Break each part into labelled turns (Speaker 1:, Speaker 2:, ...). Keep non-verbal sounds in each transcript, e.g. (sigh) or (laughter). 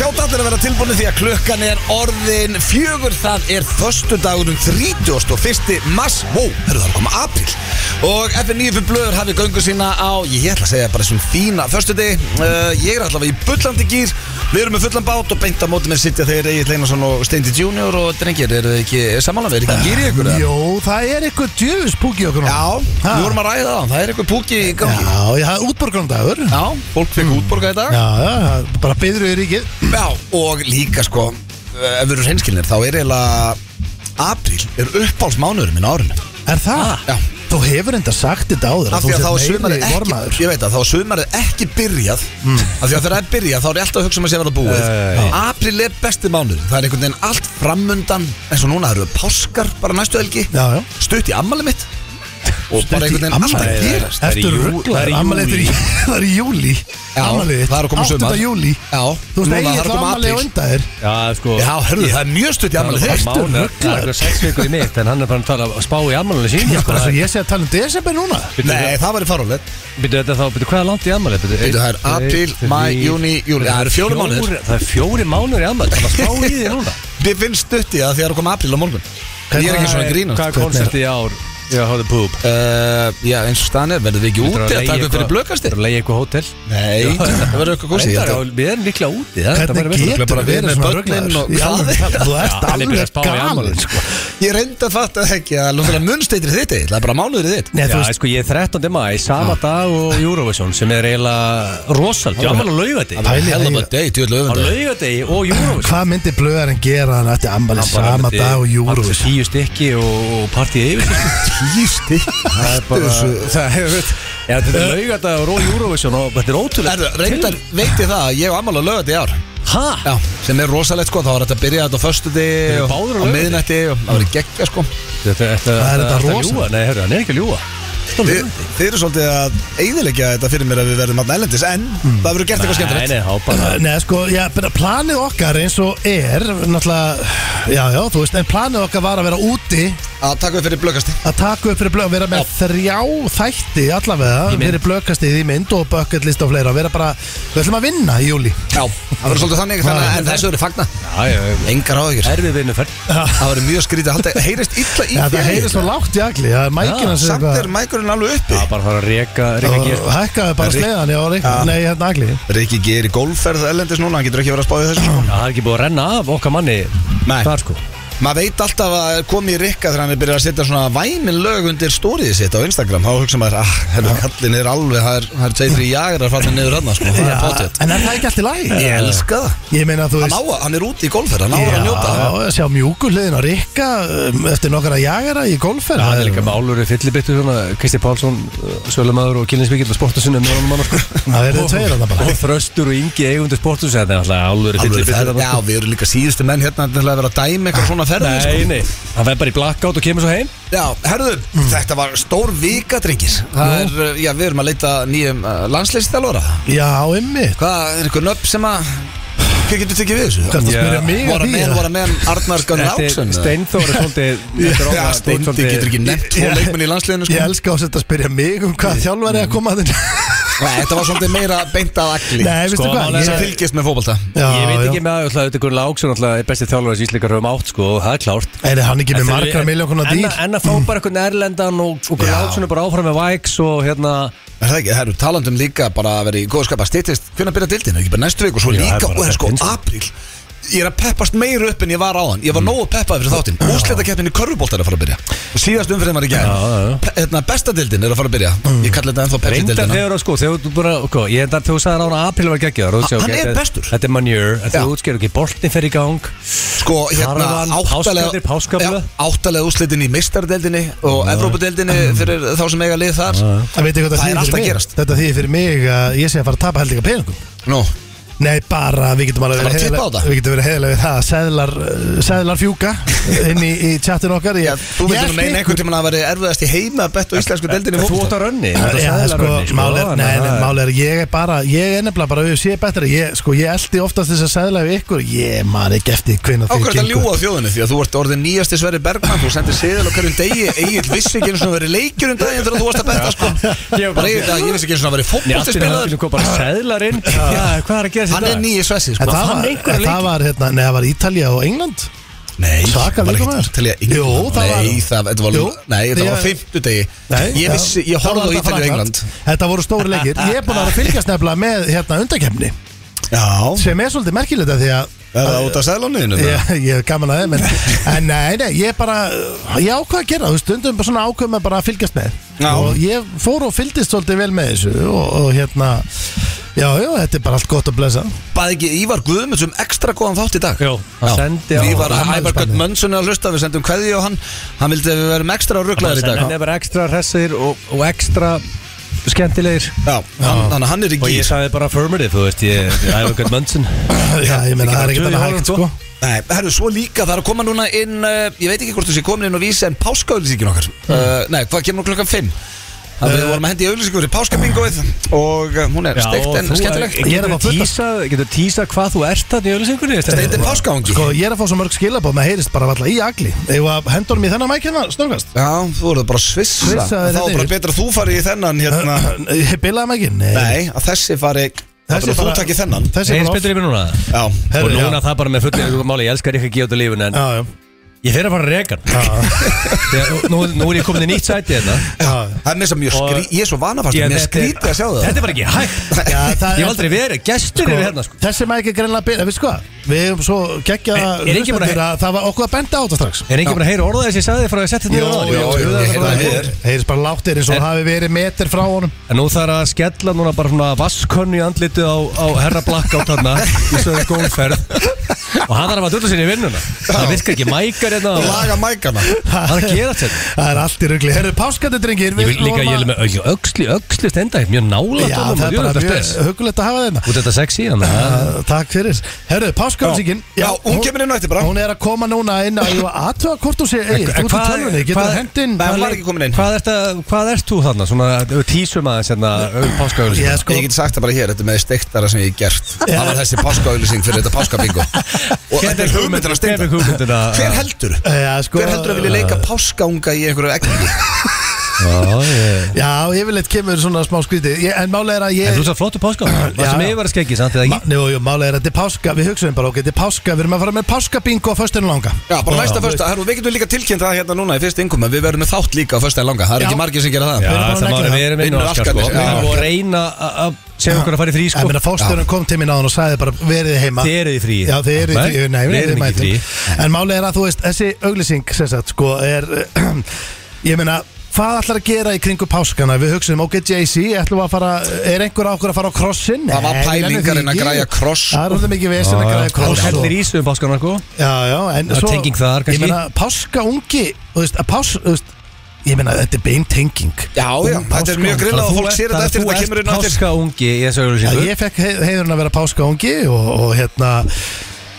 Speaker 1: hljóta allir að vera tilbúinu því að klukkan er orðin fjögur Það er förstu dagurum 31. mass Vó, hörðu það er koma april Og FNF Blöður hafi göngu sína á, ég ætla að segja bara þessum fína förstu dag uh, Ég er allavega í bullandi gýr Við erum með fullan bát og beint á móti með sitja þegar Egil Einarsson og Steindi Junior og drengir Eru þið ekki samanlega, er ekki gýr í ykkur? eða?
Speaker 2: Jó, það er eitthvað djöfus púki okkur núna.
Speaker 1: Já,
Speaker 2: Ha?
Speaker 1: við vorum að ræða það, það er eitthvað púki í gangi
Speaker 2: Já, ég hafði útborgrundagur Já,
Speaker 1: Já, fólk fekk útborga í dag
Speaker 2: já, já, bara byður við ríkið
Speaker 1: Já, og líka sko eh, Ef við erum hreinskilnir, þá er eiginlega Apríl er uppáhaldsmánuður minn á árinu
Speaker 2: Er það?
Speaker 1: Ah, já.
Speaker 2: Þú hefur enda sagt þetta áður
Speaker 1: Af því að þá er sumarið
Speaker 2: vormaður Hmm.
Speaker 1: ekki Ég veit að þá er sumarið ekki byrjað Af því að þegar það er byrjað þá er ég alltaf að hugsa um að sé að vera búið
Speaker 3: Já, já,
Speaker 1: Apríl er besti mánuður Það er einhvern veginn allt framundan eins og núna eru páskar bara næstu helgi
Speaker 2: Já, já
Speaker 1: Stutt í ammali mitt Og bara
Speaker 2: Stutt í
Speaker 1: einhvern veginn allt að
Speaker 2: afmælið,
Speaker 1: gerast
Speaker 3: Það er í
Speaker 2: Ertu
Speaker 3: jú- það er
Speaker 2: rugglaður?
Speaker 3: í
Speaker 2: Amalið
Speaker 3: júlí.
Speaker 2: Það er í (laughs) júli
Speaker 1: Já, það er að koma sumar.
Speaker 2: 8. júli
Speaker 1: Já,
Speaker 2: Þú veist,
Speaker 1: núna,
Speaker 2: eigin
Speaker 1: það er að
Speaker 2: það
Speaker 1: koma
Speaker 2: amalið á
Speaker 1: apríl.
Speaker 2: undan þér
Speaker 3: Já, sko
Speaker 1: Já, hörðu,
Speaker 3: ég-
Speaker 1: það er mjög stutt í ammali
Speaker 3: Það er bara
Speaker 2: Ertu
Speaker 3: mánuður, það er
Speaker 2: ruglaður?
Speaker 3: eitthvað sex vikur í mitt En hann er bara að tala að spá í sko. ammálinu sín
Speaker 2: Já, bara svo ég sé að tala um desember núna
Speaker 1: Nei, það væri farulegt
Speaker 3: Býtu þetta þá, býtu hvað er langt í ammali? Býtu,
Speaker 1: Bíddu, það er apríl, maí, júní, júlí. Það eru fjórir mánuðir.
Speaker 3: Það eru fjóri mánuður í ammali, það er að spá í því núna
Speaker 1: Þið finnst stutt í það því að það er að koma apríl á morgun Ég er ekki svona að grínast
Speaker 3: Hvað er konceptið í ár? Já, hóðu púp
Speaker 1: Uh, já, eins og staðan er, verðum við ekki úti að taka upp fyrir blökastir?
Speaker 3: Það er að leiða eitthvað hótel
Speaker 1: Nei, það verður eitthvað gósi
Speaker 3: Reyndar, Við erum líklega úti það er þetta bara
Speaker 2: Hvernig
Speaker 3: verið-
Speaker 2: getur
Speaker 1: bara verið
Speaker 2: verið
Speaker 1: með
Speaker 2: svona
Speaker 1: börnin
Speaker 2: rugglaður?
Speaker 1: og-
Speaker 2: Í alvöru
Speaker 1: Hvað?
Speaker 2: talað, Þú
Speaker 3: Já,
Speaker 2: ert
Speaker 3: hann er byrjað að
Speaker 2: alveg
Speaker 3: spá í
Speaker 2: galin
Speaker 3: afmælið, sko.
Speaker 1: Ég reyndi að fatta það ekki að lóta munnsteitir þitt eitt, það er bara mánuður þitt
Speaker 2: Nei,
Speaker 3: Já,
Speaker 2: þú veist,
Speaker 3: sko, ég er 13. mæ, sama dag og Eurovision sem er eiginlega rosald, já, ammali á laugardegi
Speaker 2: Pæli
Speaker 1: Hell of a
Speaker 2: heila.
Speaker 1: day, tjóðlu
Speaker 3: Á
Speaker 1: öfundar
Speaker 3: laugardegi og Eurovision
Speaker 2: hvað myndi blöðarinn gera hann eftir amalið sama dag og júru
Speaker 3: Alltaf tíu stykki og partíð yfir sig, sko.
Speaker 1: Tíu stykk
Speaker 3: Það er bara Það hefur Já, þetta er laugardagi og Eurovision og þetta er ótrúlega
Speaker 1: Erðu, reyndar veit ég það að ég og Amal á lögat í ár
Speaker 3: Hæ?
Speaker 1: Já, sem er rosalegt sko, þá var þetta að byrja þetta á föstu
Speaker 3: Þeir eru
Speaker 1: og
Speaker 3: báðir á
Speaker 1: á
Speaker 3: laugardegi.
Speaker 1: miðnætti og það verið geggja sko
Speaker 3: Þetta er
Speaker 2: Það er þetta rosa.
Speaker 3: ljúga, nei, hörru, hann er ekki að ljúga Þetta er
Speaker 1: Þið,
Speaker 3: laugardegi
Speaker 1: þið eru svolítið að eiðilegja þetta fyrir mér að við verðum að nælendis en það verður gert eitthvað skemmtilegt
Speaker 3: Nei, nei, þá bara
Speaker 2: Nei, sko, já, bara planið okkar eins og er náttúrulega, já, já, þú veist en planið okkar var að vera úti
Speaker 1: að taka við fyrir blökasti
Speaker 2: að taka upp fyrir blöð vera með þrjá þætti allavega
Speaker 3: Í mynd.
Speaker 2: fyrir blöðkastið í mynd og bucket list og fleira vera bara, við ætlum að vinna í júli
Speaker 1: Já, það verður svolítið þannig, þannig að- en þessu verður fagna
Speaker 3: Já, já, já
Speaker 1: Engar áhyggjur
Speaker 3: Erfið vinnuferð
Speaker 1: Það verður mjög skrítið að halda Heyrist illa í
Speaker 2: Já, það heyrðist svo lágt í agli það er mækina
Speaker 1: Samt er mækurinn alveg uppi
Speaker 3: Það er bara að fara að reka, reka
Speaker 2: og
Speaker 3: gír
Speaker 2: hækkaði bara
Speaker 1: Rik-
Speaker 2: sleðan já, Rik-
Speaker 1: Já.
Speaker 2: nei, hérna agli
Speaker 1: Rikki gerir golfferð ellendis núna Hann getur ekki verið að spáði þessu sko.
Speaker 3: Það er ekki búið að renna af okkar manni
Speaker 1: Nei.
Speaker 3: Þar sko
Speaker 1: Maður veit alltaf að komið í Rikka Þegar hann er byrjað að setja svona væmin lög undir stóriði sitt á Instagram Þá hugsa maður ah, Herru, kallin er alveg Það er, það er tveitri jagrar fallin niður hann sko. Það
Speaker 2: Já,
Speaker 1: er potið
Speaker 2: en er það ekki allt í lagi?
Speaker 1: Ég elska það
Speaker 2: Ég meina, þú
Speaker 1: Hann,
Speaker 2: veist
Speaker 1: á, að- hann er úti í golfferð Hann á að njóta það
Speaker 2: Já, sjá mjúkulegin að rikka um, eftir nokkara jagara í golfer
Speaker 3: Það er líka málur í fyllibittu svona Kristi Pálsson, Sölumæður og Kilinsvíkil og Sportasunum með honum
Speaker 2: (laughs)
Speaker 3: annars sko
Speaker 2: Það eru tveir þarna bara.
Speaker 3: Og Þröstur og Ingi eigundur Sportus Þetta er alltaf álur í
Speaker 1: Alvöru
Speaker 3: fyllibittu
Speaker 1: ferð. Já, við erum líka síðustu menn hérna til að vera að dæma eitthvað svona ferð
Speaker 3: Nei, nei Hann verð bara í blackout og kemur svo heim
Speaker 1: Já, herðu, þetta var stór vika, drengir Mm. Það er, uh, já, við erum að leita nýjum uh, landsleistalvara
Speaker 2: Já, ymmið
Speaker 1: Hvað, er eitthvað nöpp sem að Hver getur tekið við þessu?
Speaker 2: Kannst að
Speaker 3: Já.
Speaker 2: spyrja mig að
Speaker 1: Vora
Speaker 2: því
Speaker 1: menn,
Speaker 2: eða?
Speaker 1: vora menn, Arnar Gunnar
Speaker 3: Þetta
Speaker 1: Áksson
Speaker 3: er Steinþór er svolítið þetta er
Speaker 1: Já,
Speaker 3: okkar-
Speaker 1: Steindi
Speaker 3: svolítið-
Speaker 1: getur ekki nefnt tvo
Speaker 2: Ég-
Speaker 1: leikmenn í landsliðinu
Speaker 2: Ég
Speaker 1: sko.
Speaker 2: elska ás þetta að spyrja mig um hvað þjálfari er að koma að þinn
Speaker 1: Nei, þetta var svolítið meira beint að agli
Speaker 2: Nei, veistu
Speaker 3: Sko,
Speaker 2: hvað
Speaker 3: málið
Speaker 1: Sem
Speaker 3: er-
Speaker 2: ég-
Speaker 1: fylgist með fótbolta
Speaker 2: Já,
Speaker 3: Ég veit
Speaker 2: já.
Speaker 3: ekki með að alltaf, þetta er Gunnar Láksson alltaf besti þjálfari sem Ísleikar höfum átt sko og það er klárt
Speaker 2: Er hann ekki með
Speaker 3: En
Speaker 2: margra
Speaker 3: þeir-
Speaker 2: miljón konar
Speaker 3: en-
Speaker 2: dýr?
Speaker 3: En að fá bara einhvern erlendan og, og Gunnar
Speaker 2: Já.
Speaker 3: Láksson er bara áfram með Vikes og hérna
Speaker 1: Er það ekki, það eru talandum líka bara að vera í góðu skapa Stittist, hvernig byrja dildin, ekki bara næstu viku Svo
Speaker 3: Já, það
Speaker 1: líka,
Speaker 3: er bara
Speaker 1: og það er sko,
Speaker 3: þetta eins og-
Speaker 1: apríl Ég er að peppast meira upp en ég var áðan Ég var
Speaker 3: Mm.
Speaker 1: nógu peppað fyrir þáttinn Úrslitakeppnin í körfubolt er að fara að byrja Og síðast umfyrir var í gær
Speaker 3: Já, já, já.
Speaker 1: Pe- hérna, Besta dildin er að fara að byrja Ég kalli þetta ennþá pepsi
Speaker 3: Reyndar
Speaker 1: dildina
Speaker 3: þegar þú sko, þegar þú bara, ok, ég endar þegar þú sagði rána að april var geggjaður og þú
Speaker 1: Ha-
Speaker 3: segir,
Speaker 1: hann er
Speaker 3: ok, þetta-
Speaker 1: bestur.
Speaker 3: Þetta er manjör, þetta
Speaker 1: Já.
Speaker 3: er útskjör ekki, boltin fer í gang
Speaker 1: Sko, hérna,
Speaker 3: Karavan, páskadir, páskaflö.
Speaker 1: áttalega Áttalega úrslitin í mistardeldinni Og
Speaker 3: Mm.
Speaker 1: Evrópadeldinni fyrir þá sem eiga lið þar
Speaker 2: Það veit ekki hvað
Speaker 1: Það
Speaker 2: það
Speaker 1: er
Speaker 2: þýðir
Speaker 1: allt að
Speaker 2: fyrir mig
Speaker 1: gerast.
Speaker 2: Þetta þýðir fyrir mig að ég sé að fara að tapa held ekki að peningum
Speaker 1: Nú,
Speaker 2: Nei, bara við getum alveg
Speaker 1: Það var að tippa
Speaker 2: verið
Speaker 1: á
Speaker 2: heiðarleg-
Speaker 1: það.
Speaker 2: Við getum verið heiðlega við það að Seðlar, uh, seðlar fjúka inn í, í chattin okkar
Speaker 1: já, þú
Speaker 2: ég
Speaker 1: veitur meina
Speaker 2: held
Speaker 1: einhvern tímann að veri erfiðast í heima að betta á íslensku deldinni í
Speaker 3: Þú
Speaker 1: fótbolta.
Speaker 3: átt að rönni, þú átt
Speaker 2: Já,
Speaker 3: að
Speaker 2: sko,
Speaker 3: seðlarönni,
Speaker 2: mál er, nei,
Speaker 3: þannig
Speaker 2: nei,
Speaker 3: að-
Speaker 2: mál er, ég er bara, ég er nefnilega bara, ég sé betra, ég, sko, ég eldi oftast þess að sæðla við ykkur, ég man ekki eftir hvenna
Speaker 1: Á
Speaker 2: þau
Speaker 1: hverju þetta ljúa
Speaker 2: sko.
Speaker 1: þjóðinu því að þú ert orðin nýjasti Sverri Bergman Þú sendir siðal á hverjum degi Egil vissi ekki eins og verið leikjur um daginn þegar þú varst að betta sko
Speaker 3: Ég var bara-
Speaker 1: Bara Egil, ég vissi ekki eins og verið
Speaker 3: Nei, allt
Speaker 1: fótbolti
Speaker 3: í
Speaker 1: spilaður
Speaker 3: hættinu kom bara seðlar inn Já, hvað er að gera
Speaker 2: þessi
Speaker 1: Hann
Speaker 2: dag.
Speaker 1: er nýi svessi
Speaker 2: En
Speaker 1: sko.
Speaker 2: það
Speaker 3: Hann
Speaker 2: var,
Speaker 3: einhverja
Speaker 2: en
Speaker 3: leiki.
Speaker 2: það var, hérna, nei, það var Ítalía og England
Speaker 1: Nei,
Speaker 2: Svaka
Speaker 1: var ekkert
Speaker 2: leikur maður.
Speaker 1: til í að England.
Speaker 2: Jú, það var-
Speaker 1: Nei, það, þetta var,
Speaker 2: Jú.
Speaker 1: nei, þetta var
Speaker 2: Ég-
Speaker 1: fimmtudegi
Speaker 2: Nei,
Speaker 1: Ég
Speaker 2: já.
Speaker 1: vissi, ég
Speaker 2: Það
Speaker 1: horfði á
Speaker 2: var þetta
Speaker 1: Ítalið og
Speaker 2: Frakkland.
Speaker 1: England
Speaker 2: Þetta voru stóri leikir Ég er búin að vera að fylgjast nefnilega með hérna undakefni
Speaker 1: Já,
Speaker 2: sem er svolítið merkilegt að því að
Speaker 1: er það út af sælónuðinu
Speaker 2: Ég, ég er gaman að þeim en, en nei, nei, ég bara ég ákvað að gera, þú veist, stundum bara svona ákvað með bara að fylgjast með
Speaker 1: Já.
Speaker 2: og ég fór og fylgdist svolítið vel með þessu og, og hérna, já, já, þetta er bara allt gott að blessa
Speaker 1: Bæði ekki Ívar Guðmunds um ekstra góðan þátt í dag
Speaker 3: Jú, hann sendi á-
Speaker 1: Við var
Speaker 2: hann
Speaker 1: Ævar Gött
Speaker 2: spennandi.
Speaker 1: Mönsson er að hlusta Við sendum kveði á hann Hann vildi að við verum ekstra rugglaðir í dag
Speaker 3: Hann er bara ekstra hressir og, og ekstra skemmtilegir
Speaker 1: Já, hann, þannig að hann er í
Speaker 3: Og ég
Speaker 1: gýr
Speaker 3: sagði bara affirmative, þú veist, ég æfa gætt mönnsinn
Speaker 2: já, ég meina, það er
Speaker 3: Ég
Speaker 2: ekkert
Speaker 3: horfði
Speaker 2: annað hægt,
Speaker 3: sko.
Speaker 2: sko
Speaker 1: Nei, herru, svo líka það er að koma núna inn uh, Ég veit ekki hvort þú sé komin inn og vísi En páskaauðlýsingin okkar uh, Nei, hvað kemur nú klokkan 5? Þannig að við vorum að hendi auðlýsingur í páskabingoið Og uh, hún er steikt en skemmtilegt
Speaker 2: Ég er að fá
Speaker 3: Getur
Speaker 2: fullt af-
Speaker 3: tísað, getur tísað hvað þú ert þarna í öllisengunni?
Speaker 1: Steikt en páskaangi
Speaker 2: Sko, ég er að fá svo mörg skilabóð, maður heyrist bara valla í agli Eða hendur mér þennan mæk hérna, snöggast
Speaker 1: Já, þú voruð bara að svissa
Speaker 2: Svissa
Speaker 1: Þá
Speaker 2: þetta
Speaker 1: er bara
Speaker 2: yfir.
Speaker 1: betra að þú farið í þennan hérna
Speaker 2: (clears throat) Bilaði mækin?
Speaker 1: Nei, að þessi fari Þessi
Speaker 2: bara-
Speaker 1: þú takkir þennan
Speaker 2: Þessi
Speaker 3: Þeir
Speaker 2: er bara
Speaker 3: spilur yfir núna
Speaker 1: Já,
Speaker 2: Herru,
Speaker 3: Og núna
Speaker 2: já.
Speaker 3: það bara með fullið máli, ég elskar ykkur að gefa út lífun En
Speaker 2: Já, já,
Speaker 3: ég fer að fara að reka hann.
Speaker 2: já,
Speaker 3: Þegar- nú, nú er ég komin í nýtt sæti hérna
Speaker 2: já
Speaker 1: það er mér sem mjög
Speaker 3: Og-
Speaker 1: skrítið Ég er svo vanafast Mér
Speaker 3: Ég-
Speaker 1: er
Speaker 3: þetta er-
Speaker 1: skrítið að sjá það
Speaker 3: Þetta er bara ekki hægt
Speaker 2: Já, það
Speaker 3: Ég
Speaker 2: er-
Speaker 3: hef aldrei verið, gestur
Speaker 2: Sko,
Speaker 3: eru hérna sko
Speaker 2: Þessi mæk er greinlega bila, veistu hvað? Við hefum svo geggja
Speaker 3: Er- er enginn búin að-
Speaker 2: að það var okkur að benda á þetta strax
Speaker 3: Er enginn bara að heyra orða þess að ég sagði þér frá að setja þetta niður
Speaker 1: Jú,
Speaker 3: áðan?
Speaker 1: jú, jú,
Speaker 3: Ég-
Speaker 1: ég
Speaker 3: ég-
Speaker 1: heyrði það
Speaker 3: ég-
Speaker 1: við. er-
Speaker 2: Heyrist bara láttir eins og
Speaker 3: Er-
Speaker 2: það hafi verið meter frá honum
Speaker 3: En nú þarf að skella núna bara svona vaskönnu í andlitu á, á herra blakkátt þarna í sögðu góðferð og hann þarf að dutla sér í vinnuna það virkar ekki mækar hérna
Speaker 1: Og
Speaker 3: og-
Speaker 1: laga mækana
Speaker 3: Það er að gera þetta
Speaker 2: (laughs) Það er allt í rugli Herru, páskandi drengir
Speaker 3: Ég
Speaker 2: við
Speaker 3: vil líka,
Speaker 2: vorum
Speaker 3: ég
Speaker 2: að-
Speaker 3: vil með öll- öxli, öxli stenda hér, mjög nála
Speaker 2: Já, það er bara mjög hugulegt að hafa þeim
Speaker 3: Út þetta sexy, þannig að
Speaker 2: Takk fyrir Herru, páskafsíkin
Speaker 1: Já, hún kemur inn á eftir bara.
Speaker 2: Hún er að koma núna inn að aðtöða hvort þú sé eigið Þú ert
Speaker 3: en
Speaker 2: í
Speaker 3: hvað-
Speaker 2: tölvunni,
Speaker 3: hvað-
Speaker 2: getur hendinn
Speaker 1: Nei, hann var ekki komin inn
Speaker 3: Hvað ert, að, hvað ert þú þarna? Svona tísum aðeins hérna um páskaölu
Speaker 2: Ég sko
Speaker 1: Ég get sagt það bara hér, þetta er með steiktara sem ég hef gert Það var þessi páskaauðlýsing fyrir þetta páskabingo Og þetta er hugmyndin að
Speaker 3: Hver
Speaker 1: steinda
Speaker 3: er hugmyndin að
Speaker 1: Hver heldur?
Speaker 2: Já, sko
Speaker 1: Hver heldur að vilja leika páskaunga í einhverju ekki?
Speaker 3: Já, ég
Speaker 2: Já, yfirleitt kemur svona smá skrítið Ég- En málega er að
Speaker 3: En
Speaker 2: ég
Speaker 3: þú ert að flottu páskaölu Það
Speaker 2: Já.
Speaker 3: sem ég var að skeggi, sant? Eða
Speaker 2: Ma-
Speaker 3: ekki?
Speaker 2: Jú, jú, málega er að þetta er páska Við hugsaðum bara, ok, þetta er páska Við erum að fara með páskabingo á föstunum langa
Speaker 1: Já, bara næsta
Speaker 2: þú veist.
Speaker 1: fyrsta, herru, við getum líka tilkynnt það hérna núna í fyrst innkom Við verðum með þátt líka á fyrsta langa, það er
Speaker 2: Já.
Speaker 1: ekki margir sem gera það
Speaker 3: Já,
Speaker 2: erum bara að
Speaker 3: það
Speaker 2: negla
Speaker 3: maður
Speaker 2: það.
Speaker 3: við erum inn
Speaker 1: Vinnu
Speaker 3: á Oscar, sko.
Speaker 1: Oskarnir,
Speaker 3: Við
Speaker 1: já.
Speaker 3: erum búin að reyna að- að segja okkur að fara í frí
Speaker 2: Ég
Speaker 3: sko
Speaker 2: meina, fórstjórun kom til mín á hann og sagði bara verið heima
Speaker 3: Þið eruð í fríi.
Speaker 2: Já, þið eruð í frí
Speaker 3: Nei,
Speaker 2: Nei,
Speaker 3: við
Speaker 2: við
Speaker 3: erum
Speaker 2: erum
Speaker 3: ekki í
Speaker 2: mætum En málega er að þú veist, þessi auglýsing sem sagt, sko, er (clears throat) Ég meina, hvað ætlar að gera í kringu páskana? Við hugsaðum, ok, Jay-Z, ætlum við að fara Er einhver á okkur að fara á krossin?
Speaker 1: Það var
Speaker 2: Nei, við
Speaker 1: pælingar en
Speaker 2: nennum því
Speaker 1: að
Speaker 2: ekki.
Speaker 1: græja kross.
Speaker 3: sko.
Speaker 2: Það er orðið mikið vesen að græja
Speaker 3: Það
Speaker 2: kross og-
Speaker 3: hellir ísum páskana, sko
Speaker 2: Já, já, en
Speaker 3: Það er tenging þar,
Speaker 2: Ég
Speaker 3: kannski.
Speaker 2: meina, páska ungi Þú veist, að pás, þú veist Ég meina, þetta er bein tenging
Speaker 1: Já, já, þetta er mjög grillað og fólk sér þetta eftir, þetta kemur inn á eftir
Speaker 3: Páskaungi í þessu
Speaker 2: Já,
Speaker 3: auðlýsingu
Speaker 2: ég fekk hei- heiðurinn að vera páska ungi og, og hérna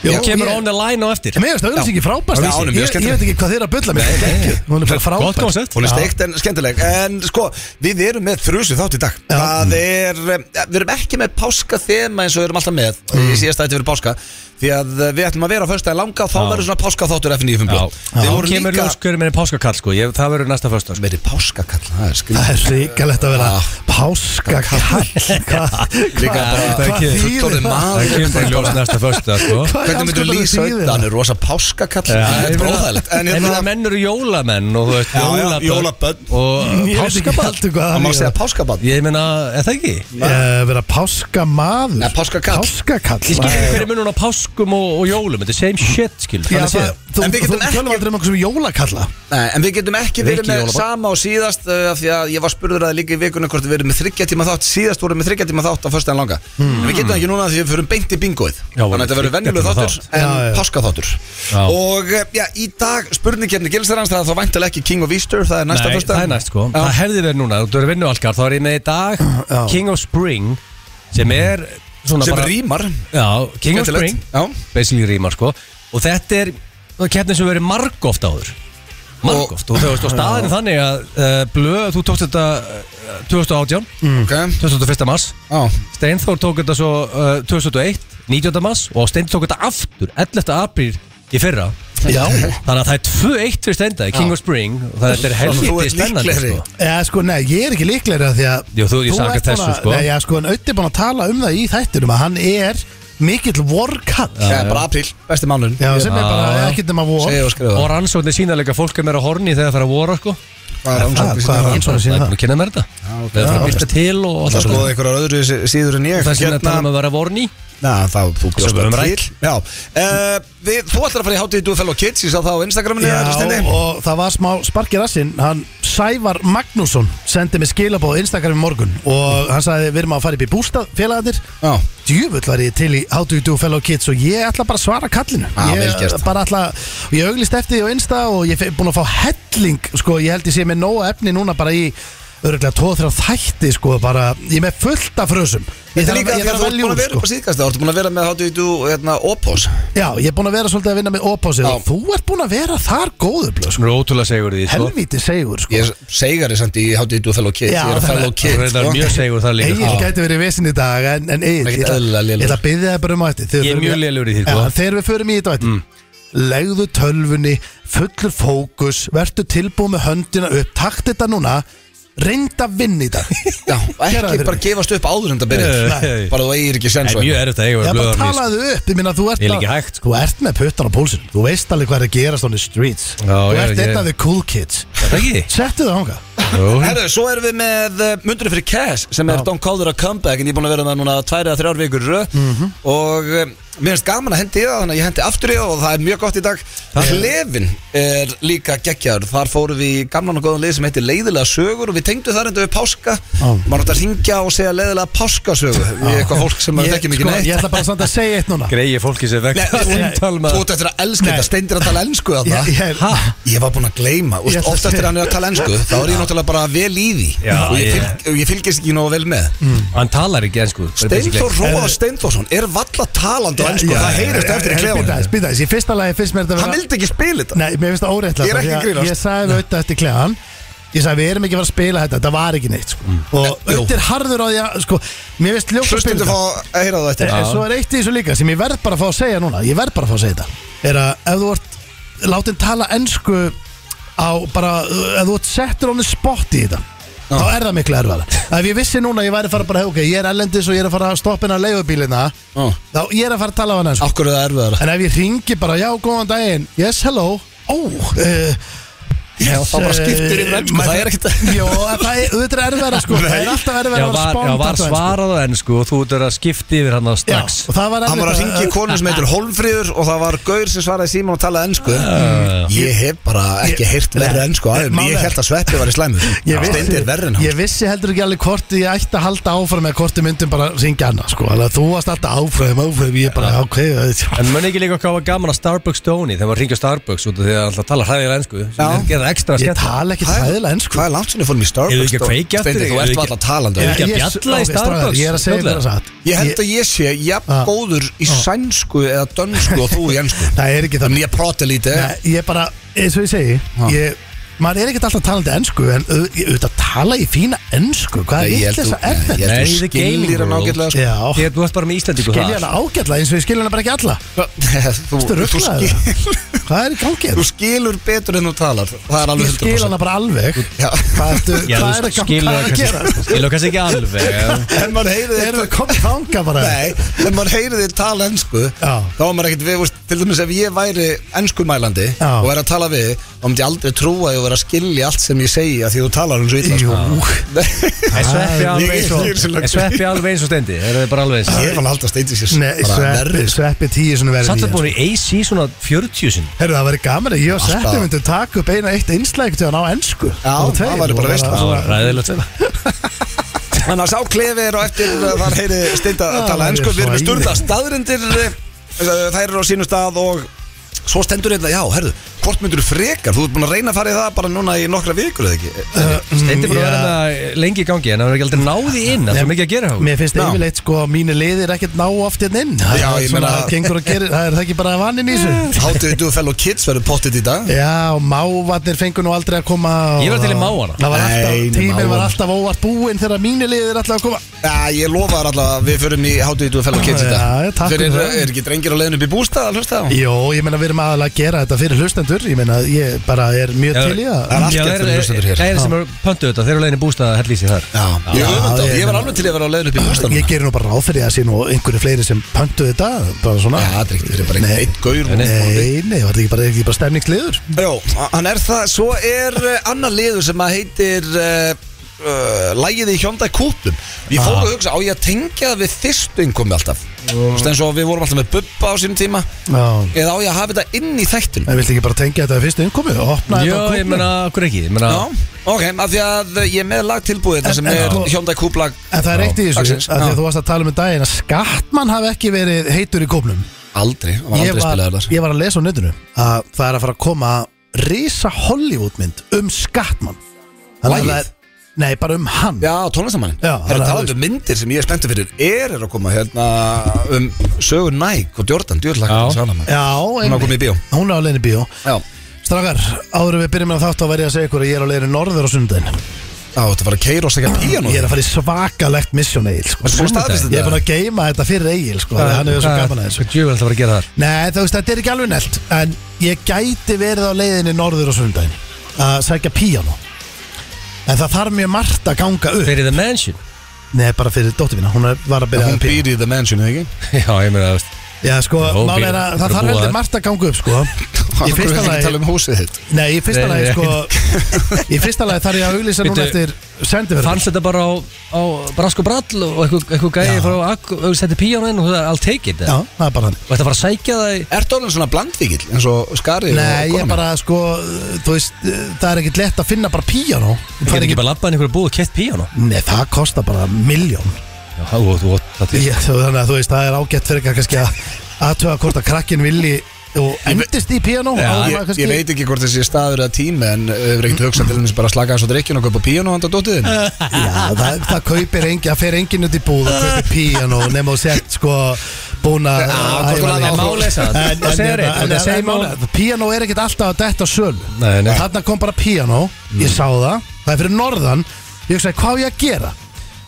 Speaker 2: Jó,
Speaker 3: Ég kemur on the line á eftir
Speaker 2: En mér finnst auðvitsingi frábært
Speaker 1: Já, hún er mjög
Speaker 2: ég, ég
Speaker 1: skemmtileg.
Speaker 2: veit ekki hvað þeir eru að bylla mér
Speaker 3: Nei, nei.
Speaker 2: Gekkjuð. Hún er bara
Speaker 3: Gott
Speaker 2: frábært
Speaker 3: koncept.
Speaker 1: Hún er
Speaker 2: Já.
Speaker 1: steikt en skemmtileg En sko, við erum með þrjusu þátt í dag
Speaker 2: Já.
Speaker 1: Það er, eh, við erum ekki með páska þema eins og við erum alltaf með
Speaker 3: Mm.
Speaker 1: Í síðasta þetta fyrir páska Því að eh, við ætlum að vera á föstudaginn langa og Þá
Speaker 3: Já.
Speaker 1: verður svona páska þáttur FNF
Speaker 3: Já,
Speaker 1: Við
Speaker 3: þá
Speaker 1: vorum
Speaker 3: kemur
Speaker 1: líka
Speaker 3: ljós hverju minni páskakall, sko Ég- Það verður næsta fösta, sko
Speaker 1: Verið páskakall, það er skrið
Speaker 2: Það er ríkalegt að vera
Speaker 1: Já.
Speaker 2: páska
Speaker 1: (laughs) Líka bara-
Speaker 2: Hvað
Speaker 3: Það
Speaker 2: hvað
Speaker 3: kemur-
Speaker 2: þýðir
Speaker 1: fullorðin
Speaker 2: það?
Speaker 1: maður.
Speaker 3: Það kemur bara í ljós næsta fösta, sko
Speaker 2: Hvað í
Speaker 1: Hvernig myndur
Speaker 2: andskotanum
Speaker 1: lýsa
Speaker 2: þýðir
Speaker 1: auðvitað?
Speaker 2: það?
Speaker 1: Hann er rosa páskakall Það er hérna, bróðalegt
Speaker 3: En það menn eru jólamenn og þú veist
Speaker 1: Já, já,
Speaker 3: jólabörn
Speaker 1: jólabörn.
Speaker 3: Og
Speaker 2: Ég veit ekki
Speaker 3: páskaball
Speaker 2: alltaf hvað
Speaker 1: Það má
Speaker 2: þýðir.
Speaker 1: segja páskabann
Speaker 3: Ég meina, er það ekki?
Speaker 2: Eh, Vera páskamaður
Speaker 1: Nei, páskakall.
Speaker 3: Ég skil ekki
Speaker 2: Páskakall
Speaker 3: hverju munum á páskum og, og jólum Þetta er same shit, skil
Speaker 2: Já,
Speaker 3: Þannig
Speaker 2: það-
Speaker 3: séð
Speaker 2: Þú
Speaker 1: En við
Speaker 2: þú
Speaker 1: getum ekki-
Speaker 2: tölum aldrei um okkur sem jólakalla
Speaker 1: Nei, en við getum ekki
Speaker 3: Við
Speaker 1: verið
Speaker 3: ekki
Speaker 1: með
Speaker 3: jólabörn.
Speaker 1: sama og síðast uh, af því að ég var spurður að líka í vikunum hvort við erum með þryggja tíma þátt síðast vorum við með þryggja tíma þátt á föstudaginn langa en við getum það ekki núna því við fyrum beint í bingoið
Speaker 3: Hmm. Já,
Speaker 1: þannig að þetta verður
Speaker 3: þriggja
Speaker 1: venjuleg
Speaker 3: tíma
Speaker 1: þáttur
Speaker 3: þátt.
Speaker 1: en
Speaker 2: Já, já.
Speaker 1: páskaþáttur
Speaker 3: Já.
Speaker 1: og uh, já, í dag spurningkefni gilsarans það er þá væntalega ekki King of Easter það er næsta
Speaker 3: Nei,
Speaker 1: föstudag
Speaker 3: það er næst sko
Speaker 1: Já.
Speaker 3: Það hefði verið núna, þú eru vinnualkar Þá er ég með í dag
Speaker 2: Já.
Speaker 3: King of Spring Sem er svona
Speaker 1: sem
Speaker 3: bara
Speaker 1: rýmar
Speaker 3: Já, King of
Speaker 1: Skemmtilegt.
Speaker 3: Spring
Speaker 1: Já.
Speaker 3: Basically rýmar sko Og þetta er keppnin sem verið margóft áður Margóft Og, og, og staðin þannig að uh, Blöð, þú tókst þetta uh, 2018
Speaker 1: Ok.
Speaker 3: 21. mars
Speaker 1: Já.
Speaker 3: Steinþór tók þetta svo uh, 2001, 19. mars og Steinþór tók þetta aftur 11. apríl í fyrra
Speaker 2: Já.
Speaker 3: Þannig að það er 2-1 fyrir Steinda í King of Spring og það þetta er
Speaker 1: Þú
Speaker 3: helviti
Speaker 1: ert
Speaker 3: spennandi
Speaker 1: líklegri.
Speaker 3: sko.
Speaker 2: Já, sko, nei, ég er ekki líklegri að því að
Speaker 3: Jú, þú- ég saka
Speaker 2: ert búin
Speaker 3: þessu,
Speaker 2: að-
Speaker 3: sko.
Speaker 2: Nei, já, sko, en Ötti er búin að tala um það í þættinum að hann er mikill vorkall
Speaker 1: Það er bara apríl, besti mánun
Speaker 2: Já, sem er
Speaker 3: Já, sko.
Speaker 2: bara
Speaker 3: já.
Speaker 2: ekkert nema vor
Speaker 1: Segðu og skrifa
Speaker 3: Og rannsóknir sínalega fólk er meira horni þegar það fara að vora sko
Speaker 1: Hvað er
Speaker 2: Það,
Speaker 1: rannsóknir
Speaker 2: hvað er
Speaker 1: sínar?
Speaker 2: rannsóknir sína
Speaker 3: Það er
Speaker 2: það?
Speaker 3: búin að kynna mér þetta Það er að fara að byrta til og allt
Speaker 1: Það
Speaker 3: það
Speaker 1: skoði einhverjar öðru sí- síður en ég
Speaker 3: Það sem að
Speaker 1: Hérna-
Speaker 3: tala um að vera vorni
Speaker 1: Na, þá, þú bjóst
Speaker 3: Sem við höfum
Speaker 1: það
Speaker 3: rætt.
Speaker 1: til Já, uh, við, þú ætlar að fara í hátíð Du fellow kids, ég sá það á Instagraminu eh, eða
Speaker 2: Já,
Speaker 1: Steini.
Speaker 2: og það var smá spark í rassinn Hann Sævar Magnússon sendi mig skilabóð á Instagram í morgun og hann sagði við erum að fara upp í bústað félagarnir
Speaker 1: Já,
Speaker 2: djúvöld var ég til í How Do You Do Fellow Kids og ég ætla bara að svara kallinu
Speaker 1: Ah, vel
Speaker 2: ég
Speaker 1: gert.
Speaker 2: bara ætla og ég auglist eftir því á Insta og ég er búin að fá helling sko, ég held ég sé með nóga efni núna bara í örgulega 2-3 þætti sko, bara, ég er með fullt af frösum
Speaker 1: þetta
Speaker 2: ég
Speaker 1: er
Speaker 2: þarf að-
Speaker 1: líka
Speaker 2: ég
Speaker 1: því
Speaker 2: þarf
Speaker 1: að
Speaker 2: að
Speaker 1: þú ert
Speaker 2: velja
Speaker 1: búin að
Speaker 2: úr
Speaker 1: vera
Speaker 2: sko.
Speaker 1: upp á síðkast Þú ert búin að vera með hátíð Du hérna, opos
Speaker 2: já, ég er búin að vera svolítið að vinna með opásið
Speaker 1: Já.
Speaker 2: og þú ert búin að vera þar góður blöð, sko.
Speaker 3: Sem eru ótrúlega segur í því sko
Speaker 2: helvítið segur sko.
Speaker 1: Ég er segari samt í hátíð Du fellow kids
Speaker 2: Já,
Speaker 1: Ég er
Speaker 2: þannig-
Speaker 1: fellow sko.
Speaker 3: Það
Speaker 1: kids
Speaker 3: er reyndar mjög segur það líka
Speaker 2: Egil
Speaker 3: sko.
Speaker 2: gæti verið vesinn í dag en, en Egil,
Speaker 1: Ekkert
Speaker 2: ég ætla
Speaker 1: eðlilega
Speaker 2: ég
Speaker 1: lélegur.
Speaker 2: ætla að byggja það bara um á eftir Þegar
Speaker 3: Ég er
Speaker 2: förum
Speaker 3: mjög
Speaker 2: í-
Speaker 3: lélegur í því,
Speaker 2: Já,
Speaker 3: sko.
Speaker 2: Þegar við förum í þetta á eftir Legðu tölfunni, fullur fókus Vertu tilbúið með höndina upp Takt þetta núna, reynda að vinna
Speaker 3: (laughs)
Speaker 2: í dag
Speaker 1: Já,
Speaker 2: Gera
Speaker 1: ekki
Speaker 2: það fyrir
Speaker 1: bara
Speaker 2: mig.
Speaker 1: gefast upp áður en það
Speaker 3: Nei,
Speaker 1: byrjar
Speaker 3: nei.
Speaker 1: Bara þú eigir ekki
Speaker 3: Það
Speaker 1: sens
Speaker 3: er mjög erfitt að eiga
Speaker 2: Já,
Speaker 3: verið
Speaker 2: bara
Speaker 3: blöðar mér
Speaker 2: talaðu upp, ég minna þú ert
Speaker 3: Ég er
Speaker 2: að-
Speaker 3: ekki hægt, sko.
Speaker 2: Þú ert með puttan á pólsin Þú veist alveg hvað er að gerast on the streets
Speaker 3: Já,
Speaker 2: Þú
Speaker 3: ég-
Speaker 2: ert
Speaker 3: ég-
Speaker 2: einn af the cool kids
Speaker 3: Það er ekki
Speaker 2: Settu um það ánga
Speaker 3: Jú.
Speaker 1: Herru, svo erum við með uh, Mundurinn fyrir Cash sem er Don't Call It A Comeback en ég er búin að vera með núna tvær eða þrjár vikur mm
Speaker 2: Mhm.
Speaker 1: -hmm. og um, mér finnst gaman að hendi í það þannig að ég hendi aftur í það og það er mjög gott í dag Klefin er líka geggjar þar fórum við í gamlan og góðan lið sem heitir Leiðilega sögur og við tengdu þar enda við páska
Speaker 2: Já.
Speaker 1: maður átt að ringja og segja leiðilega páskasögu við eitthvað fólk sem maður
Speaker 2: Ég-
Speaker 1: þekkjum
Speaker 2: sko,
Speaker 1: ekki neitt
Speaker 2: Ég ætla bara samt að segja eitt núna
Speaker 3: Greiði fólki sem vekk
Speaker 1: Nei,
Speaker 3: Samtal
Speaker 1: Þú
Speaker 3: maður
Speaker 1: ert eftir um að elska
Speaker 2: Nei.
Speaker 1: þetta, steindir að tala ensku að
Speaker 2: Ég- ég- Ha?
Speaker 1: Ég var búinn að gleyma
Speaker 2: Ég ætla að
Speaker 1: Oftast
Speaker 2: segja-
Speaker 1: er hann er að tala ensku Þá er ég náttúrulega bara vel í því
Speaker 3: Já,
Speaker 1: Og ég,
Speaker 3: ég-
Speaker 1: fylg, og ég fylgist ekki nógu vel með
Speaker 3: Hann talar ekki enn sko
Speaker 1: Steinþór Róa Steinþórsson er valla talandi á ensku Sko, Það heyrist eftir í klefanum
Speaker 2: Býta þess, í fyrsta lagi finnst mér þetta
Speaker 1: Hann
Speaker 2: vera-
Speaker 1: vildi ekki spila þetta
Speaker 2: Nei, mér finnst það óréttlega
Speaker 1: Ég er ekki að grínast.
Speaker 2: Ég sagði við auðvitað eftir kleðan Ég sagði við erum ekki að fara að spila þetta Þetta var ekki neitt sko. Og
Speaker 1: Mm. Jú.
Speaker 2: auðvitað er harður á því að sko, Mér finnst ljótt að spila
Speaker 1: Hlustum þú
Speaker 2: þetta
Speaker 1: fá að heyra það
Speaker 2: En
Speaker 1: eftir
Speaker 2: en eh, svo er eitt í þessu líka sem ég verð bara að fá að segja núna Ég verð bara að fá að segja þetta Er að ef þú ert látin tala ensku á bara Ef þú ert settur honum spott í þetta Þá er það miklu erfara Ef ég vissi núna að ég væri að fara bara Ok, ég er ellendis og ég er að fara að stoppa inn að leigubílina
Speaker 1: Já.
Speaker 2: Þá ég er að fara að tala á hann ensku
Speaker 1: Akkur er það erfiðara
Speaker 2: En ef ég ringi bara, já, góðan daginn Yes, hello Ó, uh,
Speaker 1: Já, þá bara skiptir yfir ensku, það er ekkert að-
Speaker 2: (laughs) Jó, en það er, auðvitað er verið sko Það er alltaf verið
Speaker 3: Já,
Speaker 2: að um
Speaker 3: var, já,
Speaker 2: spána
Speaker 3: var svarað á ennsku og þú ert að skipta yfir hann á
Speaker 2: sko. Já,
Speaker 3: strax
Speaker 2: og það var
Speaker 1: Hann var að
Speaker 2: erfitt
Speaker 1: ringi í konu sem heitur Holmfríður og það var Gaur sem svaraði síman og talaði ennsku Ég hef bara ekki heyrt verri ennsku aðeim
Speaker 2: Ah. Málið
Speaker 1: Ég
Speaker 2: er-
Speaker 1: held að Sveppi var í slæmu
Speaker 2: Ég
Speaker 1: Steindi er verri en
Speaker 2: vissi,
Speaker 1: hann
Speaker 2: ég vissi heldur ekki alveg hvort ég ætti að halda áfram eða hvort ég myndum bara ringja hana sko. Þannig að þú varst alltaf áfram, áfram Ég bara ákveði
Speaker 3: En mun ekki líka hvað var gaman að Starbucks Stoney þegar maður ringi á Starbucks út af því að alltaf tala hræðilega ennsku sem
Speaker 1: Já.
Speaker 3: er gerða ekstra
Speaker 2: Ég
Speaker 3: skemmt
Speaker 2: tala ekki
Speaker 1: Hvað er-
Speaker 2: træðilega enn sko
Speaker 1: Hvað er langt sinni fórum í
Speaker 3: Eru
Speaker 1: Starbucks?
Speaker 3: þið ekki að kveikja eftir
Speaker 1: Steindi,
Speaker 3: þig?
Speaker 1: þú
Speaker 3: Eru
Speaker 1: ert
Speaker 3: þið
Speaker 1: varla talandi
Speaker 3: Eru þið ekki að
Speaker 2: Ég-
Speaker 3: bjalla í
Speaker 2: ok, strákar,
Speaker 3: Starbucks?
Speaker 2: Ég er að segja þér
Speaker 3: Fljótlega.
Speaker 2: það satt
Speaker 1: Ég held að ég sé jafn
Speaker 2: Ah.
Speaker 1: góður í sænsku eða dönsku og þú í ennsku
Speaker 2: Það er ekki það
Speaker 1: Þannig að ég prati lítið
Speaker 2: Nei, Eh, ég bara, eins og ég segi ég, maður er ekkert alltaf talandi ennsku en au- ég- auðvitað tala í fína ennsku hvað
Speaker 1: Ég
Speaker 2: er
Speaker 1: held
Speaker 2: þess
Speaker 1: þú-
Speaker 2: að
Speaker 1: Nei,
Speaker 2: er
Speaker 1: ég
Speaker 2: þetta?
Speaker 1: held þú
Speaker 3: Nei, the gaming
Speaker 1: skilir hann
Speaker 3: world.
Speaker 1: ágætlega sko.
Speaker 2: Já,
Speaker 3: Ég- Þú ert bara með Íslandingu
Speaker 2: skilja hana
Speaker 3: þar
Speaker 2: ágætla eins og ég skilja hana bara ekki alla
Speaker 1: (laughs) Þú-
Speaker 2: Ertu
Speaker 1: Þú
Speaker 2: ruglaður?
Speaker 1: skil-
Speaker 2: Hvað er í gangi? hérna?
Speaker 1: þú skilur betur en þú talar Það er alveg
Speaker 2: Ég skil
Speaker 1: 100%
Speaker 2: hana bara alveg
Speaker 1: Já.
Speaker 2: Hvað ertu-
Speaker 3: Já,
Speaker 2: hvað
Speaker 3: þú
Speaker 2: er að gangi?
Speaker 3: skilur
Speaker 2: Hvað er
Speaker 3: það
Speaker 2: að gera?
Speaker 3: kannski- Skilur það kannski ekki alveg en-
Speaker 1: En maður heyrið
Speaker 2: Erum við komið þanga bara?
Speaker 1: Nei, ef maður heyrir þér tala ennsku
Speaker 2: Já.
Speaker 1: þá er maður ekkert við, veist, til dæmis ef ég væri ennskumælandi
Speaker 2: Já.
Speaker 1: og væri að tala við þá myndi ég aldrei trúa að ég væri að skilja allt sem ég segi að því þú talar eins og illa
Speaker 2: Jú,
Speaker 1: sko. Nei.
Speaker 3: En sveppi
Speaker 2: Ég-
Speaker 3: alveg eins og
Speaker 1: ég er svo langt-
Speaker 3: en Sveppi alveg eins og stendi Er þið bara alveg eins
Speaker 1: (laughs) Ég var alltaf steindi sér
Speaker 2: Nei,
Speaker 1: bara
Speaker 2: sveppi,
Speaker 1: verri, sko.
Speaker 2: sveppi tíu svona verið
Speaker 3: Satt
Speaker 2: í
Speaker 3: að
Speaker 2: þessu.
Speaker 3: búin í AC svona 40 sin
Speaker 2: Herru, það væri gaman að ég og
Speaker 1: Alltaf.
Speaker 2: Sveppi myndum taka upp eina eitt einslægt til hann á ennsku
Speaker 1: Já,
Speaker 2: Og tveir,
Speaker 1: það væri bara
Speaker 2: og
Speaker 1: veisla.
Speaker 3: Það var ræðilegt sko.
Speaker 1: Þannig að sá klefir og eftir uh, þar heyri steinda að
Speaker 2: Já,
Speaker 1: tala
Speaker 2: ég
Speaker 1: ennsku
Speaker 2: er
Speaker 1: Við erum með
Speaker 2: svo
Speaker 1: sturða staðrindir eh, Þær eru á sínu stað og Svo stendur þetta, já, herðu, hvort myndur þú frekar? Þú ert búin að reyna að fara í það bara núna í nokkra vikur eða ekki?
Speaker 3: Stendi búin að
Speaker 2: Já.
Speaker 3: vera með lengi í gangi En það var ekki aldrei náði inn Það er svo mikið að gera hjá
Speaker 2: Mér finnst
Speaker 1: Já.
Speaker 2: yfirleitt sko að mínu liðir ekkert ná oft hérna inn Það
Speaker 1: Já,
Speaker 2: er
Speaker 1: ég
Speaker 2: svona,
Speaker 1: meina-
Speaker 2: gengur og gerir, það er það ekki bara vaninn í
Speaker 1: (laughs)
Speaker 2: þessu
Speaker 1: Hátuðu du fellow kids verður pottit í dag?
Speaker 2: Já, og mávarnir fengur nú aldrei að koma og-
Speaker 3: Ég var til í mávana.
Speaker 2: Það var
Speaker 1: Nei,
Speaker 2: alltaf,
Speaker 1: nei,
Speaker 2: tíminn var
Speaker 1: mávana.
Speaker 2: alltaf óvart búinn þegar mínu liðir alltaf að koma
Speaker 1: Já, ég lofa þar allavega að við förum í hátuðu du fellow kids í dag
Speaker 2: Já,
Speaker 1: Þeir
Speaker 2: takk fyrir
Speaker 1: eru,
Speaker 2: það.
Speaker 1: er ekki drengir á leiðinu upp í bústað, hlusta það?
Speaker 2: Jó, ég meina við erum aðalega að gera þetta fyrir hlustendur hlustendur Ég meina, ég bara er mjög til í
Speaker 1: Það er
Speaker 2: að
Speaker 1: allt
Speaker 3: Já,
Speaker 1: gert
Speaker 3: þeir
Speaker 1: fyrir hlustendur hér.
Speaker 3: gæðir sem eru pöntuð þetta, þeir eru leiðin í bústað að hellísi þar
Speaker 1: Já, ég,
Speaker 2: Já,
Speaker 1: öfunda,
Speaker 2: ég-
Speaker 1: ég var alveg til að vera á leiðin upp í bústan
Speaker 2: Ég gerir nú bara ráð fyrir að sé nú einhverju fleiri sem pöntu þetta Bara svona
Speaker 1: Já, það er ekkert, það er bara
Speaker 2: Nei.
Speaker 1: einn gaur
Speaker 3: Nei,
Speaker 2: Nei, nei, var þetta ekki bara, ekki bara stemningsliður?
Speaker 1: Jó, hann er það, svo er uh, annar liður sem að heitir uh, uh, Lægið í hjónda kúpum Ég
Speaker 2: Ah.
Speaker 1: fór að hugsa, á ég að tengja það við fyrstu innkomi alltaf Þú veist eins og við vorum alltaf með bubba á sínum tíma
Speaker 2: Já
Speaker 1: Eða á ég að hafa þetta inn í þættin
Speaker 2: En viltu ekki bara tengja þetta við fyrstu innkomi og opna þetta
Speaker 3: Jó,
Speaker 2: á
Speaker 3: ég
Speaker 2: klúbbnum?
Speaker 3: meina, okkur ekki ég meina,
Speaker 1: Já, ok, af því að ég er með lagtilbúið þetta
Speaker 2: En-
Speaker 1: sem
Speaker 2: en
Speaker 1: er
Speaker 2: sko-
Speaker 1: hjónda kúplag
Speaker 2: En það er eitt í þessu,
Speaker 1: Axels,
Speaker 2: að
Speaker 1: já.
Speaker 2: því að þú varst að tala um um daginn að skattmann hafi ekki verið heitur í kópnum
Speaker 1: Aldrei, hann var
Speaker 2: ég
Speaker 1: aldrei
Speaker 2: var,
Speaker 1: spilaður þar
Speaker 2: ég var að lesa á netinu að það er að fara að koma risa Hollywoodmynd um skattmann Þannig að
Speaker 1: Lagið?
Speaker 2: það er- Nei, bara um hann
Speaker 1: Já, tónlistamannin
Speaker 2: Já,
Speaker 1: Það er
Speaker 2: þannig að-
Speaker 1: talað um myndir sem ég er spenntur fyrir Er er að koma hérna um sögur Nike og Jordan Djurlaka,
Speaker 3: Já.
Speaker 1: sána mann
Speaker 2: Já,
Speaker 1: Hún er
Speaker 2: einmitt.
Speaker 1: komið í bíó
Speaker 2: Hún er á leiðinu í bíó
Speaker 1: Já,
Speaker 2: Strákar, áður en við byrjum með þátt þá væri ég að segja ykkur að ég er á leiðinu norður á sundin
Speaker 1: Já, þetta var að keira og segja píanó
Speaker 2: Ég er að fara í svakalegt mission Egil sko.
Speaker 1: Varstu búin að staðfesta
Speaker 2: Ég er búin
Speaker 1: þetta?
Speaker 2: að geima þetta fyrir Egil sko,
Speaker 3: hvað-
Speaker 2: Hann hefur svo
Speaker 3: hvað-
Speaker 2: gaman að þessu
Speaker 3: Hvað djöfum alltaf að gera þar?
Speaker 2: Nei, þú veist, þetta er ekki alveg nelt En ég gæti verið á leiðinni norður á sundaginn Að sækja píano En það þarf mjög margt að ganga upp
Speaker 3: Fyrir The Mansion
Speaker 2: Nei, bara fyrir dóttir mína, hún er, var að byrja
Speaker 1: Hún
Speaker 2: að píano
Speaker 1: býr í The Mansion, eða ekki?
Speaker 3: (laughs) Já, ég meina, þú veist
Speaker 2: Já, sko,
Speaker 3: Jó,
Speaker 2: mál er
Speaker 3: býr-
Speaker 2: að
Speaker 3: hún er
Speaker 2: það
Speaker 3: að
Speaker 2: þarf
Speaker 3: búa
Speaker 2: heldur
Speaker 3: þar.
Speaker 2: margt að ganga upp,
Speaker 3: (laughs)
Speaker 2: sko Í
Speaker 1: Akkur hefur
Speaker 2: fyrsta
Speaker 1: ekki
Speaker 2: lagi
Speaker 1: tala um húsið þitt
Speaker 2: Nei, í fyrsta
Speaker 3: Nei,
Speaker 2: lagi,
Speaker 3: nei.
Speaker 2: sko Í fyrsta lagi þarf ég að auglýsa núna
Speaker 3: Bíddu,
Speaker 2: eftir sendiferð
Speaker 3: Fannst þetta bara á, á Brask og Brall og eitthvað eitthva
Speaker 2: Já.
Speaker 3: gæði frá Akku og setti píjánu inn og þú það I'll take it
Speaker 2: Já,
Speaker 3: eða?
Speaker 2: það er bara hann
Speaker 3: Og þetta bara að sækja það í
Speaker 1: Ertu orðin svona blandvíkil, eins og Skari
Speaker 2: Nei,
Speaker 1: og
Speaker 2: ég bara, sko, þú veist Það er ekkit lett að finna bara píano
Speaker 3: Það er ekki bara labbað inn í einhverju búð og kett píjánu
Speaker 2: Nei, það kostar bara miljón
Speaker 3: Já, þú, þú, það er
Speaker 2: Já, þú- þannig að þú veist, það er ágætt fyrir ykkar kannski að aðtöga hvort að krakkin vilji og endist í piano
Speaker 3: Já,
Speaker 2: áður en
Speaker 1: Ég,
Speaker 2: maður kannski-
Speaker 1: ég veit ekki hvort þessi staður eða tími en hefur ekkert hugsað til þess bara að slaka aðeins á drikkinu og kaupa píanó handa dóttiðin
Speaker 2: Eh, Já, það, það kaupir engin, það fer engin út í búð og kaupir piano nema og sett sko búin að
Speaker 1: Já, hvort þú lagði á málið
Speaker 3: samt.
Speaker 2: En-
Speaker 3: Það segir
Speaker 2: en-
Speaker 3: eitt,
Speaker 2: en-
Speaker 3: það segir
Speaker 2: en-
Speaker 3: málið.
Speaker 2: en- Piano er ekkit alltaf að detta söl
Speaker 3: Nei, nei.
Speaker 2: Þarna kom bara piano, ég sá það Það er fyrir norðan, ég hugsaði hvað á ég að gera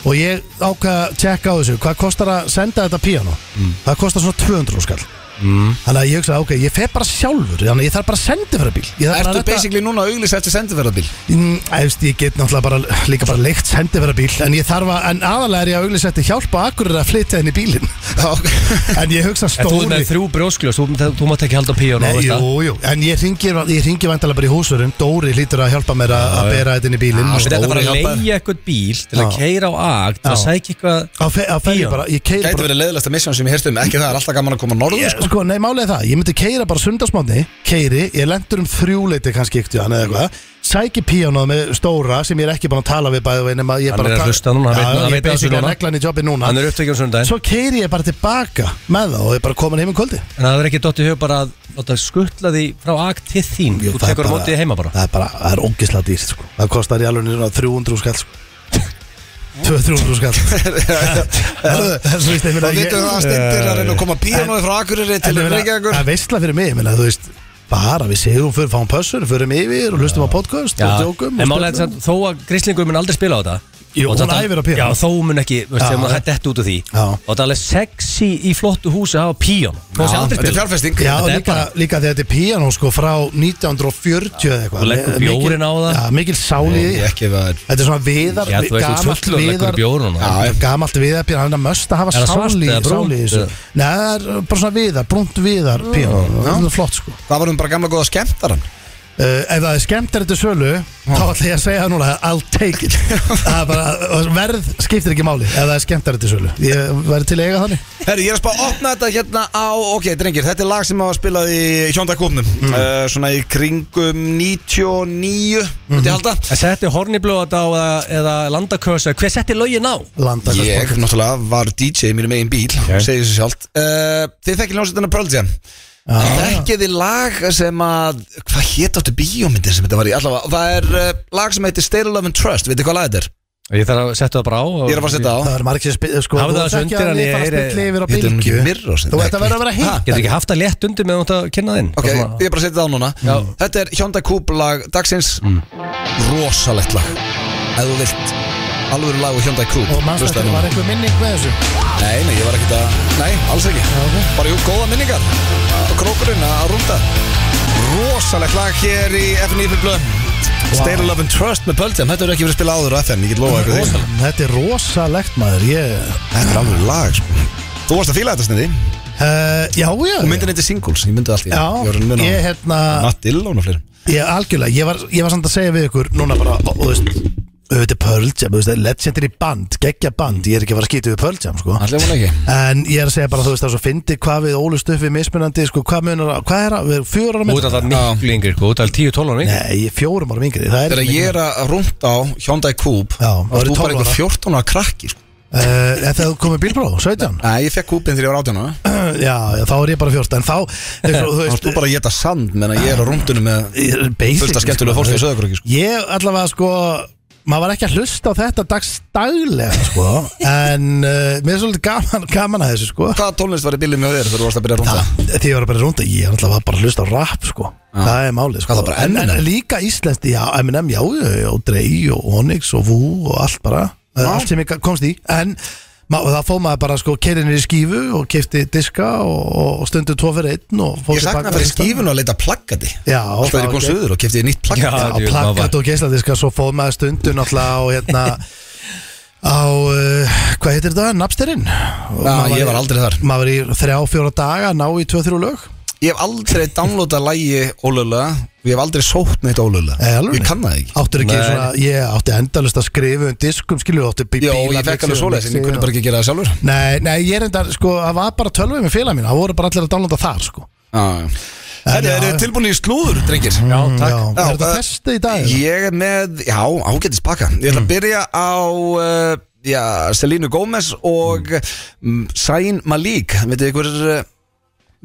Speaker 2: Og ég ákvað að tjekka á þessu Hvað kostar að senda þetta piano
Speaker 3: Mm.
Speaker 2: Það kostar svona 200 skall mm. Þannig að ég hugsaði, ok, ég fer bara sjálfur Þannig að ég þarf bara að sendi fyrir bíl Ég þarf bara að
Speaker 1: Ertu
Speaker 2: redda-
Speaker 1: basically núna að auglýsa eftir sendiferðarbíl?
Speaker 2: Mm, Efst, ég get náttúrulega bara líka bara leikt sendiverðarbíl en ég þarf að, en aðalega er ég að auglýsa eftir hjálp og akkur er að flytja henni bílinn (laughs) en ég hugsa
Speaker 3: Þú er
Speaker 2: stóri
Speaker 3: með þrjú brjóskljós, þú, þú, þú mátt ekki halda á píjánu
Speaker 2: Nei, jú, jú, en ég ringi, ég ringi vandalega bara í húsurum Dóri hlýtur að hjálpa mér að að bera þetta inn í bílinn og-
Speaker 3: Þetta er
Speaker 1: Stóri
Speaker 3: bara að
Speaker 1: hjálpar.
Speaker 3: leiðja eitthvað bíl til að
Speaker 2: Já.
Speaker 3: keira á ag til að
Speaker 2: Já.
Speaker 3: sækja eitthvað
Speaker 2: Á fe- á ferju bara, ég keiri
Speaker 1: Gæti
Speaker 2: bara
Speaker 1: verið leiðilegsta missjón sem ég heyrst um ekki það er alltaf gaman að koma norður (laughs)
Speaker 2: Ég,
Speaker 1: sko.
Speaker 2: sko, nei, málið er það, ég myndi keira bara sundarsmáni Keiri, ég lendur um þrjúleiti kannski ykti hann eða eitthvað Sæki píónað með stóra sem ég er ekki búin að tala við bæði veginn Hann
Speaker 3: Hann er að hlusta núna, hann veit-
Speaker 2: Ég
Speaker 3: hann veit af þessu
Speaker 2: basic að
Speaker 3: núna.
Speaker 2: reglan í jobbi núna
Speaker 3: Hann er upptökjum sundaginn
Speaker 2: Svo keiri ég bara tilbaka með það og ég bara komin heim um kvöldi
Speaker 3: En það er ekki dottið hug bara að láta skuttla því frá ag til þín Þú
Speaker 2: Það er
Speaker 3: tekur á mótið heima bara
Speaker 2: Það er bara, það er ógislega dýrt sko Það kostar í alveg nýra 300 skall sko 200-300 (laughs) skall Það er svo víst
Speaker 1: Það veitum
Speaker 2: Eh,
Speaker 1: við að stendir að reyna að koma píanói frá Akureyri til Reykjavíkur
Speaker 2: Það er veistla fyrir mig, ég meina, þú veist Bara við segum fyrir, fáum pössun, förum yfir og hlustum á podcast og djókum
Speaker 3: en
Speaker 2: og
Speaker 3: málega
Speaker 2: spjöllum.
Speaker 3: þetta þó að grislingur mun aldrei spila á þetta
Speaker 2: Jú,
Speaker 3: Og
Speaker 2: hún
Speaker 3: þetta-
Speaker 2: æfir á píanó.
Speaker 3: Já, þó mun ekki, veist,
Speaker 2: Já,
Speaker 3: þegar maður
Speaker 2: já.
Speaker 3: hætti þetta út úr því
Speaker 2: Já.
Speaker 3: Og þetta er alveg sexy í flottu húsi að hafa píón Þú sé aldrei
Speaker 1: Þetta er
Speaker 3: spila
Speaker 1: fjárfesting
Speaker 2: Já,
Speaker 3: Þetta er
Speaker 2: líka,
Speaker 3: bara-
Speaker 2: líka þegar þetta er píanó sko frá 1940 eða eitthvað
Speaker 3: Þú leggur
Speaker 2: Mikil-
Speaker 3: bjórinn á það.
Speaker 2: Já, mikil sáli
Speaker 1: Ég ekki ef það er
Speaker 2: Þetta er svona viðar,
Speaker 3: Já, þú veist, þú
Speaker 2: gamalt
Speaker 3: fullur leggur
Speaker 2: viðar
Speaker 3: bjór núna.
Speaker 2: Já, já, gamalt viðar píanó, hann er möst að hafa
Speaker 3: Er það svart
Speaker 2: sáli,
Speaker 3: eða brúnt
Speaker 2: sáli í þessu
Speaker 3: eða?
Speaker 2: Nei, það er bara svona viðar, brúnt viðar píanó Það er flott sko uh,
Speaker 1: Það varum um bara gamla góða skemmtaran
Speaker 2: Ef það er skemmt er þetta sölu þá ætla ég að segja það núna, I'll take
Speaker 1: (laughs)
Speaker 2: it Það er bara, verð skiptir ekki máli ef það er skemmt er þetta sölu Ég verð til að eiga þannig
Speaker 1: Herri, ég er að spá að opna þetta hérna á Ok, drengir, þetta er lag sem var spilað í hjóndakofnum mm. Svona í kringum 99 Þetta mm. halda
Speaker 3: En setti horniblóða á eða, eða landakösa Hver setti lögin á?
Speaker 2: Landa
Speaker 1: Ég náttúrulega var DJ í mínum eigin bíl okay. Segir þessu sjálft uh, Þið þekkir hljómsveitina Pearl Jam ah. Þekkið þið lag sem að Hvað hétt áttu bíómyndir sem þetta var í allavega Það er uh, lag sem heitir State of Love and Trust Veitir hvað lag þetta er?
Speaker 3: Ég þarf að setja það bara á og-
Speaker 1: Ég er að fara að setja á
Speaker 2: Það er margir sem spila sko,
Speaker 3: Hafðu
Speaker 2: þú
Speaker 3: það
Speaker 2: ert
Speaker 3: þessu
Speaker 2: ekki
Speaker 3: undir
Speaker 2: að
Speaker 3: en
Speaker 2: lifa
Speaker 3: ég er-
Speaker 2: spilli yfir á
Speaker 1: Heitir hún ekki
Speaker 2: bylgju
Speaker 1: Mirrors?
Speaker 2: Þú ert að vera að vera
Speaker 1: Ha?
Speaker 2: heitt
Speaker 3: Getur ekki haft það létt undir með þú átt að kynna þinn
Speaker 1: Ok,
Speaker 3: Bara svona-
Speaker 1: ég er bara að setja það á núna Þetta er Hyundai Coupe lag dagsins
Speaker 2: Mm.
Speaker 1: Rosalegt lag Ef þú vilt Alvöru lag og Hyundai Coupe
Speaker 2: Og mannstu
Speaker 1: hlustaðu
Speaker 2: eftir var
Speaker 1: núna.
Speaker 2: einhver minning með þessu
Speaker 1: Nei, nei, ég var ekkert að Nei, alls ekki
Speaker 2: ok.
Speaker 1: Bara jú, góða minningar Krókurinn að runda rosalegt lag hér í FNF blöð State of Love and Trust með Pöldján Þetta er ekki verið að spila áður á FN, ég get lofa ykkur því
Speaker 2: Þetta er rosalegt maður ég,
Speaker 1: Þetta er alveg lag sko. Þú varst að fíla þetta sniði Þú
Speaker 2: uh, Já, já
Speaker 1: myndir neitt í singles, ég myndi allt í
Speaker 2: Já,
Speaker 1: Ég var að muna á-
Speaker 2: ég hérna
Speaker 1: Matt Dillon og fleiri
Speaker 2: Ég algjörlega, ég var, ég var samt að segja við ykkur Núna bara, og þú veist Auðvitað Pearl Jam, þú veist, legendary band Geggja band, ég er ekki að fara að skýta við Pearl Jam, sko
Speaker 1: Allir hún ekki
Speaker 2: En ég er að segja bara, þú veist, það er svo fyndi Hvað við ólust upp við mismunandi, sko Hvað munar, að- hvað er að, við erum fjóra ára
Speaker 3: Út af það miklu yngri, sko, út af 10-12 ára yngri
Speaker 2: Nei, ég er fjórum ára yngri, það er
Speaker 1: Þegar ég er að rúnt á Hyundai Coupe
Speaker 2: Já,
Speaker 1: þá varst Þú
Speaker 2: árið 12
Speaker 1: bara
Speaker 2: ára.
Speaker 1: einhver 14 ára krakki sko.
Speaker 2: uh, En það komið bílpróf, 17
Speaker 1: Nei, ég fekk Coupe-in þegar ég var 18 ára
Speaker 2: já, já, þá er ég bara 14 En þá, eins og,
Speaker 1: Þá
Speaker 2: þú
Speaker 1: varst
Speaker 2: veist
Speaker 1: þú bara að geta sand meðan ég er á rúndunum með
Speaker 2: basic,
Speaker 1: (laughs) fullt af skemmtilegu
Speaker 2: sko.
Speaker 1: fólki í Sauðárkróki, sko.
Speaker 2: Ég allavega sko maður var ekki að hlusta á þetta dagstaglega sko, en uh, mér er svolítið gaman, gaman að þessu sko
Speaker 1: Hvaða tónlist var í bílum hjá þér þegar þú varst að byrja að rúnda?
Speaker 2: því ég var bara rúnda, ég er alltaf bara að hlusta á rap sko, það er málið sko
Speaker 1: Ah. Hvað, það bara
Speaker 2: en, en
Speaker 1: Eminem?
Speaker 2: líka íslenskt, já, Eminem, já, já, já og Drey og Onyx og Vú og allt bara, já. allt sem ég ga- komst í en ma- og það fóð maður bara sko keirinir í skífu og kefti diska og, og- og stundu tvo fyrir einn og fór
Speaker 1: Ég
Speaker 2: til
Speaker 1: sakna
Speaker 2: baka-
Speaker 1: að fara í skífun og að leita plaggati
Speaker 2: Já,
Speaker 1: Alltaf þegar ég kom
Speaker 2: ok.
Speaker 1: suður og kefti nýtt
Speaker 3: Já.
Speaker 1: plaggati
Speaker 2: Já,
Speaker 3: djú,
Speaker 2: plakkat
Speaker 3: maður.
Speaker 2: og geisladiska svo fóð maður stundu náttúrulega á hérna á, uh, hvað heitir þetta, Napsterinn Og
Speaker 1: Já,
Speaker 2: maður
Speaker 1: ég var aldrei þar
Speaker 2: maður var í þrjá, fjóra daga að ná í tvö, þrjú lög
Speaker 1: Ég hef aldrei downloadað lægi ólöglega og ég hef aldrei sótt neitt
Speaker 2: Nei,
Speaker 1: ólöglega
Speaker 2: alveg
Speaker 1: Ég
Speaker 2: nei.
Speaker 1: kann það ekki
Speaker 2: áttur ekki
Speaker 3: Nei.
Speaker 2: svona, ég átti endalust að skrifa um diskum, skilju, átti bí-
Speaker 1: Já, og
Speaker 2: bíla-
Speaker 1: ég fekk alveg
Speaker 2: mixi-
Speaker 1: svoleiðis en ég
Speaker 2: mixi-
Speaker 1: kunni bara ekki gera það sjálfur
Speaker 2: Nei, nei, ég er enda, sko, það var bara tölvið með félag mín, það voru bara allir að dálanda þar, sko
Speaker 1: Herri,
Speaker 2: já.
Speaker 1: eru þið tilbúin í slúður, drengir?
Speaker 3: Já,
Speaker 2: Já,
Speaker 3: takk
Speaker 2: er þetta
Speaker 1: Mm. það-
Speaker 2: þesti í dag?
Speaker 1: Ég er með, já, ágætis pakka Ég ætla að
Speaker 2: Mm.
Speaker 1: byrja á uh, já, Selínu Gómez og mm. Sain Malik Vitið ykkur, uh,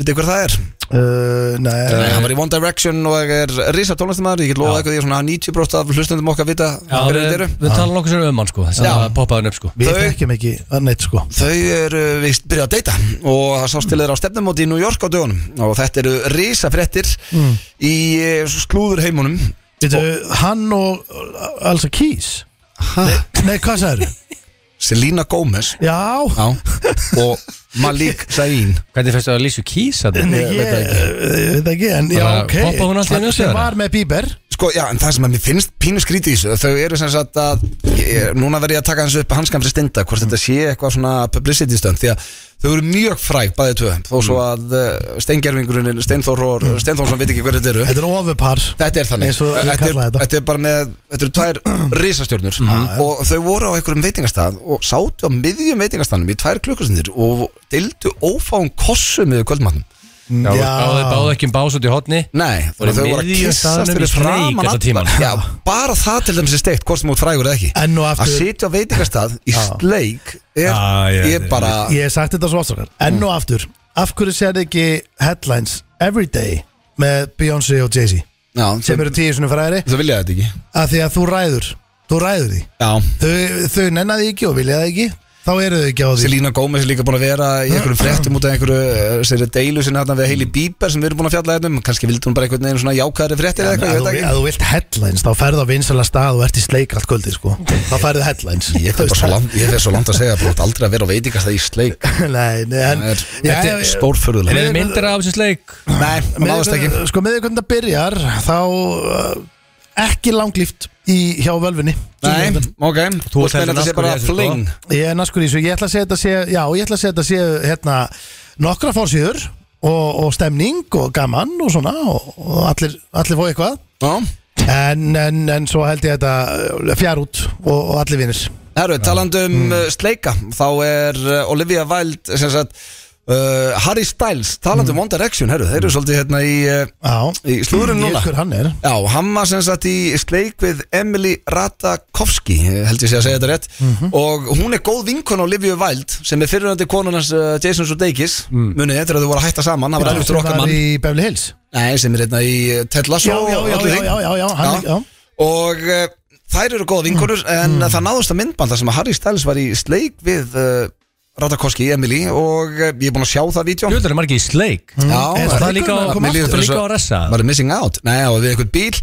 Speaker 1: vitið ykkur það er?
Speaker 2: Uh,
Speaker 1: Uh,
Speaker 3: Eh,
Speaker 2: nei,
Speaker 1: hann var í One Direction og er risa tónlistamæður Ég get lofað eitthvað því að svona 90% af hlustundum okkar vita
Speaker 3: Já,
Speaker 1: hverju
Speaker 3: við,
Speaker 1: þetta eru.
Speaker 3: við tala nokkuð sér um hann, sko þess að
Speaker 1: Já.
Speaker 3: það poppaði hann upp, sko
Speaker 2: við
Speaker 1: þau-
Speaker 2: þekkjum ekki að neitt, sko
Speaker 1: Þau eru vist byrjað að deyta og það sást til þeirra á stefnumóti í New York á dögunum og þetta eru risafrettir
Speaker 3: Mm.
Speaker 1: í eh, slúður heimunum
Speaker 2: Veitu, hann og uh, Elsa Keys Nei, hvað sagður?
Speaker 1: Selína Gómez
Speaker 2: Já,
Speaker 1: já, og Malik Sain
Speaker 3: Hvernig finnst það að lýsa kís að
Speaker 2: en ég
Speaker 3: það?
Speaker 2: veit ekki, veit ekki en já,
Speaker 3: Bara
Speaker 2: ok
Speaker 3: poppa hún allt í einu upp
Speaker 2: sem
Speaker 3: þeirra?
Speaker 2: var með Bieber
Speaker 1: Sko, já, en það sem að mér finnst pínu skrítið í þessu Þau eru sem sagt að ég, Núna verð ég að taka hans upp hanskan fyrir stenda Hvort þetta sé eitthvað svona publicity stönd Því að þau eru mjög fræg, bæði tvö Þó svo
Speaker 2: Mm.
Speaker 1: að uh, steingerfingunin Steinþór og Steinþórsson veit ekki hver þetta eru
Speaker 2: Þetta er ofupar
Speaker 1: Þetta er þannig
Speaker 2: Eins og ég
Speaker 1: þetta, er,
Speaker 2: kallaði þetta. Mm-hmm.
Speaker 1: þetta er bara með Þetta eru
Speaker 2: (clears throat)
Speaker 1: tvær risastjörnur Mm-hmm. Og þau voru á einhverjum veitingastað Og sátu á miðjum veitingastaðnum í tvær klukkustundir Og deildu ófáum kossum Með kvöldmatnum
Speaker 3: Já, báðu, báðu ekki um bás út í hotni
Speaker 1: Nei,
Speaker 3: Voru
Speaker 1: og þau
Speaker 3: í
Speaker 1: voru að
Speaker 3: miðjum
Speaker 1: kissast
Speaker 3: staðnum
Speaker 1: fyrir
Speaker 3: í Snake
Speaker 1: framan
Speaker 3: allan tímann.
Speaker 1: allar. Já, bara það til dæmis er steikt, hvort sem út frægur eða ekki
Speaker 2: Enn og aftur.
Speaker 1: Að sitja á veitingastað í sleik er,
Speaker 3: Ah, Já, já,
Speaker 1: er bara
Speaker 2: Ég hef sagt þetta svo afsakar Enn og aftur, af hverju sér ekki headlines Everyday með Beyoncé og Jay-Z
Speaker 1: Já,
Speaker 2: sem eru tíu svona fræðari
Speaker 1: Þau vilja þetta ekki
Speaker 2: að því að þú ræður þú ræður því
Speaker 1: Já,
Speaker 2: þau, þau nennaði ekki og vilja það ekki þá eru þau ekki á því
Speaker 1: Selína Gómez er líka búin að vera í einhverjum fréttum út af einhverju eh, þeirri deilu sinni hérna við Heili Bíber sem við erum búin að fjalla hérna um kannski vildi hún bara einhvern veginn svona jákæðri fréttir eða eitthvað,
Speaker 2: Ef
Speaker 1: ég veit
Speaker 2: þú, ef
Speaker 1: það
Speaker 2: þú vilt headlines, þá ferðu á vinsala stað og ert í sleik allt kvöldi, sko. Þá ferðu headlines.
Speaker 1: ekki Ég fer bara svo langt- ég fer svo langt að segja að þú átt aldrei að vera á veitingastað í sleik
Speaker 2: (laughs) Nei, nei, en...
Speaker 1: Það er- Þetta
Speaker 2: Já, já,
Speaker 1: er
Speaker 2: já.
Speaker 3: Er
Speaker 1: stórförðulega
Speaker 3: þið myndir af þessu sleik?
Speaker 1: Nei, það náðast ekki
Speaker 2: Miðvikudagurinn- Sko með því hvernig það byrjar Þá uh, ekki langlíft í, Hjá völvinni
Speaker 1: Nei, ok
Speaker 3: Þú
Speaker 1: Þú
Speaker 3: ert
Speaker 1: þetta
Speaker 3: heldur
Speaker 1: sé
Speaker 3: naskur
Speaker 1: bara
Speaker 3: í þessu, sko.
Speaker 1: fling
Speaker 2: Ég er naskur í þessu Ég ætla að segja þetta sé, Já, ég ætla að segja þetta sé hérna, Nokkra fórsýður og, og stemning og gaman og svona Og, og allir, allir fóðu eitthvað
Speaker 1: Já
Speaker 2: en, en, en svo held ég þetta uh, fjær út og, og allir vinnir
Speaker 1: Herru, talandu um mm. sleika þá er uh, Olivia Wilde sem sagt uh, Harry Styles talandu
Speaker 2: Mm.
Speaker 1: um One Direction, herru, þeir eru svolítið hérna í, uh,
Speaker 2: Já,
Speaker 1: í slúðurinn
Speaker 2: Ég
Speaker 1: núna
Speaker 2: hver hann er
Speaker 1: Já, hann var sem sagt í sleik við Emily Ratajkowski eh, held ég sé að segja þetta rétt
Speaker 2: Mhm.
Speaker 1: og hún er góð vinkon Olivia Wilde sem er fyriröndi konunars uh, Jason Sudeikis mm. munið eftir að þau voru að hætta saman hann var erfitt
Speaker 2: Sem var
Speaker 1: rockamann
Speaker 2: í Beverly Hills
Speaker 1: Nei, sem er hérna í eh, Ted Lasso
Speaker 2: Já, já,
Speaker 1: og
Speaker 2: já,
Speaker 1: allir
Speaker 2: já,
Speaker 1: hinn.
Speaker 2: já, já, já, hann, já.
Speaker 1: Og uh,
Speaker 3: Mm.
Speaker 1: þær eru góða vinkonur En það náðust að myndbanda sem að Harry Styles var í sleik við uh, Ratakoski, Emily Og eh, ég er búin að sjá það vídeo
Speaker 3: Jöður er margir í sleik
Speaker 1: Já,
Speaker 2: Er það
Speaker 3: Það Mm. er líka
Speaker 2: leikurinn að
Speaker 3: á-
Speaker 2: koma
Speaker 3: mér líður
Speaker 2: aftur?
Speaker 3: líka á að ressa Mm.
Speaker 1: Var það missing out? Nei, það var við eitthvað bíl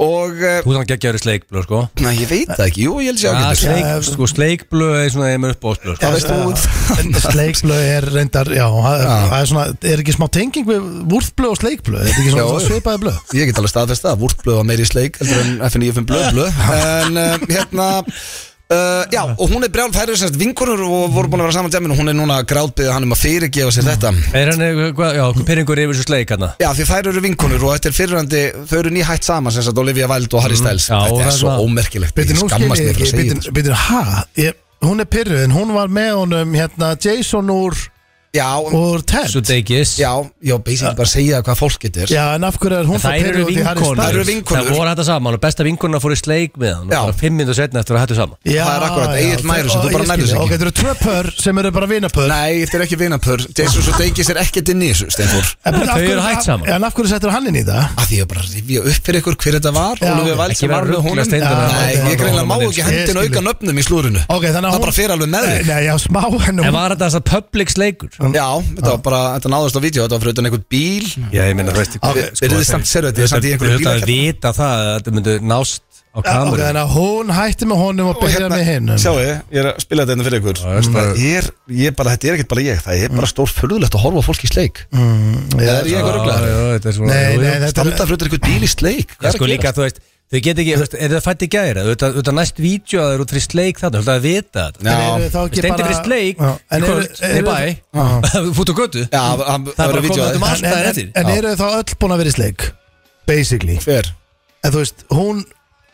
Speaker 1: Og, eh,
Speaker 3: Þú þannig geggjaður í sleikblöð sko
Speaker 1: næ, ég veit það ekki Jú, ég held sér
Speaker 3: Ja,
Speaker 1: ágættur
Speaker 3: sleik, sko, sleikblöð er svona einu uppbóðsblöð sko.
Speaker 1: Hvað veist þú?
Speaker 2: En Sleikblöð er reyndar, já, það er- það er svona, er ekki smá tenging við vúrfblöð og sleikblöð, er þetta ekki
Speaker 1: Já,
Speaker 2: svona
Speaker 1: jú.
Speaker 2: svipaði blöð?
Speaker 1: Ég get alveg staðfest það, vúrtblöð var meiri í sleik heldur en FNIFM
Speaker 3: (laughs)
Speaker 1: blöðblöð En uh, hérna uh, Já, og hún er brjál færið sérst vinkonur og voru búin að vera saman dæmin og hún er núna grátbyðið hann um að fyrirgefa sér þetta
Speaker 3: Er hann eitthvað, já, pyrringur yfir þessu sleik hann
Speaker 1: Já, því þær eru vinkonur og þetta er fyrirhandi þau eru nýhætt saman sem sagt Olivia Wilde og Harry Styles
Speaker 3: Mhm. já, og
Speaker 1: Þetta er
Speaker 3: það er
Speaker 1: svo
Speaker 3: það.
Speaker 1: ómerkilegt
Speaker 2: Byrju,
Speaker 1: Ég
Speaker 2: nú
Speaker 1: skammast
Speaker 2: skil
Speaker 1: mér fyrir
Speaker 2: ég
Speaker 1: að
Speaker 2: ekki,
Speaker 1: segja
Speaker 2: byrju, byrju, ha? Ég, hún er pyrruð, en hún var með honum, hérna, Jason úr,
Speaker 1: þetta Já,
Speaker 2: úr Ted.
Speaker 3: Svo deigis
Speaker 1: já, já, basically bara að segja hvað fólk getur
Speaker 2: Já, en af hverju er hún þá
Speaker 3: Það eru
Speaker 2: pirruð út í Harry
Speaker 3: vinkonur
Speaker 1: Þær
Speaker 2: Styles?
Speaker 1: eru vinkonur.
Speaker 3: Það voru hægt að saman og besta vinkonuna fór í sleik með hann og
Speaker 1: Já.
Speaker 3: bara fimm minnur setna eftir að hættu saman
Speaker 2: Já,
Speaker 1: Það er akkurat,
Speaker 2: já,
Speaker 1: Egill Mæri sem þú
Speaker 2: ó,
Speaker 1: bara
Speaker 2: ég
Speaker 1: nærðu
Speaker 2: skil,
Speaker 1: sig
Speaker 2: Ok,
Speaker 1: ekki.
Speaker 2: þetta eru tvö pör sem eru bara vinapör
Speaker 1: Nei, þetta er ekki vinapör Jesus og Deigis er ekkert inn í þessu, Steinfór
Speaker 3: Þau eru hætt saman.
Speaker 2: En af hverju settur hann inn í það?
Speaker 1: að því að bara rifja upp fyrir ykkur hver þetta var
Speaker 2: Já.
Speaker 1: og Olivia Wilde
Speaker 3: Ekki
Speaker 1: sem var
Speaker 3: vera
Speaker 1: með
Speaker 3: að
Speaker 1: honum
Speaker 3: rugla Steindór
Speaker 2: með
Speaker 1: Nei,
Speaker 2: það.
Speaker 1: ég greinlega má
Speaker 3: Ég
Speaker 1: ekki hendina
Speaker 2: skil.
Speaker 1: auka nöfnum í slúrinu
Speaker 2: Ok, þannig að
Speaker 1: það
Speaker 2: hún-
Speaker 1: bara fer alveg með
Speaker 2: Nei,
Speaker 1: þig
Speaker 2: Nei, já, smá henni
Speaker 3: En var þetta þess að public sleikur?
Speaker 1: Já, þetta var bara, þetta náðast á vídeo, þetta var fyrir utan einhvern bíl
Speaker 3: Já, ég meina, veist
Speaker 1: Ok,
Speaker 2: sko,
Speaker 1: er þið samt serið þetta, ég er samt í einhverju
Speaker 3: Þú að
Speaker 1: bílakjarni.
Speaker 3: vita það að þetta myndi nást á
Speaker 2: Ok,
Speaker 3: kameru
Speaker 2: þannig að hún hætti með honum og
Speaker 1: Og hérna,
Speaker 2: byrjaði með hinn
Speaker 1: sjáu, ég er að spila þetta hérna fyrir ykkur
Speaker 3: veist
Speaker 1: Það er, ég bara, þetta er ekkert bara ég Það er
Speaker 2: Mm.
Speaker 1: bara stór furðulegt að horfa á fólk í sleik Það er ég að ruggla
Speaker 2: Nei, nei, þetta er
Speaker 1: Standa fyrir utan einhvern bíl í sleik Hvað
Speaker 3: Já,
Speaker 1: er
Speaker 3: sko
Speaker 1: að
Speaker 3: líka,
Speaker 1: gera?
Speaker 3: þú veist, þau get ekki, þú veist, er það fætt í gæra, þú veist, þú veist, næst vídeo að þau eru út fyrir sleik þarna, þú veist, að vita þetta.
Speaker 1: Já.
Speaker 2: En eru þá ekki
Speaker 3: Stendir
Speaker 2: bara-
Speaker 3: fyrir sleik,
Speaker 2: Já, en
Speaker 3: í
Speaker 2: eru-
Speaker 3: kvöld,
Speaker 2: eru-
Speaker 3: nei (laughs) bæ, fút og götu.
Speaker 1: Já, það
Speaker 3: Það er
Speaker 1: var
Speaker 3: bara
Speaker 1: vídeo
Speaker 3: komið
Speaker 1: að
Speaker 3: út um
Speaker 2: En-
Speaker 3: allt daginn
Speaker 2: En
Speaker 3: eftir.
Speaker 2: en eru þau þá öll búin að vera í sleik? Basically
Speaker 1: Hver?
Speaker 2: En þú veist, hún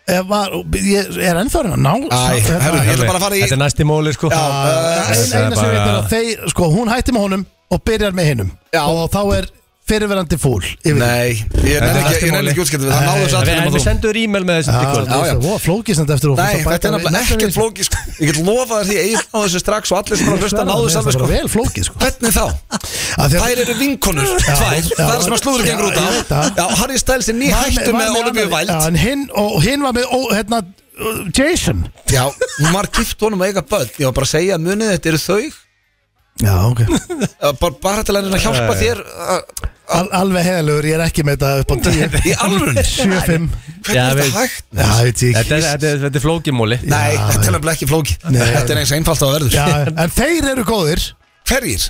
Speaker 2: eh, var, ég er ennþá að reyna að ná
Speaker 1: Æ, herru,
Speaker 2: Æ,
Speaker 1: ég ætla bara að fara í
Speaker 3: Þetta er næsti móli, sko.
Speaker 1: Já,
Speaker 2: Ein- eina
Speaker 3: Þetta
Speaker 2: sem
Speaker 3: er
Speaker 2: við
Speaker 3: bara-
Speaker 2: veitum er að þeir, sko, hún hætti með honum og byrjar með hinnum
Speaker 1: Já.
Speaker 2: og þá er fyrirverandi fúl yfir því.
Speaker 1: Nei, ég nenni
Speaker 3: Þetta er
Speaker 1: ekki- ég nenni
Speaker 3: næsti
Speaker 1: ekki útskipta Það náðast
Speaker 3: En við-
Speaker 1: allir
Speaker 3: en
Speaker 1: um
Speaker 3: við sendum þér e-mail með þessu til kvöld.
Speaker 1: já, já.
Speaker 2: það var flókisnend eftir og
Speaker 1: Nei, þetta er nefnilega ekkert flókið sko. Ég get lofað þér því að ég náðu þessu strax og allir sem eru að hlusta náðu þessu alveg
Speaker 2: Það
Speaker 1: sko.
Speaker 2: var vel flókið sko
Speaker 1: Hvernig þá?
Speaker 2: Af því að-
Speaker 1: Þær eru vinkonur, tvær,
Speaker 2: já.
Speaker 1: það er sem að slúður gengur út á
Speaker 2: Já, ég veit það.
Speaker 1: Já, Harry Styles er nýhættur
Speaker 2: Var
Speaker 1: með Olivia
Speaker 2: annað-
Speaker 1: Wilde
Speaker 2: Já, en hinn, og hinn var með, ó, hérna, uh, Jason
Speaker 1: Já, hún var gift honum að eiga börn Ég var bara að segja, munið þetta eru þau
Speaker 2: Já, ok
Speaker 1: Eh, bara- Bara til að reyna að hjálpa þér eh,
Speaker 2: Al, Alveg heðalögur, ég er ekki með þetta upp á 10
Speaker 1: Í alvörun
Speaker 2: 7-5
Speaker 1: Hvernig
Speaker 3: Já,
Speaker 1: er
Speaker 3: við-
Speaker 1: þetta hægt?
Speaker 2: Já, veit ég
Speaker 3: Þetta
Speaker 2: ekki
Speaker 3: er- þetta er- þetta er flókimóli.
Speaker 1: Nei,
Speaker 2: Já,
Speaker 1: þetta
Speaker 2: já.
Speaker 1: er nefnilega ekki flókið
Speaker 2: Nei.
Speaker 1: Þetta er eins einfalt á verður
Speaker 2: Já, en þeir eru góðir
Speaker 1: Hverjir?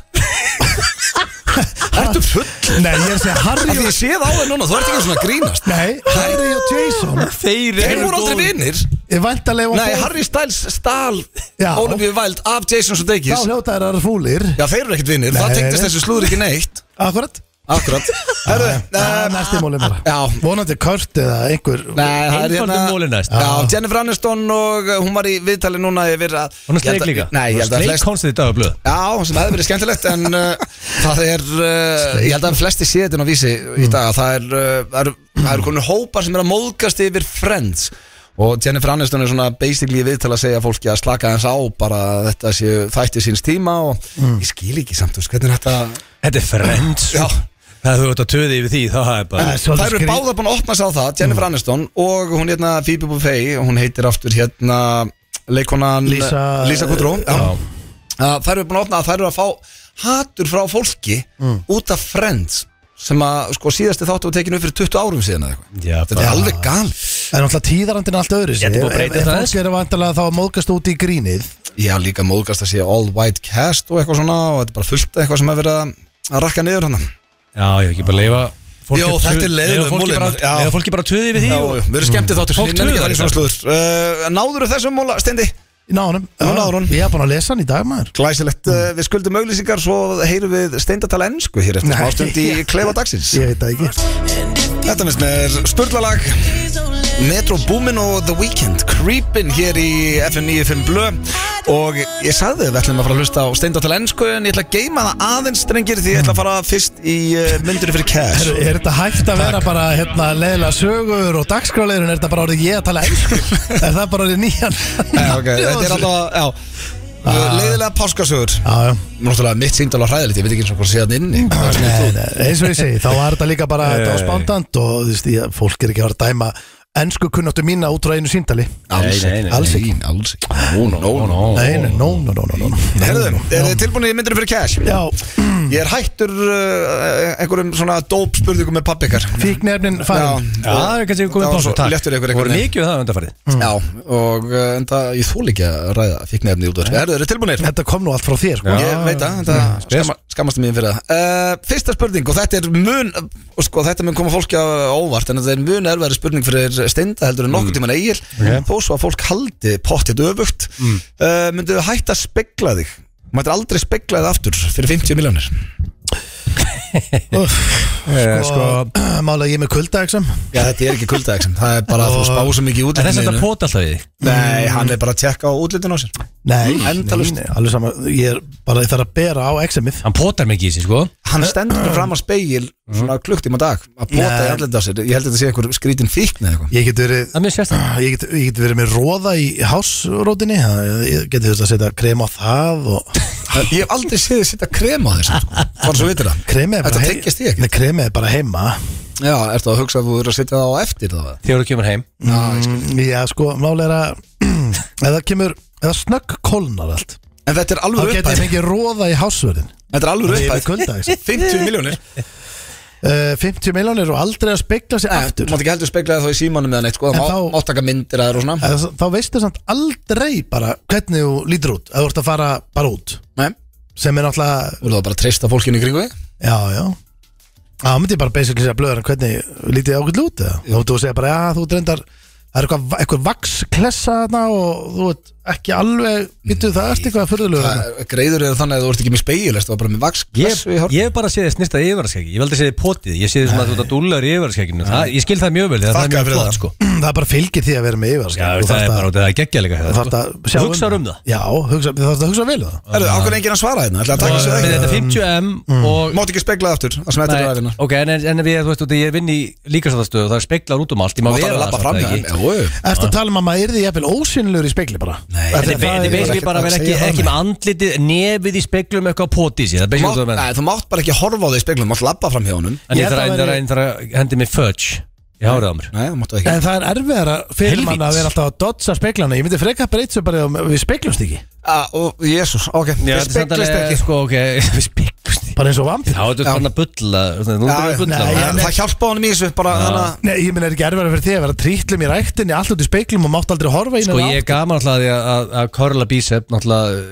Speaker 1: Ertu full?
Speaker 2: Nei, ég er að segja
Speaker 1: Af
Speaker 2: Harry
Speaker 1: því
Speaker 2: og
Speaker 1: ég sé það á þér núna, þú ert ekki svona að grínast
Speaker 2: Nei, Harry og Jason
Speaker 3: Þeir
Speaker 1: Þeir voru aldrei
Speaker 3: góðir.
Speaker 1: vinir
Speaker 2: Ég vænt að leifa
Speaker 1: Nei, Harry Styles stál
Speaker 2: Já.
Speaker 1: Olivia Wilde af Jason
Speaker 2: Þá
Speaker 1: Sudeikis
Speaker 2: hljóta þær að fúlir
Speaker 1: Já, þeir eru ekkert vinnir,
Speaker 2: Nei.
Speaker 1: það tengdist þessu slúður ekki neitt
Speaker 2: Akkurat
Speaker 1: Akkurat Herðu,
Speaker 2: Það er
Speaker 1: um,
Speaker 2: næsti mólið bara
Speaker 1: Já.
Speaker 2: Vonandi Kurt eða einhver
Speaker 1: Nei, það er hérna-
Speaker 3: Einfaldum móli næst.
Speaker 1: Já, Jennifer Aniston og uh, hún var í viðtali núna yfir að
Speaker 3: Hún er
Speaker 1: Ég held
Speaker 3: sleik
Speaker 1: að-
Speaker 3: líka.
Speaker 1: Nei, ég held að
Speaker 3: Sleik
Speaker 1: flest
Speaker 3: konstið í dag á blöð.
Speaker 1: Já, sem hefði verið skemmtilegt en uh, það er, uh, ég held að flesti sé þetta á vísi í dag að það er, uh, það eru- það eru konur hópar sem er að móðgast yfir Friends og Jennifer Aniston er svona basically við til að segja fólki að slaka hans á bara að þetta séu þætti síns tíma og ég skil ekki samt, þú veist, hvernig er þetta
Speaker 3: Þetta er friends.
Speaker 1: Já.
Speaker 3: Það þú ert að töði yfir því, það er bara...
Speaker 2: Það er
Speaker 1: Það
Speaker 2: svolítið
Speaker 1: eru
Speaker 2: skrý-
Speaker 1: báða búin að opna sig á það, Jennifer Aniston og hún hérna Phoebe Buffay, hún heitir aftur hérna leikonan
Speaker 2: Lisa-
Speaker 1: Lisa Kudrow Já. að þær eru búin að opna að þær eru að fá hatur frá fólki út af Friends sem að sko síðasti þáttu var tekinu upp fyrir 20 árum síðan eða eitthvað
Speaker 3: Já,
Speaker 1: þetta er alveg gal
Speaker 2: En náttúrulega tíðarandinn er allt öðru
Speaker 3: Ég ætti búið að breyta það aðeins.
Speaker 2: Fólk er vantilega þá að móðgast út í grínið
Speaker 1: ég haf líka móðgast að sé all white cast og eitthvað svona og þetta er bara fullt af eitthvað sem hefur verið að- að rakka niður hérna. hann
Speaker 3: Já, ég ekki bara leifa... fólki
Speaker 1: Jó,
Speaker 3: að
Speaker 1: þetta er
Speaker 3: tuð-
Speaker 1: leiðilegur
Speaker 3: leyfa fólki
Speaker 1: múli,
Speaker 3: bara-
Speaker 1: maður. Já.
Speaker 3: leyfa fólki bara töði yfir því
Speaker 1: Já,
Speaker 3: og-
Speaker 1: við erum skemmtið þáttur
Speaker 3: Fólk
Speaker 1: ég nenni ekki að
Speaker 3: trúir
Speaker 1: fara í
Speaker 3: þessu.
Speaker 1: svona slúður. Uh, Náður þessum múla, Steindi?
Speaker 2: Ná honum
Speaker 1: Nú
Speaker 2: Já,
Speaker 1: náður hún.
Speaker 2: Ég er búin að lesa hann í dag maður
Speaker 1: Glæsilegt, uh, við skuldum auglýsingar svo heyrum við steindatala ennsku hér eftir
Speaker 2: Nei.
Speaker 1: smástund í Kleifa dagsins
Speaker 2: Ég veit það ekki
Speaker 1: Þetta finnst mér spurlalag Metro Boomin og The Weeknd Creepin hér í FM 95 Blö og ég sagði við ætlum að fara að hlusta á steindatala ennsku en ég ætla að geima það aðeins strengir því ég ætla að fara fyrst í uh, myndur fyrir cash
Speaker 2: Heru, Er þetta hægt að vera bara hérna, leðilega sögur og dagskráleirun Er þetta bara orðið ég að tala
Speaker 1: (laughs)
Speaker 2: ensku Er það bara orðið nýjan
Speaker 1: Já, (laughs) ok,
Speaker 2: (laughs)
Speaker 1: Þetta er alltaf, já Leiðilega páskasögur
Speaker 2: Já, já
Speaker 1: Náttúrulega mitt síndal á hræðilegt, ég veit ekki eins og hvað sé hann inni Hvað er
Speaker 2: Nei, nei, eins og ég segi, þá var þetta líka bara þetta var spándant og þú veist, ég, fólk er ekki að vera að dæma Ensku kunnáttu mína út frá einu síndali
Speaker 3: Alls ekki.
Speaker 2: Alls ekki.
Speaker 4: Nei, Alls ekki Ó, nó, nó
Speaker 2: Nei, nei, no, no, no, no, no, no.
Speaker 1: Herðu, er þið tilbúinni í myndinu fyrir cash?
Speaker 2: Já,
Speaker 1: Ég er hættur uh, einhverjum svona dóp spurningum með pappikar
Speaker 2: fíknefnin farin
Speaker 3: Já, það er kannski
Speaker 1: Já,
Speaker 3: komið pásu,
Speaker 1: svo léttur ykkur einhvern
Speaker 3: Voru
Speaker 1: veginn. eh,
Speaker 3: mikið við það undanfarið
Speaker 4: Já, og uh, enda ég þól ekki að ræða fíknefni út af þessu Herðu, eru tilbúinir?
Speaker 2: Þetta kom nú allt frá þér sko.
Speaker 1: Ég veit að,
Speaker 3: Mm,
Speaker 1: þetta skamma, skammast mér fyrir það uh, Fyrsta spurning og þetta er mun og sko, þetta mun koma fólki á óvart en þetta er mun erfæri spurning fyrir steinda heldur en nokkuð
Speaker 3: Mm.
Speaker 1: tíman eigil þó svo að fólk haldi pottið öfugt mm. uh, myndu hætta að spegla þig mættir aldrei spegla þig aftur fyrir 50 miljónir
Speaker 2: Uff,
Speaker 3: Eh,
Speaker 2: sko, (clears throat) Mála ég er með kulda eksam
Speaker 1: Já, þetta er ekki kuldaðeksam, það er bara að þú spá svo mikið
Speaker 3: En þess
Speaker 1: útlítinu
Speaker 3: að þetta pota alltaf í því
Speaker 1: Nei, hann er bara að tjekka á útlítinu á sér
Speaker 2: Nei,
Speaker 1: Endalaust.
Speaker 2: nei, nei, alveg sama Ég er bara, ég þarf að bera á examið
Speaker 3: Hann potar mikið í sig, sko
Speaker 1: Hann stendur fram á speil svona klukktíma á dag að bota í
Speaker 2: Nei.
Speaker 1: andlita á sér Ég held að þetta sé einhver skrítin fíkn eða eitthvað
Speaker 2: Ég get verið
Speaker 3: Það er mjög sérstæð
Speaker 2: Ég get, ég get verið með róða í hásrótinni það- Ég geti þurft að setja krem á það og
Speaker 1: Ég hef aldrei séð þið sitta krem á þér samt, sko. Bara svo vitur það
Speaker 2: kremið er bara
Speaker 1: Þetta
Speaker 2: hei-
Speaker 1: tengist því ekki.
Speaker 2: Nei, kremið er bara heima
Speaker 1: Já, ertu að hugsa að þú eru að sitja það á eftir þá eða?
Speaker 3: Þegar þú kemur heim
Speaker 2: mm, Já, sko, mála er að (clears throat) eða kemur, eða snögg kólnar allt
Speaker 1: En þetta er
Speaker 2: Þá
Speaker 1: alveg
Speaker 2: get ég
Speaker 1: uppæð
Speaker 2: fengið róða í hásvörðin
Speaker 1: Þetta er alveg
Speaker 2: Ég er með
Speaker 1: uppæð
Speaker 2: kulda, (laughs) ekki?
Speaker 1: 50 miljónir
Speaker 2: uh, 50 miljónir og aldrei að spegla sig
Speaker 1: Þú
Speaker 2: aftur
Speaker 1: mátt ekki heldur spegla það þá í símanum eða neitt sko.
Speaker 2: En
Speaker 1: Það má
Speaker 2: þá-
Speaker 1: mátt taka myndir að þér og svona
Speaker 2: eða, Eh, þá- Þá veistu samt aldrei bara hvernig þú lítur út eða þú ert að fara bara út
Speaker 1: Nei,
Speaker 2: sem er náttúrulega,
Speaker 1: þú eru þá bara að treysta fólkinu í kringu þig.
Speaker 2: já, já Já, þá myndi ég bara basically segja blöður en hvernig lítið þið ákveld út eða Þá myndi þú segja bara, já, þú drendar Það er eitthvað, eitthvað vaksklessa þarna og þú veit ekki alveg, býttu það eftir eitthvað fyrðulegu
Speaker 1: Það er- Greiður eru þannig að þú ert ekki með speil Það var bara með vaks
Speaker 3: Ég
Speaker 1: klessu í hár.
Speaker 3: ég hef bara séð þið snirtað í yfirvarskeggi Ég hef aldrei séð þið potið Ég séð þið svona að þú ert að dúllaður í yfirvarskeginu Ég skil það mjög vel Það
Speaker 1: Þakka
Speaker 3: það er
Speaker 1: fyrir
Speaker 3: mjög
Speaker 1: það.
Speaker 3: flott, sko
Speaker 2: (clears throat) Það bara fylgir því að vera með yfir
Speaker 3: Já, það er bara út að það er geggjalega
Speaker 2: Þú þarf að sjá
Speaker 3: Hugsaður sko. um það
Speaker 2: Já, hugsa, þú þarf að hugsa vel um það
Speaker 1: Herðu, á hvernig enginn að svara hérna Ætlaði að taka
Speaker 3: Og
Speaker 1: sig það
Speaker 3: með
Speaker 1: ekki?
Speaker 3: þetta 50M og
Speaker 1: Mátt ekki spegla það aftur Það sem þetta er
Speaker 3: Nei,
Speaker 1: aðeina
Speaker 3: ok, en, en við, þú veist, út, ég vinn í líkasáðastöðu og það er speglar út um allt, ég má
Speaker 1: Mátt
Speaker 3: vera
Speaker 1: alveg
Speaker 3: það
Speaker 1: labba fram
Speaker 3: samt
Speaker 1: hjá
Speaker 3: ekki.
Speaker 1: þeim. Jú,
Speaker 2: Ertu að tala um að maður yrði jafnvel ósynlur í spegli bara? Nei,
Speaker 3: En Þetta er basically bara að vera ekki, ekki með andlitið, nefið í speglum eitthvað á potið sér, það er
Speaker 1: Þú
Speaker 3: basically
Speaker 1: mátt-
Speaker 3: það með
Speaker 1: nei, Þú mátt bara ekki horfa á þig í speglum Þú mátt labba fram hjá honum
Speaker 3: En
Speaker 2: Ég
Speaker 3: ég
Speaker 2: held að
Speaker 3: þarf að,
Speaker 2: væri-
Speaker 3: að, að hendi mig fudge í hárið á mér
Speaker 1: Nei, þú mátt það ekki
Speaker 3: Eh.
Speaker 2: En það er erfiðara fyrir
Speaker 3: Helvítis.
Speaker 2: mann að vera alltaf að dodsa speglana Ég myndi freka breytt sem bara um- við speglumst ekki
Speaker 1: Ah, og- Jésús, ok, það
Speaker 3: Já, þetta er samt
Speaker 1: speglist
Speaker 3: alveg,
Speaker 1: ekki
Speaker 3: sko, ok, (laughs) við speglumst í-
Speaker 2: Bara eins og vampir
Speaker 3: Þá ertu
Speaker 1: Já.
Speaker 3: fann að bulla, þú ertu
Speaker 1: Já,
Speaker 3: fann að bulla
Speaker 1: nei,
Speaker 2: nei,
Speaker 1: en
Speaker 2: nei.
Speaker 1: Það hjálpa honum í þessu bara þannig að
Speaker 2: Nei, ég myndi er ekki erfiðara fyrir því að vera trítlum í ræktinni Allt út í speglum og mátt aldrei horfa inn
Speaker 3: Sko, ég er gaman alltaf að því að- að- að korla bísepp náttúrulega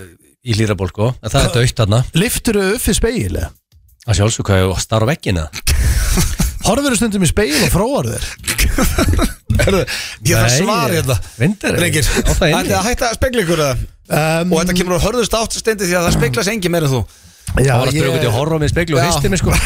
Speaker 3: í hlýrabólko, en það er dögt þarna
Speaker 2: Liftur upp fyrir spegil
Speaker 3: Það sjálfsög hvað ég starf á veggina
Speaker 2: Horfur stundum í spegil og fróar þér
Speaker 1: Herðu, Ég þarf svar í þetta
Speaker 3: Vindur
Speaker 1: Drengir,
Speaker 3: Það er
Speaker 1: ætti að hætta að spegla ykkur eða?
Speaker 2: um,
Speaker 1: Og þetta kemur á hörðust átt stendi því að það speglas engi meira
Speaker 3: (laughs)
Speaker 1: en þú
Speaker 2: já,
Speaker 3: Það var að spyrja út í horf á mig í speglu og
Speaker 1: Já.
Speaker 3: hristi mig sko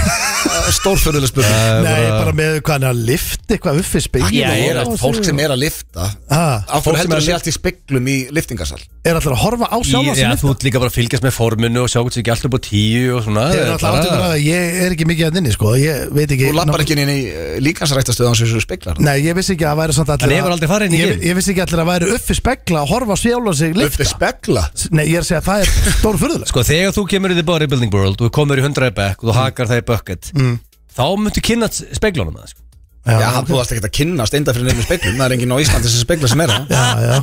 Speaker 1: Stórfyrðuleg spurning
Speaker 2: Nei,
Speaker 3: (laughs)
Speaker 2: bara með hvað hann að lift eitthvað upp fyrir spegil
Speaker 3: Já,
Speaker 1: Það
Speaker 3: ég
Speaker 1: er allt fólk sem er að lifta
Speaker 2: er
Speaker 1: Af
Speaker 3: Fólk
Speaker 1: hverju
Speaker 3: sem
Speaker 1: heldur
Speaker 3: er að
Speaker 1: að sé allt í speglum í liftingasal
Speaker 2: Er alltaf að horfa á
Speaker 3: Í-
Speaker 2: sjálfa
Speaker 3: Já,
Speaker 2: sem
Speaker 3: þú ert líka bara að fylgjast með forminu og sjá hvort sem ekki alltaf búið tíu og svona
Speaker 2: Ég
Speaker 3: Það
Speaker 2: er
Speaker 3: er
Speaker 2: alltaf
Speaker 3: bara-
Speaker 2: áttið með að ég er ekki mikið að nynni sko Ég veit ekki
Speaker 1: Þú lappar ekki inn í eh, líkansrættastuð Þannig sem þú speglar
Speaker 2: Nei, ég vissi ekki að það væri samt allir
Speaker 3: En ég var aldrei farinn í
Speaker 2: ég,
Speaker 3: gym.
Speaker 2: ég vissi ekki allir að væri uppi spekla og horfa á sjálfa sig
Speaker 1: það
Speaker 2: lifta
Speaker 1: Uppi spegla
Speaker 2: Nei, ég er að segja að það er stór fyrðuleg
Speaker 3: Sko þegar þú kemur í The Bodybuilding World og þú komur í 100 back og þú hakar það í bucket mm. þá myndu kynna speglunum það sko.
Speaker 1: Já, þú varst ekkert að kynna steinda fyrir nefnum speglum Það er enginn á Íslandi sem spegla sem er það
Speaker 2: Já, já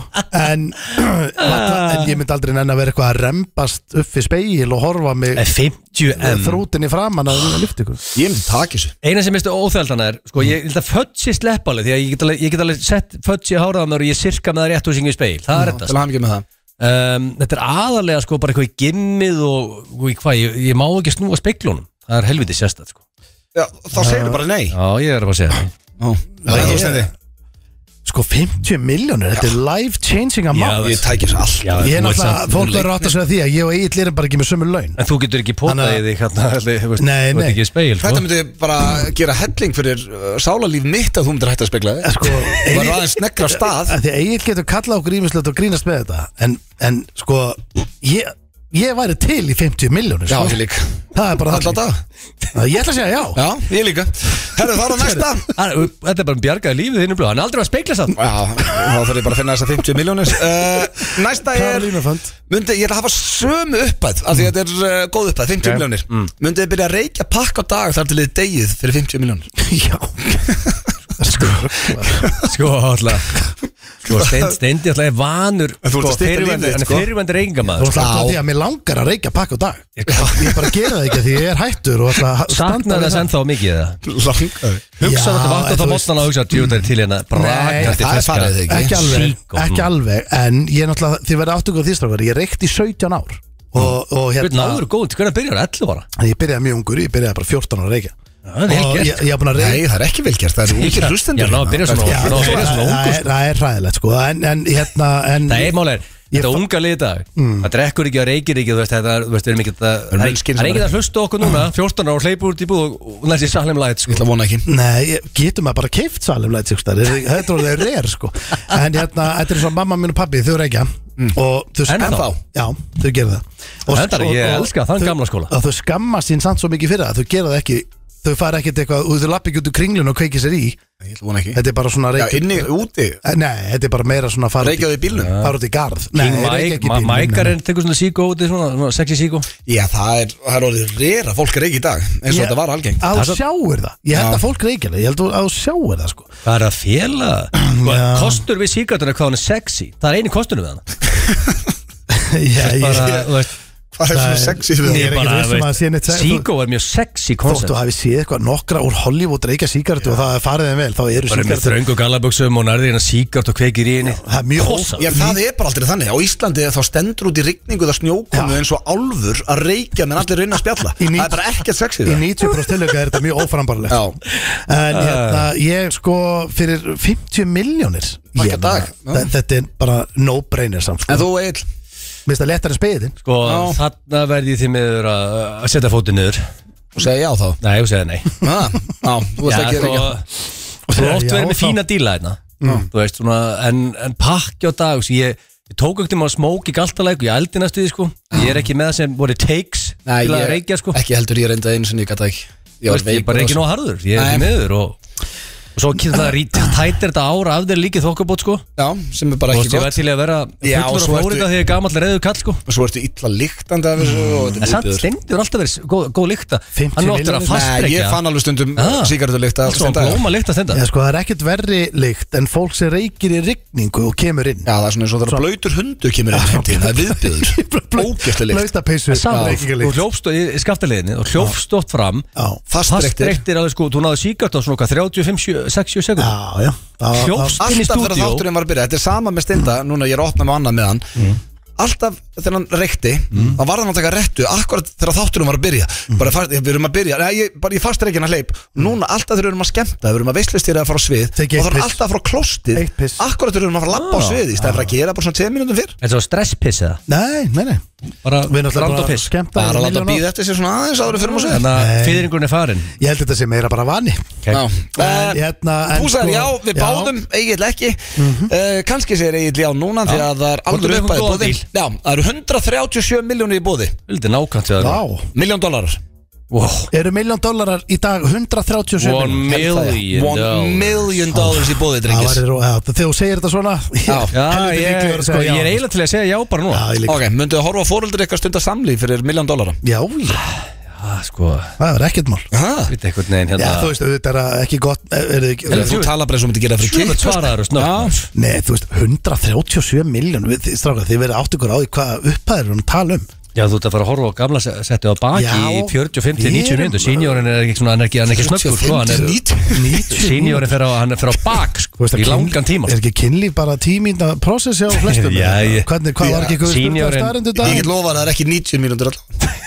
Speaker 2: En, (clears throat) en ég myndi aldrei nenni að vera eitthvað að rembast upp fyrir speil og horfa mig
Speaker 3: Eh, 50M
Speaker 2: þrútin í framan að lifta ykkur
Speaker 1: Ég myndi taka þessu
Speaker 3: Eina sem mistu óþældan er sko, ég held að fudge í sleppalið því að ég get alveg, ég get alveg sett fudge í háraða mér og ég sirka með það rétt og syngi í speil það er
Speaker 1: Til
Speaker 3: þetta
Speaker 1: að hafa ekki með það
Speaker 3: um, Þetta er aðalega sko bara eitthvað í gimmið og, og í hvað, ég, ég má ekki snúa speglunum það er helviti sérstætt sko.
Speaker 1: Já, Þá segir bara nei
Speaker 3: Já, ég er bara að segja það
Speaker 1: Ó, Það er þú stendi
Speaker 2: Sko 50 miljónur, þetta er life changing amount
Speaker 1: Ég tæki þessu allt
Speaker 3: Já,
Speaker 2: Ég er
Speaker 3: þú ert
Speaker 2: náttúrulega,
Speaker 3: samt-
Speaker 2: fólk verður að ráta sig að því að ég og Egil erum bara ekki með sömu laun
Speaker 3: En þú getur ekki potað
Speaker 2: Þannig
Speaker 3: í
Speaker 2: að-
Speaker 3: þig hérna, allir, þú veist,
Speaker 2: Nei,
Speaker 3: þú ert
Speaker 2: nei.
Speaker 3: ekki í speil sko.
Speaker 1: Þetta myndi bara gera helling fyrir uh, sálarlíf mitt að þú myndir hægt að spegla
Speaker 3: Eh,
Speaker 1: þig
Speaker 2: Sko,
Speaker 1: Þú var aðeins nekkra af stað
Speaker 2: að því að Egil getur kallað okkur ímislegt og grínast með þetta en, en sko ég, ég væri til í 50 miljónir
Speaker 1: Já,
Speaker 3: eh,
Speaker 2: sko.
Speaker 1: ég líka
Speaker 2: það er bara
Speaker 1: Alla
Speaker 2: þannig.
Speaker 1: dag
Speaker 2: Að ég ætla að segja já,
Speaker 1: Já, ég líka Herru, þá er það næsta
Speaker 3: Hann- Þetta er bara um bjargaði lífið þínu blóð Hann er aldrei að speikla
Speaker 1: (laughs)
Speaker 3: samt
Speaker 1: Já, þá þarf ég bara að finna þessa 50 miljónir uh, Næsta er
Speaker 2: (laughs) Karolínufönd.
Speaker 1: myndi, Ég ætla að hafa sömu uppæð af því að þetta er uh, góð uppæð, 50 miljónir Myndi þið byrja að reykja pakk á dag þar til þið degið fyrir 50 miljónir
Speaker 2: já. Sko,
Speaker 3: Sko, alltaf Sko, Steindi steind, alltaf er vanur
Speaker 1: En þú ert að
Speaker 3: sko,
Speaker 1: stytta líf
Speaker 3: fyrirverandi-
Speaker 1: þitt,
Speaker 3: Hann er
Speaker 1: sko.
Speaker 3: fyrirvendur
Speaker 2: Þú
Speaker 3: reyngamæður
Speaker 2: ætla að því að mér langar að reykja pakk á dag Ég bara gera það ekki því ég er hættur og ætla að standa
Speaker 3: Saknar
Speaker 2: við
Speaker 3: þess ennþá mikið það
Speaker 1: Langaði
Speaker 3: Hugsa
Speaker 2: Já, en
Speaker 3: þetta vatn og
Speaker 2: þú veist-
Speaker 3: það mótna að hugsa Djúðar til hérna
Speaker 1: Nei,
Speaker 3: Brakandi
Speaker 1: það er farið þig.
Speaker 2: Ekki alveg,
Speaker 3: Síkó.
Speaker 2: ekki alveg En ég er náttúrulega, þið verða áttugur því strafgar Ég reykti í 17 ár Og, og
Speaker 3: Hvernig
Speaker 2: hérna,
Speaker 3: náður góð, hvernig byrjar 11 ára?
Speaker 2: ég byrjaði mjög ungur Ég byrjaði bara 14 ára að reykja
Speaker 3: Það er
Speaker 2: Og
Speaker 3: vel
Speaker 2: ég,
Speaker 3: gert
Speaker 2: ég er búin að reykja
Speaker 1: Nei, það er ekki velgjart, það eru ungir hlustendur
Speaker 3: Já, ná, byrja svona-
Speaker 1: Já,
Speaker 3: ná,
Speaker 1: já,
Speaker 3: byrja svona
Speaker 2: Það
Speaker 3: ungur,
Speaker 2: er- það er hræðilegt sko En, en hérna en,
Speaker 3: Það er málega
Speaker 2: Ég
Speaker 3: Þetta
Speaker 2: fa- Mm.
Speaker 3: unga lið í dag Það drekkur ekki og reykir ekki Þú veist, þetta er- þú veist, við erum ekki að
Speaker 1: erum
Speaker 3: Það er-
Speaker 1: munskinn
Speaker 3: það er
Speaker 1: sem
Speaker 3: ekki að hlusta á okkur
Speaker 2: Mm.
Speaker 3: núna 14 ára og hleypa út í búð og- og næst í Salem Light sko.
Speaker 1: Ég ætla að vona ekki
Speaker 2: Nei, ég- getur maður bara keift salum læt sig stær Þetta er orðið reyr sko En hérna, þetta er svo að mamma mín og pabbi, þau reykja Og þau
Speaker 3: Mm. Ennþá?
Speaker 2: Já, þau gera það og,
Speaker 3: Þetta er- ég elska þann
Speaker 2: þau-
Speaker 3: gamla skóla.
Speaker 2: Og þau skamma sín samt svo mikið fyrir það Þau gera það ekki, þau fara ekkert eitthvað og Þau lappa ekki út úr kringlun og kveiki sér í
Speaker 1: Ég ætla að vona ekki
Speaker 2: Þetta er bara svona
Speaker 1: Já,
Speaker 2: reykja
Speaker 1: inni, úti
Speaker 2: Nei, þetta er bara meira svona fara út í-
Speaker 1: Reykjaðu í bílnum
Speaker 2: Fara út í garð Nei,
Speaker 3: King
Speaker 2: reykja ekki
Speaker 3: Mike,
Speaker 2: í
Speaker 3: Ma-
Speaker 2: bílnum,
Speaker 3: Mike er
Speaker 2: nei.
Speaker 3: enn tekur svona síkó úti Svona svona sexy síkó
Speaker 1: Já, það er, það er orðið reyra fólk reik í dag eins og þetta var algengt
Speaker 2: Að
Speaker 3: Það
Speaker 2: þú
Speaker 3: er svo-
Speaker 2: sjáir það, ég held að fólk reykja það Ég held að þú sjáir það
Speaker 1: (laughs)
Speaker 2: sko
Speaker 3: Það er að fjela
Speaker 2: Já.
Speaker 3: Kostur við síkartuna hvað hann er sexy Það er eini kostunum við hann
Speaker 2: Já, ég-
Speaker 3: Bara, þú veist,
Speaker 1: Hvað er svona sexy við
Speaker 2: Ég er
Speaker 1: það?
Speaker 2: ekki
Speaker 3: bara,
Speaker 2: viss um
Speaker 3: veist,
Speaker 2: að það sé neitt sex-
Speaker 3: Síkó er mjög sexy
Speaker 2: Þóttu
Speaker 3: koncept
Speaker 2: hafi séð eitthvað nokkra úr Hollywood reykja síkartu og það er farið þeim vel þá eru
Speaker 3: Bara með
Speaker 2: síkartu
Speaker 3: þröngu galaböksum og nærðina síkart og kveikir í henni
Speaker 2: það er mjög
Speaker 3: Kossa.
Speaker 1: Já, það er bara aldrei þannig Á Íslandi þá stendur út í rigningu það snjókomu
Speaker 2: Já.
Speaker 1: eins og álfur að reykja menn allir reyna að spjalla
Speaker 2: Í
Speaker 1: Það
Speaker 2: nít-
Speaker 1: er bara ekkert sexy
Speaker 2: í
Speaker 1: við það
Speaker 2: 90% tilöka er þetta mjög óframbarlegt
Speaker 1: Já,
Speaker 2: en hérna, ég sko fyrir 50 miljónir
Speaker 1: Takk að dag.
Speaker 2: þetta er bara no-brainer samt
Speaker 1: en
Speaker 2: sko.
Speaker 1: þú Egil
Speaker 2: minnst það lettar en spegðin
Speaker 3: Sko, þarna verði ég því meður að að setja fótið niður
Speaker 1: og segja já þá
Speaker 3: Nei, þú segði nei
Speaker 1: Já, já, þú veist
Speaker 3: sko,
Speaker 1: ekki reykja
Speaker 3: Þú er
Speaker 2: Já,
Speaker 3: oft verið með
Speaker 2: þá- Mm.
Speaker 3: fína díla hérna Þú veist, svona, en, en pakki á dag sko, ég, ég tók ekkert um að smók í galtalæk og ég eldi næstu því, sko Ég er ekki með það sem voru takes
Speaker 1: Nei,
Speaker 3: til að
Speaker 1: ég-
Speaker 3: reykja, sko
Speaker 1: Ekki heldur ég reynda einu sinni, ég gata ekki
Speaker 3: Ég, veist, ég er bara ekki nóg harður, ég er
Speaker 1: Nei.
Speaker 3: ekki meður og, og svo kynna það rít- tætir þetta ára af þér líkið þokkabót, sko
Speaker 1: Já, sem er bara
Speaker 3: Þú
Speaker 1: ekki
Speaker 3: veist, ég
Speaker 1: gott
Speaker 3: verð til í að vera
Speaker 1: Já, og
Speaker 3: fullur
Speaker 1: svo
Speaker 3: og
Speaker 1: ertu-
Speaker 3: flórið þegar ég er gamall reyðu kall, sko
Speaker 1: og svo ertu illa líktandi af þessu og
Speaker 3: En
Speaker 1: þetta er
Speaker 3: samt
Speaker 1: sko. viðbjöður
Speaker 3: stendur alltaf verið góð, góð lykta
Speaker 2: 50
Speaker 3: Hann áttur að
Speaker 2: milljónir.
Speaker 1: Nei, ég
Speaker 3: fastreikja
Speaker 1: fann alveg stundum
Speaker 3: Ah.
Speaker 1: síkartulíkta
Speaker 3: Svo
Speaker 1: stunda
Speaker 3: blóma lykta stenda
Speaker 2: eða sko það er ekkert verri lykt en fólk sem reykir í rigningu og kemur inn
Speaker 1: Já, það er svona eins og það er blöytur hundu kemur inn heimtíðin,
Speaker 3: (laughs)
Speaker 1: það er viðbjöður Ógæslega líkt
Speaker 2: lauta peysu
Speaker 3: Saman, þú
Speaker 2: reykingalykt.
Speaker 3: hljófst í, í skaftaliðinni og hljófst oft fram
Speaker 2: Já.
Speaker 1: Fastreyktir.
Speaker 3: Fastreyktir alveg sko, þú náðu síkart á svona okkar 35, 70, 60 sekund
Speaker 2: já, já Það- það-
Speaker 3: Hljófst inn í
Speaker 1: Alltaf þegar
Speaker 3: stúdíó
Speaker 1: þátturinn var að byrja, þetta er sama með stinda Núna ég er að opna með annað með hann Alltaf þegar hann reykti þá var hann að taka réttu, akkurat þegar þátturinn var að byrja Bara fast, við erum að byrja, nei, ég, bara ég fast reikin að hleyp Núna alltaf þegar við erum að skemmta Við erum að veislustýra að fara á svið
Speaker 2: Tekið
Speaker 1: Og
Speaker 2: eitt
Speaker 1: það er
Speaker 2: piss.
Speaker 1: alltaf að fara á klostið
Speaker 2: Eitt piss.
Speaker 1: Akkurat þegar við erum að fara að lappa á
Speaker 3: Ah.
Speaker 1: svið Í stæðan að gera bara svona 10 mínútum fyrr
Speaker 3: En svo stresspiss eða
Speaker 2: nei, nei, nei
Speaker 3: Bara
Speaker 2: við erum
Speaker 3: rand og
Speaker 2: alltaf bara
Speaker 3: piss
Speaker 2: skemmt
Speaker 1: Bara að láta býða eftir sér svona aðeins áður en við förum á svið
Speaker 3: Þannig að
Speaker 2: Nei.
Speaker 3: fyrringurinn er farin
Speaker 2: ég held þetta sé meira bara vani
Speaker 1: Já.
Speaker 2: En,
Speaker 1: Eh,
Speaker 2: hérna, en
Speaker 1: Þú sagðir
Speaker 2: sko-
Speaker 1: já, við
Speaker 2: Já.
Speaker 1: báðum, Egil ekki mm Kanski segir Egil já núna því að það er alveg
Speaker 3: Komdu með
Speaker 1: uppæði
Speaker 3: eitthvað
Speaker 1: bóði
Speaker 3: góðan
Speaker 1: Já, það eru 137 miljónir í bóði
Speaker 3: Vildi nákvæmt við
Speaker 2: Vá,
Speaker 3: það
Speaker 1: Miljón dólarar
Speaker 3: Wow
Speaker 2: eru miljón dólarar í dag 137
Speaker 3: One
Speaker 2: milljónir?
Speaker 3: million
Speaker 1: One million dollars í bóði,
Speaker 2: Það
Speaker 1: drengis
Speaker 2: væri ró- já, Þegar þú segir þetta svona
Speaker 3: Já,
Speaker 2: helviti
Speaker 3: ég,
Speaker 2: líklegur að
Speaker 3: sko,
Speaker 2: segja
Speaker 3: ég
Speaker 2: já.
Speaker 3: er eiginlega til að segja já bara nú
Speaker 2: Já, ég líka.
Speaker 1: Ok, mynduðu að horfa á fóröldur eitthvað stundar samlíf fyrir miljón dólarar
Speaker 2: Já, já,
Speaker 3: Já, sko,
Speaker 2: það er ekkert mál
Speaker 1: Ha?
Speaker 3: við eitthvað neginn
Speaker 2: Já, þú
Speaker 3: hérna
Speaker 2: veist, auðvitað er það ekki gott eh, er, er,
Speaker 1: Þú
Speaker 2: er,
Speaker 1: þú tala bara eins og myndi gera fyrir
Speaker 3: Sjöfum
Speaker 1: kitt
Speaker 3: svaraður og snögt
Speaker 2: Nei, þú veist, 137 miljón Stráka, þið verið átt ykkur á því hvað upphæður hún tala
Speaker 3: (laughs)
Speaker 2: um
Speaker 3: Já, þú ert að fara að horfa á gamla se- settið á baki
Speaker 2: Já.
Speaker 3: í 45 til 90
Speaker 2: Ég-
Speaker 3: minnundu Seniorin er ekki, svona, hann er ekki, hann er ekki snöggur sko, hann er-
Speaker 2: 90
Speaker 3: Seniorin fer á, hann fer á bak
Speaker 2: Þú
Speaker 3: sko,
Speaker 2: veist að
Speaker 3: í
Speaker 2: kynlíf-
Speaker 3: langan tíma
Speaker 2: Er ekki kynlíf bara tímínda prosessi á flestum?
Speaker 3: (laughs) Já, ég-
Speaker 2: Hvernig, hvað var ekki
Speaker 3: Já,
Speaker 2: eitthvað
Speaker 3: seniorinn-
Speaker 2: staðarindu
Speaker 1: Ég get
Speaker 2: dag?
Speaker 1: lofa að það er ekki 90 mínútur all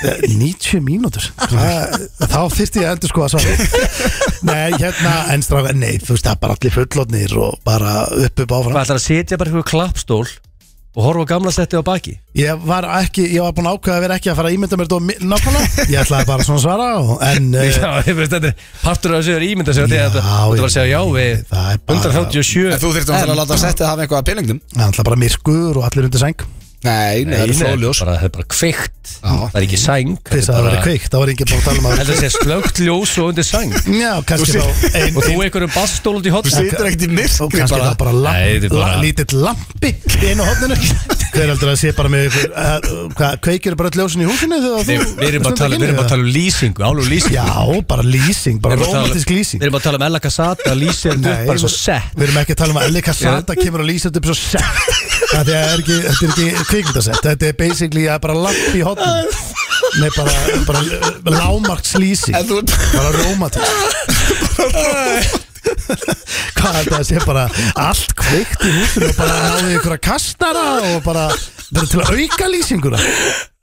Speaker 2: 90 mínútur Hvað- Þá þyrst ég að endur sko að
Speaker 3: (laughs)
Speaker 2: svara Nei, hérna, en stráka Nei, þú veist, það er bara allir fullotnir og bara upp upp áfram
Speaker 3: Hvað ætlar að setja bara eitthvað klappstól og horfa á gamla settið á baki
Speaker 2: Ég var ekki, ég var búin að ákveða að vera ekki að fara að ímynda mér þetta og mi- nákvæmlega Ég ætlaði bara svona að svara og, En uh,
Speaker 3: Já, (laughs) ég veist, þetta er partur af þessu er ímynda sér
Speaker 2: Já,
Speaker 3: þetta Þú ert að segja já við
Speaker 2: það er bara
Speaker 3: 137
Speaker 1: Þú þyrftum að láta að setja það hafa eitthvað að peningdum
Speaker 2: Það er alltaf bara myrkur og allir undir sæng
Speaker 4: Nei, nei, það er
Speaker 3: nei,
Speaker 4: flóðljós
Speaker 3: bara, það er bara kveikt Það er ekki sæng
Speaker 2: Pissa að það verið kveikt, það var enginn búin að tala um að
Speaker 3: Þetta sé slögt ljós og undir sæng
Speaker 2: Já, kannski þá (laughs) ein,
Speaker 3: Og þú einhverjum bastól út í hotn
Speaker 1: Situr ekkert í
Speaker 2: Og
Speaker 1: myrkri
Speaker 2: kannski
Speaker 1: bara
Speaker 2: það bara, lamp,
Speaker 3: Nei, þetta er bara-
Speaker 2: la, lítill lampi í einu
Speaker 3: (laughs)
Speaker 2: hófninu Hver heldur að sé bara með ykkur uh, Hvað, kveikir bara öll ljósin í húsinu þegar
Speaker 3: Nei,
Speaker 2: þú
Speaker 3: Við erum bara
Speaker 2: stundar
Speaker 3: að tala,
Speaker 2: kynlíf,
Speaker 3: við erum bara að
Speaker 2: eða?
Speaker 3: tala um lýsingu, álum
Speaker 2: (laughs)
Speaker 3: lýsingu
Speaker 2: Já, bara lýsing,
Speaker 3: Við
Speaker 2: bara
Speaker 3: erum bara að tala-
Speaker 2: romantisk lýsing
Speaker 3: Við erum bara að tala um Ella Casata, lýsir hann upp bara svo sett
Speaker 2: (laughs) Við erum ekki að tala um að Elli Kassata kemur að lýsa þetta upp svo sett Það er ekki, þetta er ekki kvikmyndasett Þetta er basically að bara lapp í hotnum Nei, bara, bara lámarks lýsing
Speaker 1: En þú ert
Speaker 2: Bara rómatisk Hvað er þetta að sé bara allt kveikt í húsinu og bara náðu ykkur að kastara og bara, bara til að auka lýsinguna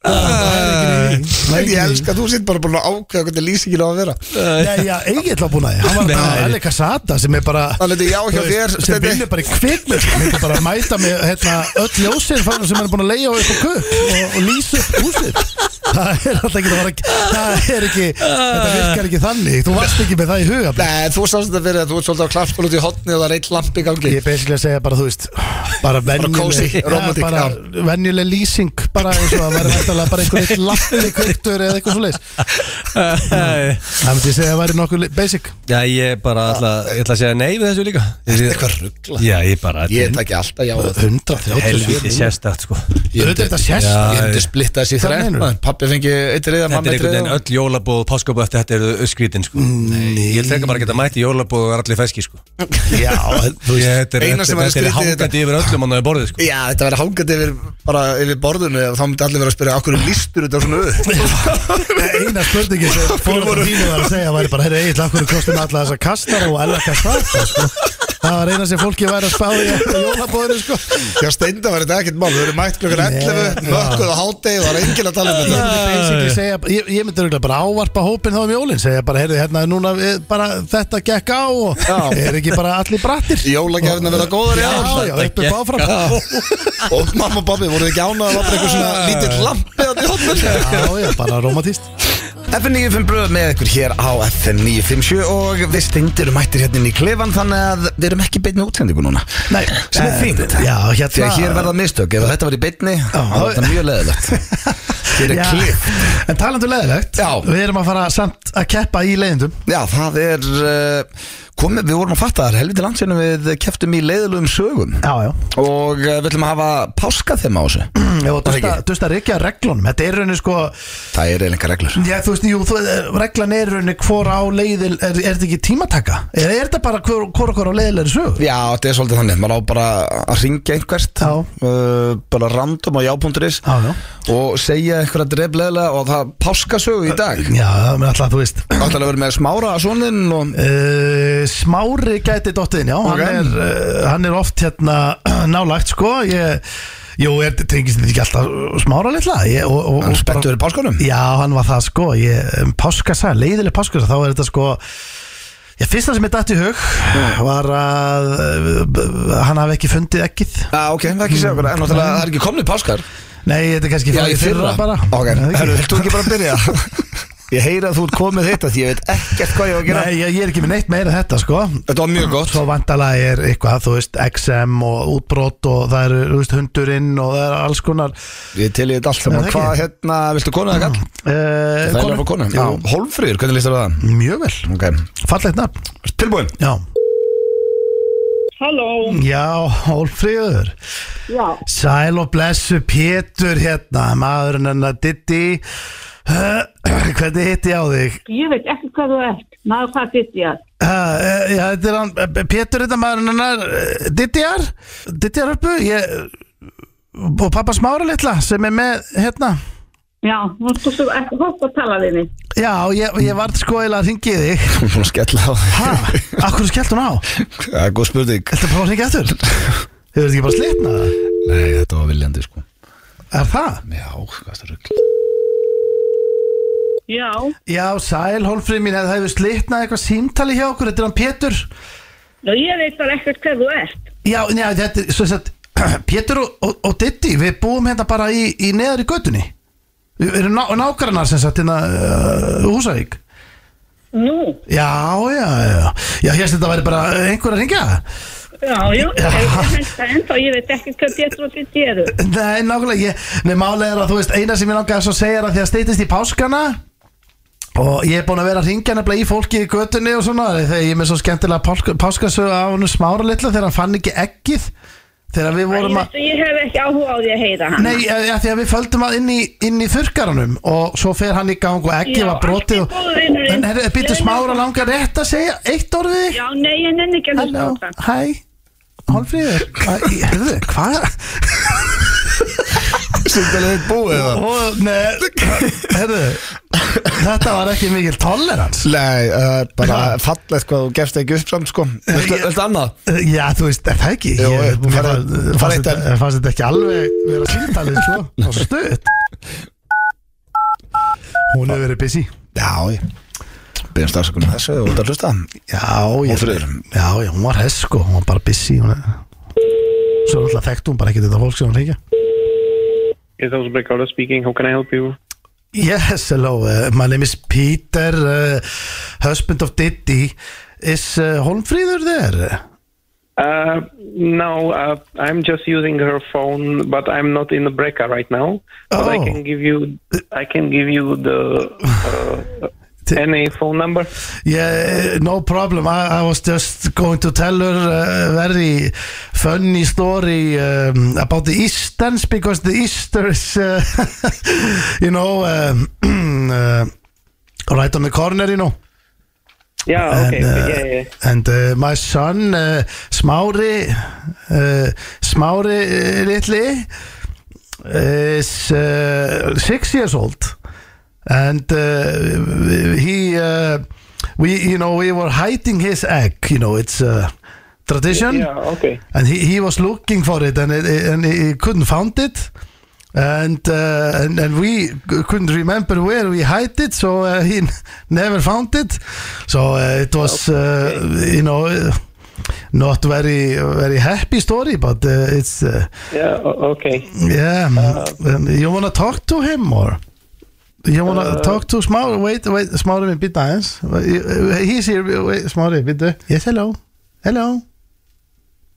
Speaker 1: En ég elska að þú sitt bara búin að ákveða hvernig lýsingin á að vera
Speaker 2: Nei, já, Egil var búin að því Hann var bara
Speaker 3: Nei.
Speaker 2: alveg Kassata sem er bara
Speaker 1: Þannig að já, hjá
Speaker 2: þú veist,
Speaker 1: þér,
Speaker 2: sem
Speaker 1: Steini.
Speaker 2: vinnur bara í kvikmynd Hann er bara að mæta með hérna, öll ljósir fána sem hann er búin að leiða á upp á kukk og, og lýsa upp húsið Það er alltaf ekki, það, var, það er ekki Þetta virkar ekki þannig Þú varst ekki með það í huga blek.
Speaker 1: Nei, þú sást þetta fyrir að þú ert svolítið á klappskóla út í hotni og það er eitt lampi í gangi
Speaker 2: Ég er basically að segja bara, þú veist Bara
Speaker 1: kósí,
Speaker 2: venjuleg Já,
Speaker 1: romantic,
Speaker 2: bara Venjuleg lýsing Bara eins og það væri hættalega bara einhver eitt lappi kveiktur eða eitthvað svo leis Það myndi ég segja að væri nokkuð li- basic
Speaker 3: Já, ég bara ætla, ég ætla að segja nei við þessu líka
Speaker 1: Þetta er eitthvað ruggla
Speaker 3: Já, ég bara
Speaker 1: Ég tek ekki alltaf já á þetta.
Speaker 2: 130
Speaker 3: Helviti sérstakt sko
Speaker 1: Ég
Speaker 2: Þetta er
Speaker 1: myndi-
Speaker 2: þetta sérst
Speaker 1: Ég
Speaker 3: Já,
Speaker 1: myndi splitta þessi
Speaker 2: Hvað
Speaker 1: þræn
Speaker 2: meinarðu?
Speaker 1: Pappi fengi eitt riða,
Speaker 3: Þetta
Speaker 1: mamma eitt
Speaker 3: er einhvern veginn
Speaker 1: riða
Speaker 3: öll jólabóð, páskabóð eftir þetta eru skrítin sko Ég held ekki bara að geta mætt í jólabóð og vera allir feski sko
Speaker 2: Já,
Speaker 3: Ég, Þetta er-
Speaker 1: eina sem væri
Speaker 3: þetta er- þetta er
Speaker 1: skrítið í þetta-
Speaker 3: hangandi yfir öllum hann á borðið sko
Speaker 1: Já, þetta verður hangandi yfir, bara yfir borðinu og þá myndi allir vera að spyrja okkur listur þetta svona
Speaker 2: (laughs)
Speaker 1: upp
Speaker 2: eina spurningin sem fórum þínu var að segja var bara, herri, eitthvað, hvernig kostum alla þessa kastara og alla kastata, sko það var eina sem fólki væri að spáði í jólabóðinu, sko
Speaker 1: Já, steinda var þetta ekkert mál, við verðum mætt klukkan
Speaker 2: Nei,
Speaker 1: 11
Speaker 2: já.
Speaker 1: mökkuð á hátegi og það er enginn að tala um
Speaker 2: Ég
Speaker 1: þetta
Speaker 2: myndi basically segja, ég, ég myndi örugglega bara ávarpa hópin þá um jólin, segja bara, heyrðu, hérna, núna við, bara, þetta gekk á og er ekki bara allir brattir
Speaker 1: Jólagjafirnar verða góðar í
Speaker 2: Já,
Speaker 1: ár.
Speaker 2: já, upp upp áfram
Speaker 1: Og mamma og babbi, voruð þið ekki ánað að það var eitthvað svona lítill lampi að því hotnum
Speaker 2: Já, já, bara romantíst
Speaker 1: FM 95 blöð með ykkur hér á FM 957 og við steindir erum mættir hérna inn í klefan þannig að við erum ekki í beinni útsendingu núna
Speaker 2: Nei,
Speaker 1: sem er
Speaker 2: eh,
Speaker 1: fínt
Speaker 2: já, hérna-
Speaker 1: því að hér verða mistök ef þetta var í beinni þá var þetta mjög leðilegt hér er
Speaker 2: Já,
Speaker 1: klif
Speaker 2: En talandu leðilegt,
Speaker 1: Já.
Speaker 2: við erum að fara samt að keppa í leiðindum
Speaker 1: já það er uh, komið við vorum að fatta þar helviti landsinu við keftum í leiðilegum sögum
Speaker 2: Já, já
Speaker 1: og uh, við ætlum að hafa páska þeim á þessu
Speaker 2: Já, Mm, og
Speaker 1: Það er ekki.
Speaker 2: dusta reykja reglunum Þetta er rauninni sko
Speaker 1: það er eiginlega reglur
Speaker 2: Já, þú veist, jú, þú, eh, reglan er rauninni Hvor á leiðil, er, er þetta ekki tímataka? Er, er þetta bara hvor, hvor okkur á leiðil er sög?
Speaker 1: Já, þetta er svolítið þannig, maður á bara að ringja einhvert
Speaker 2: Já.
Speaker 1: uh, bara random á já.is
Speaker 2: Já, já
Speaker 1: og segja einhverja drefleðilega og það páskasögu í dag
Speaker 2: Já, það með alltaf, þú veist
Speaker 1: Alltaf verður með smára að svonin og
Speaker 2: uh, Smári gæti dottiðin, já
Speaker 1: Ok.
Speaker 2: hann, er, uh, hann er oft hérna (clears throat) nálægt, sko ég, Jú, er, tengist þetta ekki alltaf smára litla ég, og, og,
Speaker 1: hann
Speaker 2: og bara-
Speaker 1: spenntur í páskunum
Speaker 2: Já, hann var það sko ég, um, Páskasa, leiðileg páskasa Þá er þetta sko Ég fyrsta sem ég datt í hug var að uh, b- b- hann hafi ekki fundið ekkið
Speaker 1: Já, ok, það er ekki að segja okkur, en náttúrulega það er ekki komnið páskar
Speaker 2: Nei, þetta er kannski
Speaker 1: Já,
Speaker 2: frá
Speaker 1: í fyrra
Speaker 2: bara
Speaker 1: Ok,
Speaker 2: Er það ekki?
Speaker 1: herru, viltu ekki bara byrja? (laughs) ég heyri að þú ert komið þetta því ég veit ekkert hvað ég á að gera
Speaker 2: Nei, ég, ég er ekki með neitt meira en þetta sko
Speaker 1: Þetta var mjög gott
Speaker 2: Svo vandalega er eitthvað, þú veist, XM og útbrot og það eru, þú veist, hundurinn og það eru alls konar
Speaker 1: Ég til í þetta allt
Speaker 2: Já,
Speaker 1: saman
Speaker 2: það ekki.
Speaker 1: Hvað, hérna, viltu konu eða kall?
Speaker 2: uh,
Speaker 1: Það er alveg konu Já, Hólfríður, hvernig líst þér á það?
Speaker 2: Mjög vel,
Speaker 1: Ok,
Speaker 2: fallegt nafn
Speaker 1: Ertu tilbúin
Speaker 2: Já,
Speaker 5: Halló,
Speaker 2: já, Hólfríður
Speaker 5: já,
Speaker 2: Sæl og blessu Pétur hérna, maðurinn hennar Diddi Eh, (clears throat) Hvernig hitti ég á þig?
Speaker 5: ég veit ekki hvað þú ert, maður hvað þitt ég að.
Speaker 2: Uh, uh, já, þetta er hann, uh, Pétur þetta maðurinn hennar uh, Dittjar Dittjar uppu ég, og pappa Smára litla sem er með hérna
Speaker 5: Já, nú þú svo ekki hótt að tala við mig.
Speaker 2: Já, ég, ég varð sko eða að ringi þig
Speaker 1: Hún er búin að skella á þig
Speaker 2: Hæ, akkur skellt hún á?
Speaker 1: (laughs) Það er góð spurning
Speaker 2: Þetta prófa að ringi eftir Þau verður ekki bara að slitna það
Speaker 1: Nei, þetta var viljandi sko
Speaker 2: Er það?
Speaker 1: Já, hvað það rugl
Speaker 5: Já,
Speaker 2: Já, sæl, Hólfrið mín, það hefur slitnað eitthvað símtali hjá okkur, þetta er hann Pétur
Speaker 5: já, ég veit bara ekkert hvað þú ert.
Speaker 2: Já, njá, þetta er svo sett (clears throat) Pétur og, og, og Diddi, við búum hérna bara í, í neðar í götunni Við erum ná, nákvæmnar sem sagt hérna uh, Húsavík
Speaker 5: Nú,
Speaker 2: Já, já, já Já, hérst þetta væri bara einhver að ringja
Speaker 5: Já,
Speaker 2: (laughs)
Speaker 5: já, það ennþá, ég veit ekki hvað Pétur og Bindi eru.
Speaker 2: Nei, nákvæmlega, ég, nei, málega er að þú veist, eina sem ég langaði svo að segja er að því að steytist í páskana og ég er búin að vera að ringja nefnilega í fólki í götunni og svona, þegar ég er með svo skemmtilega páska, páskasögu á honum smára litla þegar hann fann ekki eggið, þegar við
Speaker 5: Ég,
Speaker 2: vorum að
Speaker 5: veistu, ég hef ekki áhuga á því að heyra hann.
Speaker 2: Nei, að, að því að við földum að inn í, inn í þurrkaranum og svo fer hann í gang og eggið
Speaker 5: Já,
Speaker 2: var brotið
Speaker 5: allt í góðu, vinurinn.
Speaker 2: og En herri, býttu
Speaker 5: Ég er
Speaker 2: smára
Speaker 5: nefnilega-
Speaker 2: langar rétt að segja eitt orðið
Speaker 5: Já, nei, ég nenni ekki að hlusta
Speaker 2: Halló,
Speaker 5: á það.
Speaker 2: hæ Hálfríður, hvað, hérðu, hvað
Speaker 1: Sýndalegið búið það
Speaker 2: Og, nei, herru, þetta var ekki mikil tolerans
Speaker 4: Nei,
Speaker 1: eh,
Speaker 4: það er bara fallegt hvað þú gefst ekki upp samt sko
Speaker 1: Viltu viltu annað?
Speaker 2: Já, þú veist, er það ekki
Speaker 4: Jú,
Speaker 2: Ég-
Speaker 4: jú,
Speaker 2: mér
Speaker 4: farðu- farðu
Speaker 2: fannst- fannst
Speaker 4: eitt
Speaker 2: þetta- fannst þetta ekki alveg vera síntalið (laughs) svo og stutt Hún hefur verið busy
Speaker 4: Já, ég byrjum starfsakunum þessu og út að hlusta
Speaker 2: Já, ég,
Speaker 4: Ófríður.
Speaker 2: já, já, hún var hess sko, hún var bara busy hún, Svo er alltaf þekkt hún bara ekki þetta fólk sem hún reykja
Speaker 6: Yes, that was Ricardo speaking. How can I help you?
Speaker 2: Yes, hello, uh, my name is Peter, uh, husband of Diddy Is uh, Holmfríður there?
Speaker 6: Uh, no, uh, I'm just using her phone, but I'm not in the breaker right now. But I
Speaker 2: Oh.
Speaker 6: can give you, I can give
Speaker 2: (laughs)
Speaker 6: you the uh, NA phone number.
Speaker 2: Yeah, eh, no problem. I, I was just going to tell her eh, a very funny story um, about the Easterns because the Easter is, uh, (laughs) you know, (clears throat) um, uh, right on the corner, you know.
Speaker 6: Yeah, Ah, okay,
Speaker 2: And, uh,
Speaker 6: yeah, yeah.
Speaker 2: and uh, my son, uh, Smári, uh, Smári uh, litli, is uh, six years old, and uh, he, uh, we, you know, we were hiding his egg. You know, it's a tradition
Speaker 6: Yeah, okay.
Speaker 2: and he, he was looking for it and it, and he couldn't found it and uh, and and we c- couldn't remember where we hid it so uh, he n- (laughs) never found it so uh, it was uh, you know uh, not very very happy story but uh, it's uh,
Speaker 6: Yeah, o- okay.
Speaker 2: yeah um, you want to talk to him or you want to
Speaker 6: Uh,
Speaker 2: talk to Smári wait wait Smári við býta aðeins Uh, he's here wait, Smári býta yes hello hello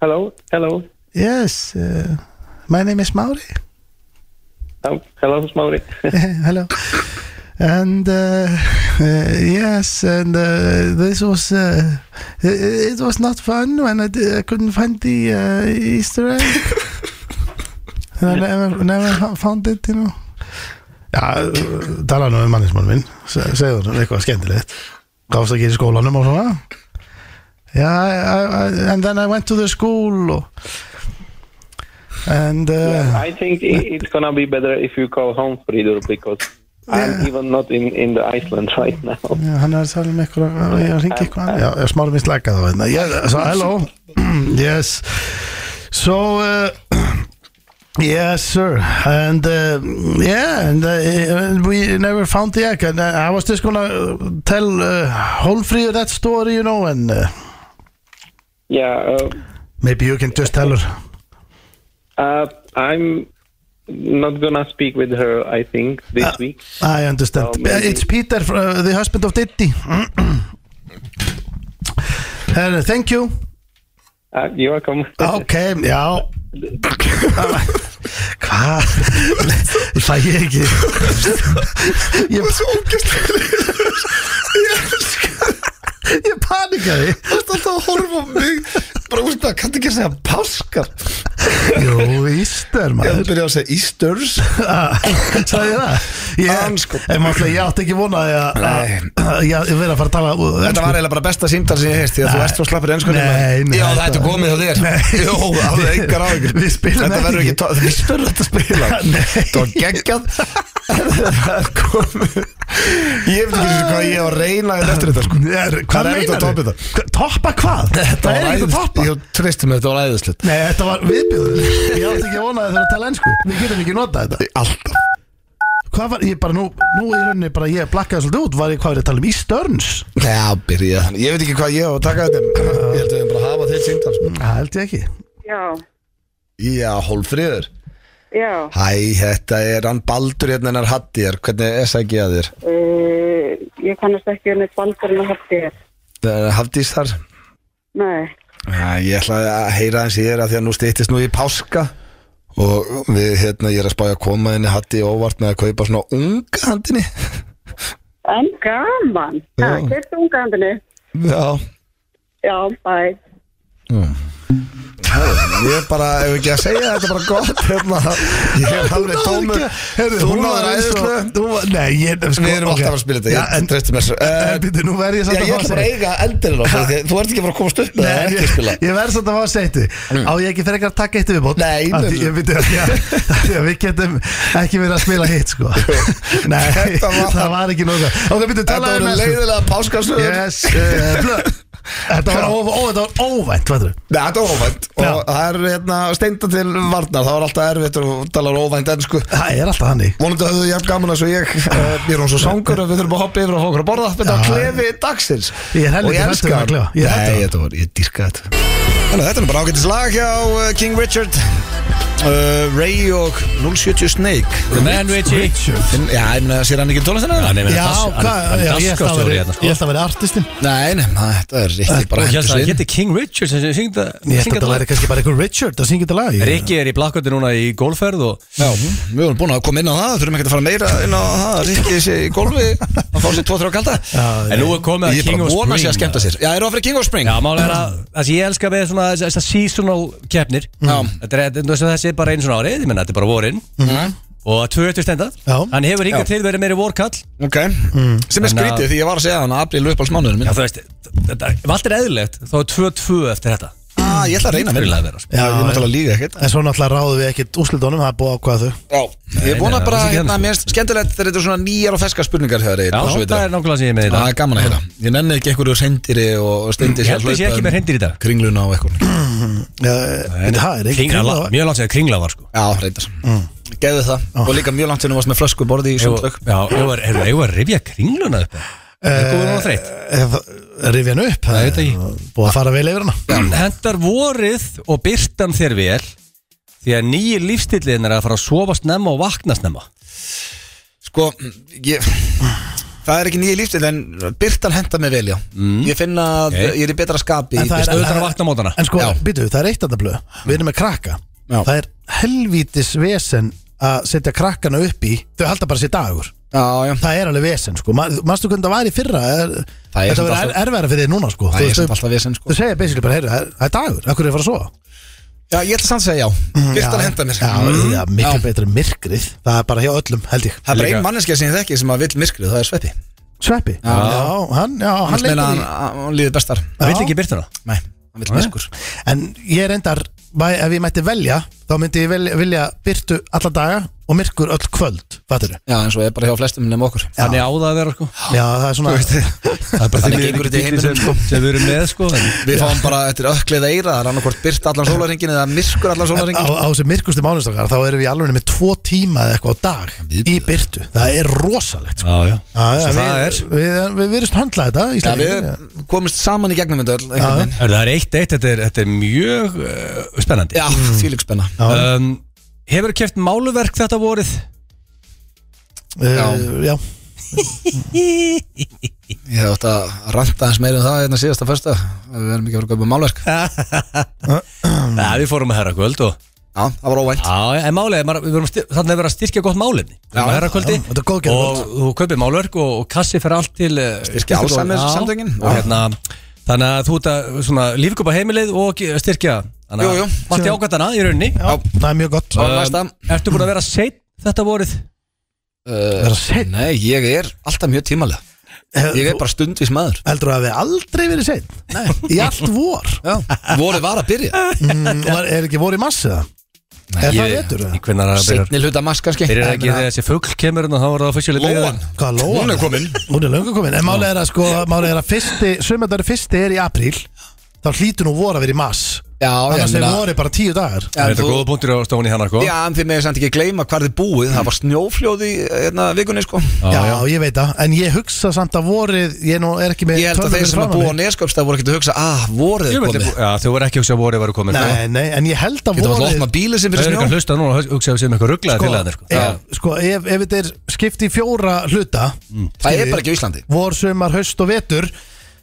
Speaker 6: Hello, hello,
Speaker 2: Yes, uh, my name is Mauri. (laughs)
Speaker 6: oh, hello, Smauri.
Speaker 2: Hello. And uh, uh, yes, and uh, this was uh, it, it was not fun when I, di- I couldn't find the uh, Easter (laughs) egg. and I never, never fo- found it, you know. Já, uh, tala nú um mannismann minn Se- segðu hann eitthvað skemmtilegt gafst ekki í skólanum og svona já, I, I, and then I went to the school og, and (laughs) uh,
Speaker 6: I think i it's gonna be better if you call home, Fridur, because I'm even not in, in the Iceland (laughs) right now.
Speaker 2: Já, hann er að tala um eitthvað, ég ringi eitthvað annað. Já, ég smára mér slaka þá hérna. Yes, so, hello, (clears throat) yes, so, uh, (clears throat) yes, sir, and, uh, yeah, and uh, we never found the egg, and uh, I was just gonna uh, tell uh, Holfríður that story, you know, and uh,
Speaker 6: Yeah, uh,
Speaker 2: maybe you can just tell her.
Speaker 6: Uh, I'm not gonna speak with her. I think this week.
Speaker 2: I understand.
Speaker 6: Oh, maybe.
Speaker 2: It's Peter, uh, the husband of Diddy. (clears throat) Herre, thank you.
Speaker 6: Uh, you're welcome.
Speaker 2: Ok, já Hvað? Fæ ég ekki Ég var svo ógæst Ég panikaði
Speaker 1: Þú ert alltaf að horfa á mig Bara úr það, kanntu ekki að segja páskar
Speaker 2: Jú, Íster
Speaker 1: Ég
Speaker 2: maður
Speaker 1: byrja að segja Easter's
Speaker 2: Sæði ég það?
Speaker 1: sko.
Speaker 2: Ég, en mátlega, ég átti ekki vona að að- að- Ég verið að fara að tala um-
Speaker 1: Þetta var eiginlega bara besta símdal sem ég heist Því að þú
Speaker 2: Nei.
Speaker 1: ert svo slappir ennskunni
Speaker 2: Nei, nei,
Speaker 1: Já,
Speaker 2: þetta-
Speaker 1: þetta er komið á þér Jó, alveg engar á ykkur
Speaker 2: Við spilum
Speaker 1: Þetta
Speaker 2: þetta
Speaker 1: verður
Speaker 2: ekki.
Speaker 1: ekki tó- Við spilum þetta (laughs) spila
Speaker 2: Nei.
Speaker 1: Þetta var geggjað Það er komið Ég veit ekki hvað ég á að reyna þetta eftir þetta sko
Speaker 2: Er,
Speaker 1: Það er erfitt
Speaker 2: hvað
Speaker 1: að
Speaker 2: meinar
Speaker 1: toppa þetta.
Speaker 2: Toppa hvað?
Speaker 1: Þetta
Speaker 2: Það er
Speaker 1: var
Speaker 2: ekki að
Speaker 1: æðislegt
Speaker 2: toppa
Speaker 1: Ég tristum þetta var æðislegt
Speaker 2: Nei, þetta var viðbjöður Ég átti ekki að vona að það er að tala ennsku Við getum ekki notað þetta
Speaker 1: Alltaf
Speaker 2: Hvað var, ég bara nú, nú í rauninni bara ég blakkaði svolítið út, var ég hvað er ég að tala um Ístörns?
Speaker 1: Já, byrja þannig Ég veit ekki hvað ég á að taka þetta Ég held að við bara að hafa þeir símdal sko
Speaker 2: Það held ég ekki.
Speaker 5: Já,
Speaker 1: Já, hólfriður
Speaker 5: já.
Speaker 1: Hæ, þetta er hann Baldur hérna hennar Hattir, hvernig er það ekki að þér?
Speaker 5: e, Uh, ég kannast ekki um eitt baldur með hætti þér.
Speaker 1: Það er Hafdís þar?
Speaker 5: Nei.
Speaker 1: Æ, Ég ætlaði að heyra hans ég er að því að nú stýttist nú í páska og við, hérna, ég er að spája að koma henni hatt í óvart með að kaupa svona unga handinni
Speaker 5: En gaman.
Speaker 1: Já.
Speaker 5: Það, keftu unga handinu.
Speaker 1: Já,
Speaker 5: Já, bæ.
Speaker 1: ég er bara, ef ekki að segja þetta bara gott hérna, ég er alveg tómur
Speaker 2: Heyrðu,
Speaker 1: Þú
Speaker 2: hún var
Speaker 1: náður
Speaker 2: eins og-
Speaker 1: æðislega
Speaker 2: þú var- Nei, ég sko,
Speaker 1: Við erum
Speaker 2: ok.
Speaker 1: alltaf að spila þetta,
Speaker 2: Já,
Speaker 1: ég
Speaker 2: en-
Speaker 1: treysti mér þessu
Speaker 2: En
Speaker 1: Eh,
Speaker 2: býttu, nú verð ég
Speaker 1: Já,
Speaker 2: samt að
Speaker 1: ég
Speaker 2: fá að
Speaker 1: ætla bara að
Speaker 2: segja
Speaker 1: eiga endurinn á þessu, því að Þú ert ekki bara að komast upp með það
Speaker 2: Nei,
Speaker 1: ekki að spila Mm.
Speaker 2: ég, ég verð samt að fá að segja þetta Á ég ekki frekar að taka eitt viðbót
Speaker 1: Nei,
Speaker 2: Af því-
Speaker 1: nei.
Speaker 2: ég veit að því að Við getum ekki verið að spila hitt sko (laughs) Nei,
Speaker 1: Þetta var-
Speaker 2: það var ekki nóga Ok, býttu,
Speaker 1: Þetta
Speaker 2: talaðu
Speaker 1: voru
Speaker 2: næstu
Speaker 1: leiðilega páskasöður
Speaker 2: Yes, eh, blöð. Þetta var óv- ó, þetta var óvænt, veitur
Speaker 1: Nei, þetta var óvænt
Speaker 2: Já.
Speaker 1: og það er hérna, steinda til varnar það var alltaf erfitt og talar óvænt ennsku
Speaker 2: Það er alltaf hannig
Speaker 1: vonandi að þau jafn gaman að svo (laughs) ég uh, ég er hún svo sangur að við þurfum að hoppa yfir og fá okkur að borða þetta
Speaker 2: Já.
Speaker 1: var klefi dagsins
Speaker 2: Ég er helviti
Speaker 1: og ég
Speaker 2: hræddur um
Speaker 1: elska
Speaker 2: að
Speaker 1: hann.
Speaker 2: klefa. Ég er hræddur um
Speaker 1: Nei,
Speaker 2: hann.
Speaker 1: þetta var, ég dýrka þetta Þannig, að þetta er bara ágættis lag hjá uh, King Richard uh, Ray og 070 Snake
Speaker 2: Hm.
Speaker 3: The man Richie
Speaker 1: En- Já, en uh, sér hann ekki tónlistina?
Speaker 3: Hann er meina
Speaker 2: Já,
Speaker 3: das- hann-
Speaker 2: hvað,
Speaker 3: hann er
Speaker 2: já, ég held að
Speaker 3: dagskrárstjóri
Speaker 2: vera-
Speaker 3: hérna, sko.
Speaker 2: ég held að vera artistinn
Speaker 1: Nei, nei, na, þetta er ekki bara
Speaker 3: Og hérna,
Speaker 1: hendur
Speaker 3: Hér
Speaker 1: sinn
Speaker 3: hétti King Richard sem syngd
Speaker 2: Ég held að þetta væri kannski bara einhver Richard að syngja þetta lag Ég-
Speaker 3: Rikki er í blakkvöldi núna í gólferð og
Speaker 1: Já, við vorum búin að koma inn á það, þurfum ekki að fara meira inn á það, Rikki sé í golfi að fá sér 2-3 kalda
Speaker 2: Já,
Speaker 3: En nú er komið að
Speaker 1: Ég
Speaker 3: King
Speaker 1: bara
Speaker 3: of
Speaker 1: vona
Speaker 3: Spring
Speaker 1: sér að skemmta sér Já, er það fyrir King of Spring?
Speaker 3: Já, málega er að það sem ég elska við svona þess- þessar seasonal keppnir
Speaker 2: Mm.
Speaker 1: Já.
Speaker 3: Þetta er- þetta er- þessi er bara einu svona árið, ég menna þetta er bara vorin
Speaker 1: Mhm.
Speaker 3: og að 20 stenda
Speaker 2: Já.
Speaker 3: Hann hefur hingað til verið meiri vorkall
Speaker 1: Ok, sem er
Speaker 3: En, uh,
Speaker 1: skrítið því ég var að segja hann að april uppáls mánuðinu minn
Speaker 3: Já, þú veist, þetta ef allt er eðlilegt þá er 2-2 eftir þetta
Speaker 1: ah, Ég ætla að reyna að vera
Speaker 3: Fyrirlega vera, sko
Speaker 1: Já, ég er náttúrulega líka ekkert
Speaker 2: En svo náttúrulega ráðum við ekkert úrslitunum, það er búið að ákvaða þau
Speaker 1: Já, ég er búin
Speaker 3: nei,
Speaker 1: að bara,
Speaker 3: það er ekki
Speaker 1: hérna,
Speaker 3: þannig.
Speaker 1: mér finnst skemmtilegt þegar þetta er svona nýjar og ferskar spurningar þegar
Speaker 3: Já, það er nákvæmlega sem ég er með í
Speaker 1: Það
Speaker 3: dag
Speaker 1: er gaman að heyra Ég nenni ekki einhverju reyndir og stendir
Speaker 3: Ég held að sé ekki með hreindir í dag
Speaker 1: Kringluna og eitthvað
Speaker 2: En það Eh, er ekki
Speaker 3: Kringla, la- mjög langt sér kringla var sko
Speaker 1: Já, reyndar Geðu það Og líka mjög langt sem þú varst með flösku borði í
Speaker 3: Eigum-
Speaker 1: sundlög
Speaker 3: Já, ég var, heyrðu, ég var að rifja kringluna upp
Speaker 2: Eh,
Speaker 3: Það er góður og þreytt
Speaker 2: Rifja hann upp,
Speaker 3: Nei, ég veit ekki.
Speaker 2: búið að fara vel yfir hana
Speaker 3: (clears throat) Hendar vorið og byrtan þér vel Því að nýjir lífstillin er að fara að sofa snemma og vakna snemma
Speaker 1: Sko, ég Það er ekki nýja lífstil en Byrtan henda mig vel, já Ég finna að
Speaker 3: Mm. Ok.
Speaker 1: ég er í betra skapi í
Speaker 2: En það
Speaker 1: birtu.
Speaker 2: er-
Speaker 3: Auðvitað að vakna á mótana
Speaker 2: En sko,
Speaker 1: Já.
Speaker 2: býtu, það er eitt andan blöð Við erum með krakka
Speaker 1: Já.
Speaker 2: Það er helvítis vesen að setja krakkana upp í Þau halda bara sér dagur
Speaker 1: Já, já
Speaker 2: Það er alveg vesen, sko Ma- Manstu hvernig það var í fyrra er,
Speaker 1: Það er
Speaker 2: Þetta
Speaker 1: samt
Speaker 2: verður
Speaker 1: alltaf-
Speaker 2: alltaf... erfæra fyrir þið núna, sko
Speaker 1: Það
Speaker 2: Þú
Speaker 1: er
Speaker 2: veist,
Speaker 1: samt
Speaker 2: þau-
Speaker 1: alltaf vesen, sko
Speaker 2: Þau segja basically bara, heyrðu, það- það er dagur, akkur er að fara að sofa
Speaker 1: Já, ég ætla samt að segja já Byrtan
Speaker 2: Já.
Speaker 1: henda mér
Speaker 2: Já,
Speaker 1: Mm.
Speaker 2: já, miklu
Speaker 1: Já.
Speaker 2: betra en myrkrið Það er bara hjá öllum, held ég
Speaker 1: Það er bara
Speaker 3: Líka.
Speaker 1: ein manneskja sem ég þekki sem að vill myrkrið, það er Sveppi
Speaker 2: Sveppi, já, hann, já, hann
Speaker 1: Hann meina
Speaker 2: leikur
Speaker 1: hann,
Speaker 2: í
Speaker 1: hann líður bestar
Speaker 3: Það vill ekki byrtana
Speaker 1: Nei, hann vill myrkur
Speaker 2: En ég er endar, ef ég mætti velja Þá myndi ég velja, vilja byrtu alla daga Og myrkur öll kvöld, fattur
Speaker 1: Já, eins og er bara hjá flestum nefn okkur
Speaker 3: Þannig á það að vera sko
Speaker 2: Já, það er svona
Speaker 3: Það er bara
Speaker 1: Þannig
Speaker 3: því miður
Speaker 1: gengur
Speaker 3: ekki
Speaker 1: þetta í
Speaker 3: bíllinn sem,
Speaker 1: heiminum,
Speaker 3: sem við erum með sko en,
Speaker 1: Við fáum bara, þetta er öklið eira Það er annarkvort byrt allan sólaringin eða myrkur allan
Speaker 2: Á,
Speaker 1: sólaringin
Speaker 2: á þessi myrkustu mánuðstakar Þá erum við alveg með tvo tíma eða eitthvað á dag Í byrtu, það er rosalegt sko.
Speaker 3: Já, já
Speaker 2: já, já,
Speaker 3: Svo
Speaker 2: við,
Speaker 3: það
Speaker 2: Við,
Speaker 3: er
Speaker 2: við, við erum höndla þetta í
Speaker 1: Já,
Speaker 2: Íslandi
Speaker 1: við komumst saman í gegnum þetta öll einhvern veginn.
Speaker 3: Hörðu, Það er eitt eitt, þetta er, þetta er mjög uh, spennandi
Speaker 1: Já, þvílík spenna
Speaker 3: um, Hefur keft máluverk þetta vorið?
Speaker 2: uh, já.
Speaker 1: Ég hef átt að ranta eins meira um það hérna síðasta fyrsta Við erum ekki að vera að kaupa málverk Já,
Speaker 3: Nei, við fórum að herra kvöld og
Speaker 1: það var óvænt
Speaker 3: Já, en málið, er, maður- við vorum styr- þannig að vera að styrkja gott málefni
Speaker 1: Já,
Speaker 3: Það er að kvöldi
Speaker 2: já, þetta er góðgerðarkvöld.
Speaker 3: Og þú kaupir málverk og, og kassi fyrir allt til eh,
Speaker 1: Styrkja
Speaker 3: styrkja-
Speaker 1: Alzheimer
Speaker 3: Já.
Speaker 1: samtökin.
Speaker 3: Og hérna, þannig að þú ert að svona, lífkupa heimilið og ge- styrkja Þannig
Speaker 1: Jú, jú.
Speaker 3: að Matti ágætana í rauninni
Speaker 2: Já, það er mjög gott
Speaker 1: Já.
Speaker 2: Það
Speaker 1: Og
Speaker 3: Um,
Speaker 1: næsta.
Speaker 3: Ertu búin að vera seitt þetta vorið?
Speaker 2: er að segja
Speaker 1: Nei, ég er alltaf mjög tímalega Ég er bara stundvis maður
Speaker 2: Eh, Heldur að við aldrei verið seinn? Nei Í allt vor
Speaker 1: Já, voru var að byrja
Speaker 2: mm, var, Er ekki vor í massi það? Er það vetur það?
Speaker 3: Hvernig að byrja
Speaker 1: Setni hluta mask kannski uh,
Speaker 3: Byrjar ekki þegar þessi fugl kemur og þá var það officially
Speaker 1: Lóan
Speaker 2: Hvað lóa?
Speaker 1: Hún er komin
Speaker 2: Hún er löngu komin En málið er að sko Málið er að fyrsti Sumendari fyrsti er í apríl Þá hlýtur nú vor að vera í mass
Speaker 1: Já, ég
Speaker 2: Annars er
Speaker 1: meina
Speaker 2: vor bara tíu dagar
Speaker 1: en
Speaker 3: Þetta er
Speaker 1: þú-
Speaker 3: góða punktur á stóni hann sko.
Speaker 1: Já, en þið með samt ekki gleyma hvar þið búið Það var snjófljóð í hérna, vikunni sko
Speaker 3: Já,
Speaker 2: Já,
Speaker 3: já.
Speaker 2: ég veit það En ég hugsa samt að vorið Ég nú er ekki með
Speaker 1: Ég held að
Speaker 2: tölvur
Speaker 1: þeir sem
Speaker 2: fyrir
Speaker 1: að búa á
Speaker 2: framan mig.
Speaker 1: Nesköpstað voru ekkert að hugsa Ah, voruð
Speaker 3: Ég
Speaker 1: er
Speaker 3: veit
Speaker 1: komið
Speaker 3: að- já, Þú verður ekki að hugsa að vorið var komin sko.
Speaker 2: Nei, nei, en ég held að
Speaker 1: Getum við að
Speaker 2: vorið
Speaker 1: opna bíli sem
Speaker 3: Það
Speaker 1: fyrir
Speaker 3: er ekki að
Speaker 1: snjó
Speaker 3: hlusta núna og hugsa að við séum eitthvað rugglaði til það
Speaker 2: Sko, ef, sko ef, ef þetta er skipt í fjóra hluta
Speaker 1: Það er bara ekki á Íslandi
Speaker 2: Vor, sumar, haust og vetur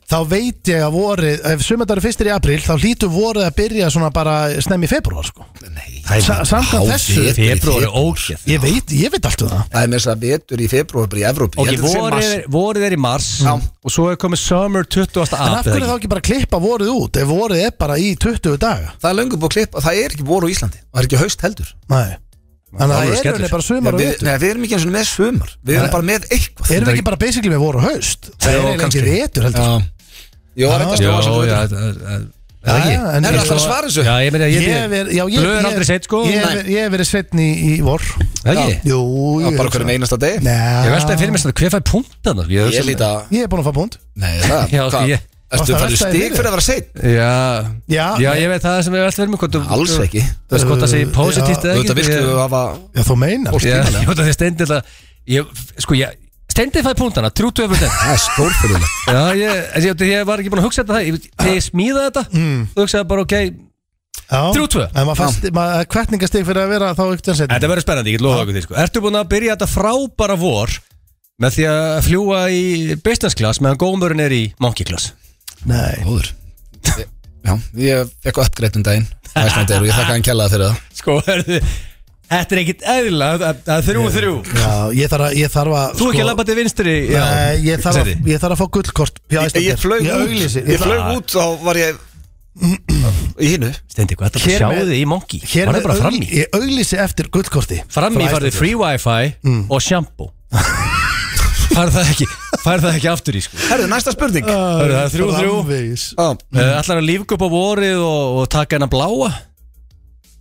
Speaker 2: þá veit ég að vorið, ef sumendar er fyrstir í apríl, þá hlýtur vorið að byrja svona bara snemmi í februar, sko.
Speaker 7: Nei,
Speaker 2: Sa- Samkvæmt
Speaker 7: Já,
Speaker 2: þessu,
Speaker 7: við-
Speaker 3: Februar er ógeð
Speaker 2: ég veit, ég veit allt um það.
Speaker 1: Það er með þess að vetur í februar bara í Evrópi
Speaker 3: Ok, vorið er, vorið er í mars Og svo er komið summer
Speaker 2: En
Speaker 3: 20.
Speaker 2: af
Speaker 3: apríl
Speaker 2: hverju þá ekki bara klippa vorið út, ef vorið er bara í 20 daga?
Speaker 1: Það er löngu búið að klippa, það er ekki voru á Íslandi og það er ekki haust heldur
Speaker 2: Nei. Þannig að það
Speaker 3: Alvöru
Speaker 2: er
Speaker 3: skellur.
Speaker 2: rauninni bara
Speaker 1: Nei,
Speaker 2: sumar og
Speaker 1: við,
Speaker 2: vetur.
Speaker 1: nei, við erum ekki eins og með sumar Við erum bara með eitthvað
Speaker 2: Erum við ekki bara basically með voru og haust? Það
Speaker 3: Jú,
Speaker 2: er eiginlega ekki
Speaker 3: kannski.
Speaker 2: vetur, heldur.
Speaker 1: Jó, það er
Speaker 3: Jó,
Speaker 1: eitthvað stóð
Speaker 3: já,
Speaker 1: að
Speaker 3: það er- það er- það er
Speaker 2: Já,
Speaker 3: ekki
Speaker 2: en-
Speaker 3: Ég
Speaker 1: Herra,
Speaker 3: sko-
Speaker 1: ætlarðu að svara þessu?
Speaker 3: Já, ég meina,
Speaker 2: Ég
Speaker 3: ég
Speaker 2: hef verið, já, ég,
Speaker 3: Blöð er aldrei seitt, sko
Speaker 2: ég hef
Speaker 3: Nei.
Speaker 2: verið- ég hef verið sveitn í, í vor
Speaker 3: Það er ekki
Speaker 2: Jú, ég
Speaker 1: Bara hverjum einasta deg
Speaker 3: Ég
Speaker 2: Nei,
Speaker 3: veltaði fyrir mér svona, hver fær punktana?
Speaker 1: Ég líta
Speaker 2: ég er búin að fá búnd
Speaker 1: Nei, það
Speaker 3: um (laughs) Já,
Speaker 1: hvað?
Speaker 3: ég-
Speaker 1: Ertu
Speaker 2: Það
Speaker 1: að fara í
Speaker 2: veltaði
Speaker 1: stig
Speaker 2: fyrir.
Speaker 1: fyrir að vera seitt?
Speaker 3: Já,
Speaker 2: Já,
Speaker 3: já, Ah, ég veit það sem ég veltaði fyrir mér hvort þú-
Speaker 1: Alls ekki
Speaker 3: Það er skott að segja
Speaker 2: Uh,
Speaker 3: positíft
Speaker 2: já.
Speaker 3: eða
Speaker 1: Þú veit
Speaker 3: ekki
Speaker 1: að viltu
Speaker 3: Ég-
Speaker 1: hafa
Speaker 2: já, þú meinar
Speaker 3: Já, ég veit að þið steindið Ég, sko, ég Steindið fæði punktana, 30% (laughs)
Speaker 1: Það er stórfyrðulegt
Speaker 3: Já, ég, en ég, ég var ekki búin að hugsa þetta Ég- Þegar ég smíðaði þetta, þú hugsaði bara, ok Mm. Þrjú tvö.
Speaker 2: En maður fannst, maður kvetningastig fyrir að vera þá ekkert en setjum
Speaker 3: Þetta verður spennandi, ég get lofa okkur því sko. Ertu búin að byrja þetta frábara vor með því að fljúa í business class meðan gómurinn er í monkey class
Speaker 2: Nei,
Speaker 1: Góður Ég- Já, ég fekk uppgreitt um daginn Það er snöndir og ég þakka hann kjallaði fyrir það
Speaker 3: Sko, herðu, þetta er ekkit eðla það er þrjú og þrjú
Speaker 2: já, ég þarf að, ég þarf að
Speaker 3: Þú
Speaker 2: sko,
Speaker 3: ekki að labba til vinstri já.
Speaker 2: Nei, ég þarf að,
Speaker 3: Seti.
Speaker 2: ég þarf að fá gullkort hjá
Speaker 1: Ég,
Speaker 2: Icelandair.
Speaker 1: ég flög
Speaker 2: Ég
Speaker 1: út
Speaker 2: auglýsi,
Speaker 1: Ég flög út og var ég Í hinnu
Speaker 3: Steindi, hvað er
Speaker 2: Hér
Speaker 3: þetta að
Speaker 2: með-
Speaker 3: sjá þið í monkey?
Speaker 2: Hér
Speaker 3: Var
Speaker 2: er
Speaker 3: það bara fram í?
Speaker 2: Ég auglýsi eftir gullkorti
Speaker 3: Fram í
Speaker 2: frá Icelandair.
Speaker 3: farið free wifi
Speaker 2: Mm.
Speaker 3: og shampoo Farð það ekki Farð það ekki aftur í sko
Speaker 1: Herðu, næsta spurning
Speaker 3: Hörðu, það er þrjú, þrjú.
Speaker 2: Framvegis.
Speaker 1: Ó,
Speaker 3: Uh, Ætlar að lífgu upp á vorið og, og taka hennar bláa?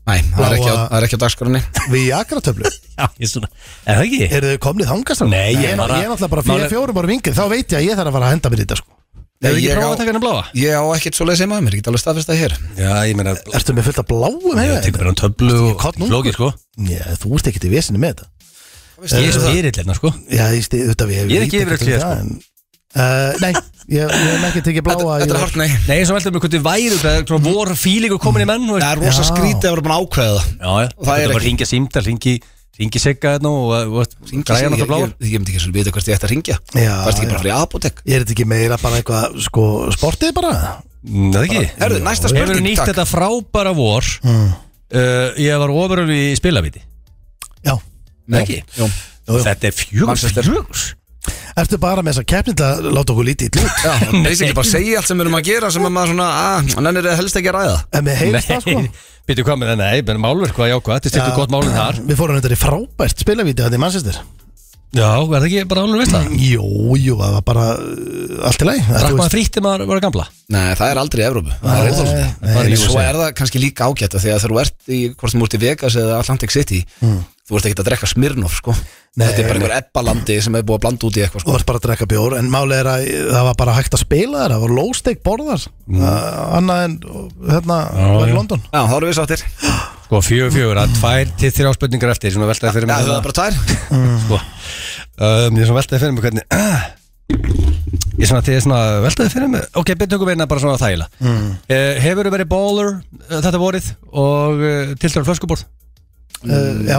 Speaker 1: Nei, það er ekki á-
Speaker 2: Bláa-
Speaker 1: það er ekki á dagskránni
Speaker 2: Við jakratöflu
Speaker 3: Já, ég svona Er það ekki?
Speaker 2: Eru þau komnið þangast?
Speaker 3: Nei, ég
Speaker 2: ég er
Speaker 3: bara-
Speaker 2: náttúrulega bara fyrir
Speaker 3: Máli-
Speaker 2: fjórum ára vingið Þá veit ég að ég þarf að fara að henda mér í þetta sko.
Speaker 3: Hefur ekki
Speaker 1: Ég
Speaker 3: prófað
Speaker 1: á-
Speaker 3: að taka hennar bláa?
Speaker 1: Ég á ekkert svo leiðis heimaðum, ég get alveg staðfest það hér
Speaker 3: Já, ég meina
Speaker 2: Ertu með fullt af bláum
Speaker 3: Ég
Speaker 2: heima?
Speaker 3: tekur bara um töflu
Speaker 2: Ertu ekki
Speaker 3: og
Speaker 2: kornungur?
Speaker 3: flókið sko
Speaker 2: Já, þú ert ekkert í vesinu með þetta
Speaker 3: Ég er spyrill hérna sko
Speaker 2: Já, ég stið auðvitað við
Speaker 3: Ég er ekki yfirleitt hlýða, sko.
Speaker 2: uh, Nei, ég, ég hef ekki tekið bláa
Speaker 1: Þetta er
Speaker 2: ég-
Speaker 1: hort nei
Speaker 3: Nei, eins og veltum við hvernig væri Það er svona vor fílingur komin í menn þú
Speaker 1: Það
Speaker 3: veist.
Speaker 1: er rosa
Speaker 2: Já.
Speaker 1: skrítið að vera búin að ákveða það
Speaker 3: Já, já
Speaker 1: það er
Speaker 3: Þetta bara
Speaker 1: ekki.
Speaker 3: ringja símdal, ringi Ringi segga hérna og uh, þú veist, græja
Speaker 1: Ég-
Speaker 3: hann á bláa
Speaker 1: Ég ég myndi ekki svona vita hvert ég ætti að ringja
Speaker 2: Já,
Speaker 1: Það er ekki
Speaker 2: já.
Speaker 1: bara að fara í apotek
Speaker 2: Ég er þetta ekki meira bara eitthvað sko, sportið bara
Speaker 3: Mm, Það er ekki
Speaker 1: Herðu, næsta
Speaker 3: Hefur
Speaker 1: spurning,
Speaker 3: nýtt
Speaker 1: takk
Speaker 3: þetta frábæra vor Uh, Ég var ofuröf í spilaviti
Speaker 2: Já,
Speaker 3: Það ekki
Speaker 1: Jú.
Speaker 2: jú.
Speaker 3: Þetta er fjögur
Speaker 1: Manchester.
Speaker 3: Fjögur
Speaker 2: ertu bara með þessa keppni til að láta okkur lítið í lút
Speaker 1: Já, og basically bara segja allt sem við erum að gera sem að maður svona, að, hann er helst ekki að ræða
Speaker 2: En við heyrst það sko
Speaker 3: Nei, býttu hvað með það, nei, menn málverk var jákvæð, þetta
Speaker 2: Já.
Speaker 3: styrtu gott málinn þar
Speaker 2: Við fórum þetta í frábært spilavíti Þetta í mannsistir
Speaker 3: Já, er það ekki bara alveg veist það?
Speaker 2: Jú, jú, það var bara uh, allt í læg
Speaker 3: Drakk maður frítt þegar maður var gamla?
Speaker 1: Nei, það er aldrei í Evrópu Það er óþólandi
Speaker 3: nei,
Speaker 1: En
Speaker 3: nei,
Speaker 1: Svo
Speaker 3: nei.
Speaker 1: er það kannski líka ágætt af því að þegar þú ert í, hvort sem þú ert í Vegas eða Atlantic City Þú ert ekki að drekka Smirnoff, sko
Speaker 2: Nei,
Speaker 1: Þetta er bara einhver ebbalandi sem er búið að blanda út í eitthvað,
Speaker 2: Þú
Speaker 1: sko
Speaker 2: vart bara að drekka bjór En málið er að það var bara hægt að spila þér Það var lósteik borðar mm. Annað en hérna var í
Speaker 3: já.
Speaker 2: London
Speaker 1: Já, þá erum við sáttir Já,
Speaker 3: Sko, fjögur, fjögur, að tvær til þrjá spurningar eftir, svona veltaði fyrir mig
Speaker 1: það er bara tvær
Speaker 3: bara Sko, um, ég svona veltaði fyrir mig hvernig Ég svona, þegar ég svona veltaði fyrir mig Ok, byrjum tökum við eina bara svona þægilega mm. Hefur verið bowler uh, þetta vorið og uh, tiltölu flöskuborð?
Speaker 2: uh, Já,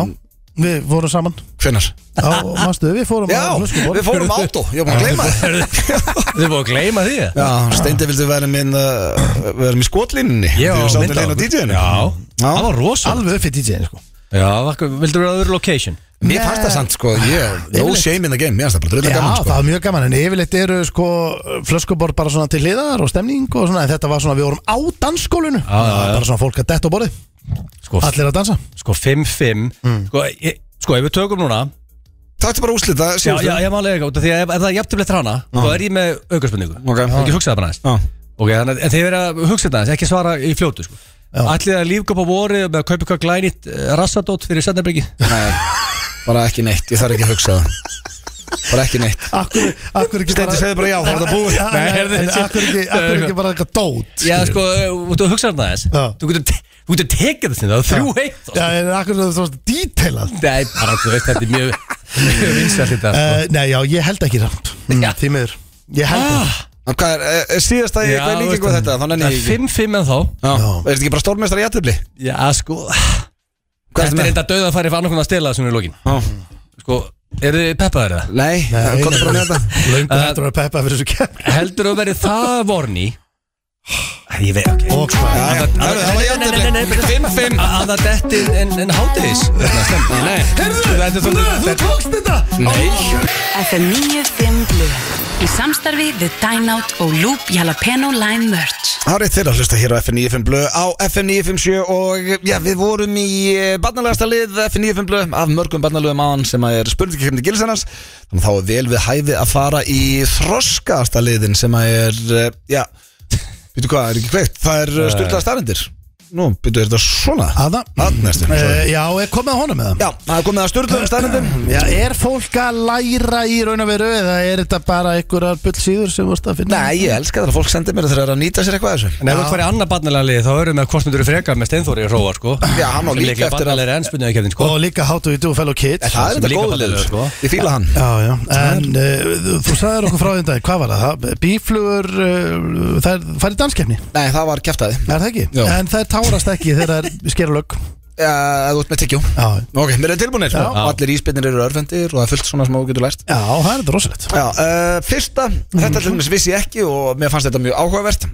Speaker 2: við fórum saman
Speaker 1: Hvenær?
Speaker 2: Já, manstu, við fórum
Speaker 1: Já,
Speaker 2: á flöskuborð
Speaker 1: við fórum á átó, ég var búin að gleyma það
Speaker 3: Þið búið að gleyma því það?
Speaker 1: Já, Steindi vildi vera minn uh, vera minn skotlínunni
Speaker 3: Já,
Speaker 1: sáttir
Speaker 3: mynd á-
Speaker 1: leina á DJ-inu
Speaker 3: Já, það var rosa
Speaker 2: Alveg upp í DJ-in sko
Speaker 3: Já, vakku- vildu vera á öðru location?
Speaker 1: Mér fannst það samt sko, ég, no
Speaker 2: Yfirleitt.
Speaker 1: shame in the game, mér fannst það bara dröðlega
Speaker 2: Já,
Speaker 1: gaman sko
Speaker 2: það var mjög gaman, en yfirleitt eru sko flöskuborð bara svona til hliðar og stemning og svona, en þetta var svona, við vorum á dansskólinu
Speaker 3: Já, já, já.
Speaker 2: bara svona fólk að detta á borði,
Speaker 3: Sko,
Speaker 2: allir að dansa
Speaker 3: sko 5-5 sko, ég- sko, ef við tökum núna
Speaker 1: Takk bara úslit, það
Speaker 3: Já, já,
Speaker 1: síðustu
Speaker 3: ég málega ekki út af því að ef, ef það er jafntöflið trana þá er ég með aukarspurningu
Speaker 1: Ok.
Speaker 3: Það er ekki hugsað það bara næst
Speaker 1: Já.
Speaker 3: Ok, þannig að en þið verið að hugsa þetta aðeins, ekki svara í fljótu sko. Ætlið að lífgöp á voru með að kaupa eitthvað glænýtt eh, rassadót fyrir Sennarbyggi
Speaker 1: Nei, bara ekki neitt, ég þarf ekki að hugsa það Bara ekki neitt
Speaker 2: Akkur, akkur ekki bara
Speaker 1: Steindi segði bara já, þá er þetta
Speaker 3: (laughs)
Speaker 1: búið
Speaker 2: Já,
Speaker 3: Nei,
Speaker 2: en- en
Speaker 3: þessi-
Speaker 2: Akkur ekki, akkur ekki bara eitthvað dót
Speaker 3: Já, sko, eh, þú ert að hugsa þetta aðeins
Speaker 2: Já.
Speaker 3: Þú getur, te- þú getur tekið þetta sinna, það er þrjú sko. heitt
Speaker 2: Já, en akkur er það svona dítelað
Speaker 3: Nei, bara þú veist, þetta er mjög, mjög vinsælt þetta sko.
Speaker 2: Uh, nei, já, ég held ekki samt mm,
Speaker 3: Já.
Speaker 2: Því miður Ég held
Speaker 3: Ah,
Speaker 2: ekki
Speaker 1: En Hvað er, eh, síðasta, ég- hvað er
Speaker 3: þú
Speaker 1: líkingu
Speaker 3: veist,
Speaker 1: á þetta, þannig
Speaker 3: það
Speaker 1: að
Speaker 3: er
Speaker 1: ég ekki
Speaker 3: 5-5 en þá
Speaker 1: Já, er þetta ekki bara stórmestari í aðtöfli?
Speaker 3: Já, sko (sighs)
Speaker 1: Hvað
Speaker 3: Þetta er
Speaker 1: er þetta með?
Speaker 3: enda döð að fara í fann okkur að stela þessum í lokin
Speaker 1: Já.
Speaker 3: Sko, Er þið peppaður það?
Speaker 4: Nei,
Speaker 2: Nei,
Speaker 4: komdu bara
Speaker 2: nei.
Speaker 4: með þetta
Speaker 2: Löngu
Speaker 3: Uh,
Speaker 2: hættur að peppa fyrir þessu kepp
Speaker 3: Heldur þú verið það vorni? Ég veit, ok
Speaker 2: Og hvað?
Speaker 1: Það var játefni
Speaker 3: 5-5 að það detti en, en hátis Nei, þetta er
Speaker 2: Heyrðu,
Speaker 3: svolítið
Speaker 2: þú
Speaker 3: þetta-
Speaker 2: tókst þetta
Speaker 3: Nei,
Speaker 8: FM 95 Blu Í samstarfi við Dine Out og Loop Jalapeno Lime Merch
Speaker 1: Hárið þeirra að hlusta hér á FM 95 blöð á FM 957 og já, við vorum í eh, barnalegasta lið FM 95 blöð af mörgum barnalegum án sem að er spurningakefni gilsennars þannig að þá er vel við hæfi að fara í þroskaasta liðin sem að er eh, já, býtu hvað, er ekki kveikt það er styrlaða starindir nú, býtu, er þetta svona?
Speaker 2: Aða?
Speaker 1: Aðnæstum,
Speaker 2: Eh,
Speaker 1: sorry.
Speaker 2: Já, er komið að honum með það?
Speaker 1: Já, það er komið að um styrlaðum starindum
Speaker 2: Já, er fólk að læra í raun og veru eða er þetta bara einhverjar bullsýður sem vorst að finna?
Speaker 1: Nei, ég elska það að fólk sendir mér þegar það er að nýta sér eitthvað af þessu
Speaker 3: En ef þú farið annað barnalega lið þá erum við að hvort myndur þú frekar með Steinþóri að róa sko
Speaker 1: Já, hann á líka eftir að-
Speaker 3: barnalega er ennspunnið ekki sko
Speaker 2: Og líka How Do You Do Fellow Kids
Speaker 1: En það er
Speaker 3: sem
Speaker 1: þetta
Speaker 3: líka
Speaker 1: góð liður,
Speaker 3: barnalegur, sko.
Speaker 1: ég fíla hann
Speaker 2: Já, já, en uh, þú sagðir okkur frá þeim dag, hvað var það? það? Bíflugur, uh, það er farið danskefni,
Speaker 1: Nei, það var kjæftæði,
Speaker 2: er það ekki?
Speaker 1: Já.
Speaker 2: En það er tárast ekki þegar það er skera lögg
Speaker 1: þú ert með tyggjó
Speaker 2: Já,
Speaker 1: Ok, mér er tilbúinir
Speaker 2: Já.
Speaker 1: og allir íspinnir eru örfendir og það er fullt svona sem þú getur lært
Speaker 2: já, það er þetta rosalegt
Speaker 1: Já, uh, fyrsta, þetta til dæmis vissi ég ekki og mér fannst þetta mjög áhugavert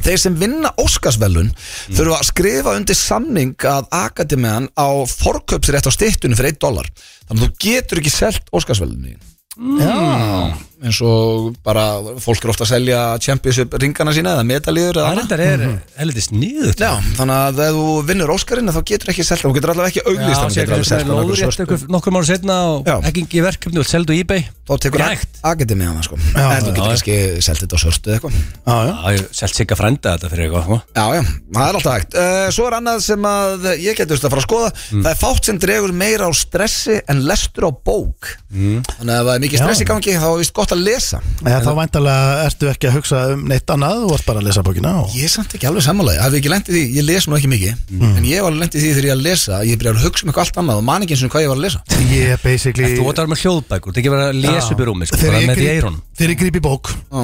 Speaker 1: Þeir sem vinna Óskarsvelun þurfa að skrifa undir samning að Akademiðan á forköpsrétt á styttunum fyrir 1 dólar Þannig að þú getur ekki selt Óskarsvelunin Mm.
Speaker 2: Já,
Speaker 1: eins og bara fólk er ofta að selja championship ringana sína eða medalíður eða
Speaker 3: Það
Speaker 1: annað
Speaker 3: reyndar er heldur sniðut
Speaker 1: Já, þannig að ef þú vinnur Óskarinn þá getur ekki selt, þú getur allavega ekki auglýst hann, þú getur alveg selt hann einhverju svörtu.
Speaker 3: Nokkur mánu setna
Speaker 1: Já.
Speaker 3: og ekki í verkefni og seldu í ebay
Speaker 1: þá tekur
Speaker 3: Grægt.
Speaker 1: Akademi hana sko
Speaker 2: Já,
Speaker 1: en þú
Speaker 3: já,
Speaker 1: getur
Speaker 3: já.
Speaker 1: kannski selgt þetta á svörtu eða eitthvað
Speaker 2: já, já
Speaker 3: Já, ég selt sigga frænda þetta fyrir eitthvað sko.
Speaker 1: já, já, það er alltaf hægt uh, svo er annað sem að ég getur þetta að fara að skoða það er fátt sem dregur meira á stressi en lestur á bók þannig að ef það er mikið stress
Speaker 2: Já.
Speaker 1: í gangi þá er vist gott að lesa
Speaker 2: Já, þá væntalega ertu ekki að hugsa um neitt annað, þú ert bara að lesa bókina og...
Speaker 1: ég er samt ekki alveg sammálaði, hafði ekki lendið því ég les nú ekki mikið, en ég var lendið því þegar ég að lesa að ég byrjaði að hugsa um eitthvað allt annað og man ekki eins og hvað ég var að lesa
Speaker 2: Ég er basically...
Speaker 3: Þú ótar með hljóðbækur, þetta ekki verið að lesa upp í rúmi sko,
Speaker 2: Þegar
Speaker 3: bara
Speaker 2: ég
Speaker 3: með því
Speaker 2: gríp-
Speaker 3: eirun
Speaker 2: Þegar ég gríp í bók,
Speaker 1: Já.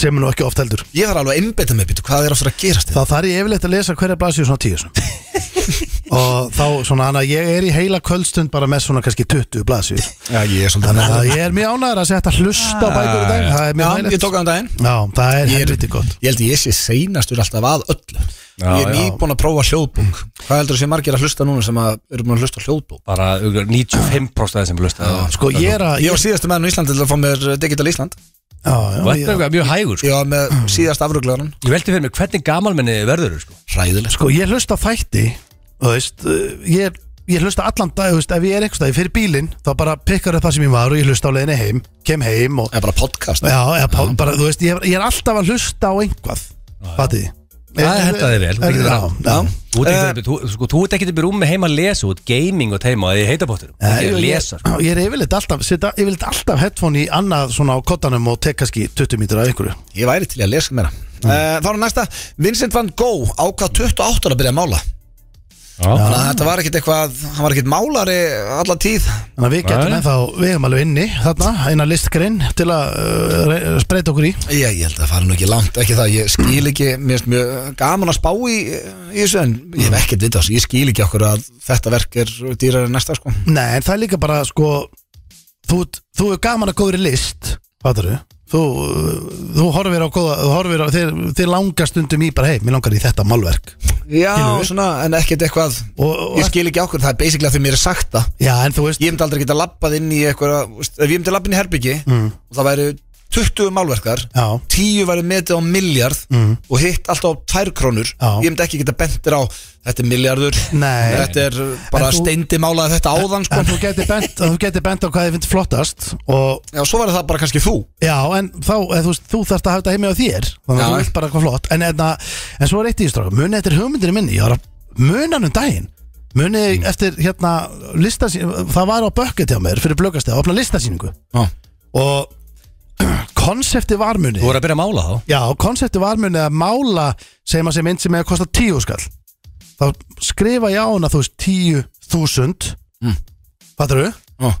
Speaker 2: sem er nú ekki oft heldur
Speaker 1: ég þarf alveg að einbeita mig, býtu, hvað er aftur að gerast
Speaker 2: Þá þarf ég yfirleitt að lesa hverja blaðsíu svona tíu svona.
Speaker 1: (laughs)
Speaker 2: Og þá svona hana, Ég er í heila kvöldstund bara með svona kannski 20 blaðsíu
Speaker 1: já, ég er svolítið
Speaker 2: Þannig að ég er mjög ánæður að setja hlusta á bækur í dag Það er mjög
Speaker 1: Ah. já, ég
Speaker 2: hægilegt
Speaker 1: tók að hann daginn
Speaker 2: Já, það
Speaker 1: Ég
Speaker 2: er
Speaker 1: er-
Speaker 2: helviti gott
Speaker 1: Ég held að ég sé seinastur alltaf að öllu Ég er
Speaker 3: já.
Speaker 1: nýbúin að prófa hljóðbók Hvað heldur þú sé margir að hlusta núna sem að eru búin að hlusta á hljóðbók?
Speaker 3: Bara 95% af þeim sem lusta
Speaker 2: Sko ég er að
Speaker 1: Ég var síðastu meðan á Íslandi til að fá mér eh, Digital Ísland
Speaker 2: já, já,
Speaker 3: Þetta er
Speaker 2: ég,
Speaker 3: eitthvað mjög hægur sko.
Speaker 1: Ég var með síðast afruglegaran
Speaker 3: Ég veldi fyrir mig hvernig gamalmenni verður sko.
Speaker 1: Ræðileg
Speaker 2: Sko ég hlusta á þætti Þú veist uh, Ég, ég hlusta allan dag þú veist, Ef ég er einhverstað fyrir bílinn Þá bara pikkar upp það sem ég var og ég hlusta á leiðinni heim Kem heim og
Speaker 1: Það er bara podcast
Speaker 2: Já, já, pá- bara, þú veist, ég er, ég er alltaf að hlusta á einhvað Fatið
Speaker 3: Það hendaði vel, þú getur
Speaker 2: Já,
Speaker 3: það.
Speaker 2: já Eh.
Speaker 3: Þú ert ekkert upp í- þú- sko, þú ert ekkert upp í rúmi heima að lesa út gaming og teima að ég heita bóttur
Speaker 2: Nei,
Speaker 3: ég
Speaker 2: Eh, ég-
Speaker 3: lesa sko.
Speaker 2: Ég er yfirleitt alltaf, setja yfirleitt alltaf headphone í annað svona á kottanum og tek kannski 20 mítur af einhverju
Speaker 1: Ég væri til í að lesa meira Eh, Þá er næsta Vincent van Gogh ákvað 28 ára að byrja að mála Þannig að þetta var ekkit eitthvað Hann var ekkit málari alla tíð
Speaker 2: Þannig að við getum
Speaker 3: Nei.
Speaker 2: ennþá, við erum alveg inni þarna, eina listgrein til að uh, re- spreita okkur í
Speaker 1: Ég, ég held að það fara nú ekki langt Ekki það, ég skil ekki Mér finnst mjög gaman að spá í, í þessu En ég
Speaker 2: Mm.
Speaker 1: hef ekkert vita þessu Ég skil ekki okkur að þetta verk er dýrar en næsta sko
Speaker 2: Nei, en það er líka bara sko þú, ert- þú er gaman að góðri list Fattar þú? Þú, uh, þú horfir á góða, þú horfir á þeir, þeir langar stundum í bara, hei, mér langar í þetta málverk
Speaker 1: Já,
Speaker 2: Skilurðu?
Speaker 1: svona, en ekkert eitthvað
Speaker 2: og, og,
Speaker 1: Ég skil ekki ákvörð, það er basically að því mér er sagt það
Speaker 2: Já, en þú veist
Speaker 1: Ég myndi aldrei geta labbað inn í eitthvað veist, Ef ég myndi labba inn í herbyggi Og það væri 20 málverkar
Speaker 2: Mm. Já, Mm.
Speaker 1: 10 væri metið á miljard Og hitt alltaf á 2 krónur
Speaker 2: Já.
Speaker 1: Ég myndi ekki geta bentir á Þetta er miljardur
Speaker 2: Nei.
Speaker 1: Þetta er bara
Speaker 2: En þú-
Speaker 1: steindi málaði þetta áðan sko.
Speaker 2: en þú getur bent, þú getur bent á hvað þið finnst flottast og
Speaker 1: Já, svo væri það bara kannski þú
Speaker 2: Já, en þá, eða, þú, veist, þú þarft að hafa þetta heimi á þér Þannig
Speaker 1: Já.
Speaker 2: að þú vilt bara eitthvað flott En, en, en svo er eitt í stráka, munið eftir hugmyndir minni Ég var að muna hann um daginn Munið
Speaker 1: Mm.
Speaker 2: eftir hérna listasýn, Það var á bökkut hjá mér fyrir blökastega Opna listasýningu
Speaker 1: Já.
Speaker 2: Og (clears throat) konsepti var munið
Speaker 3: Þú voru að byrja að mála þá
Speaker 2: Já, konsepti var munið að mála Segjum að sem mynd sem er að kosta tíu skall Þá skrifa ég á hana Þú veist, tíu þúsund
Speaker 9: Mm.
Speaker 2: Fattar
Speaker 1: Já.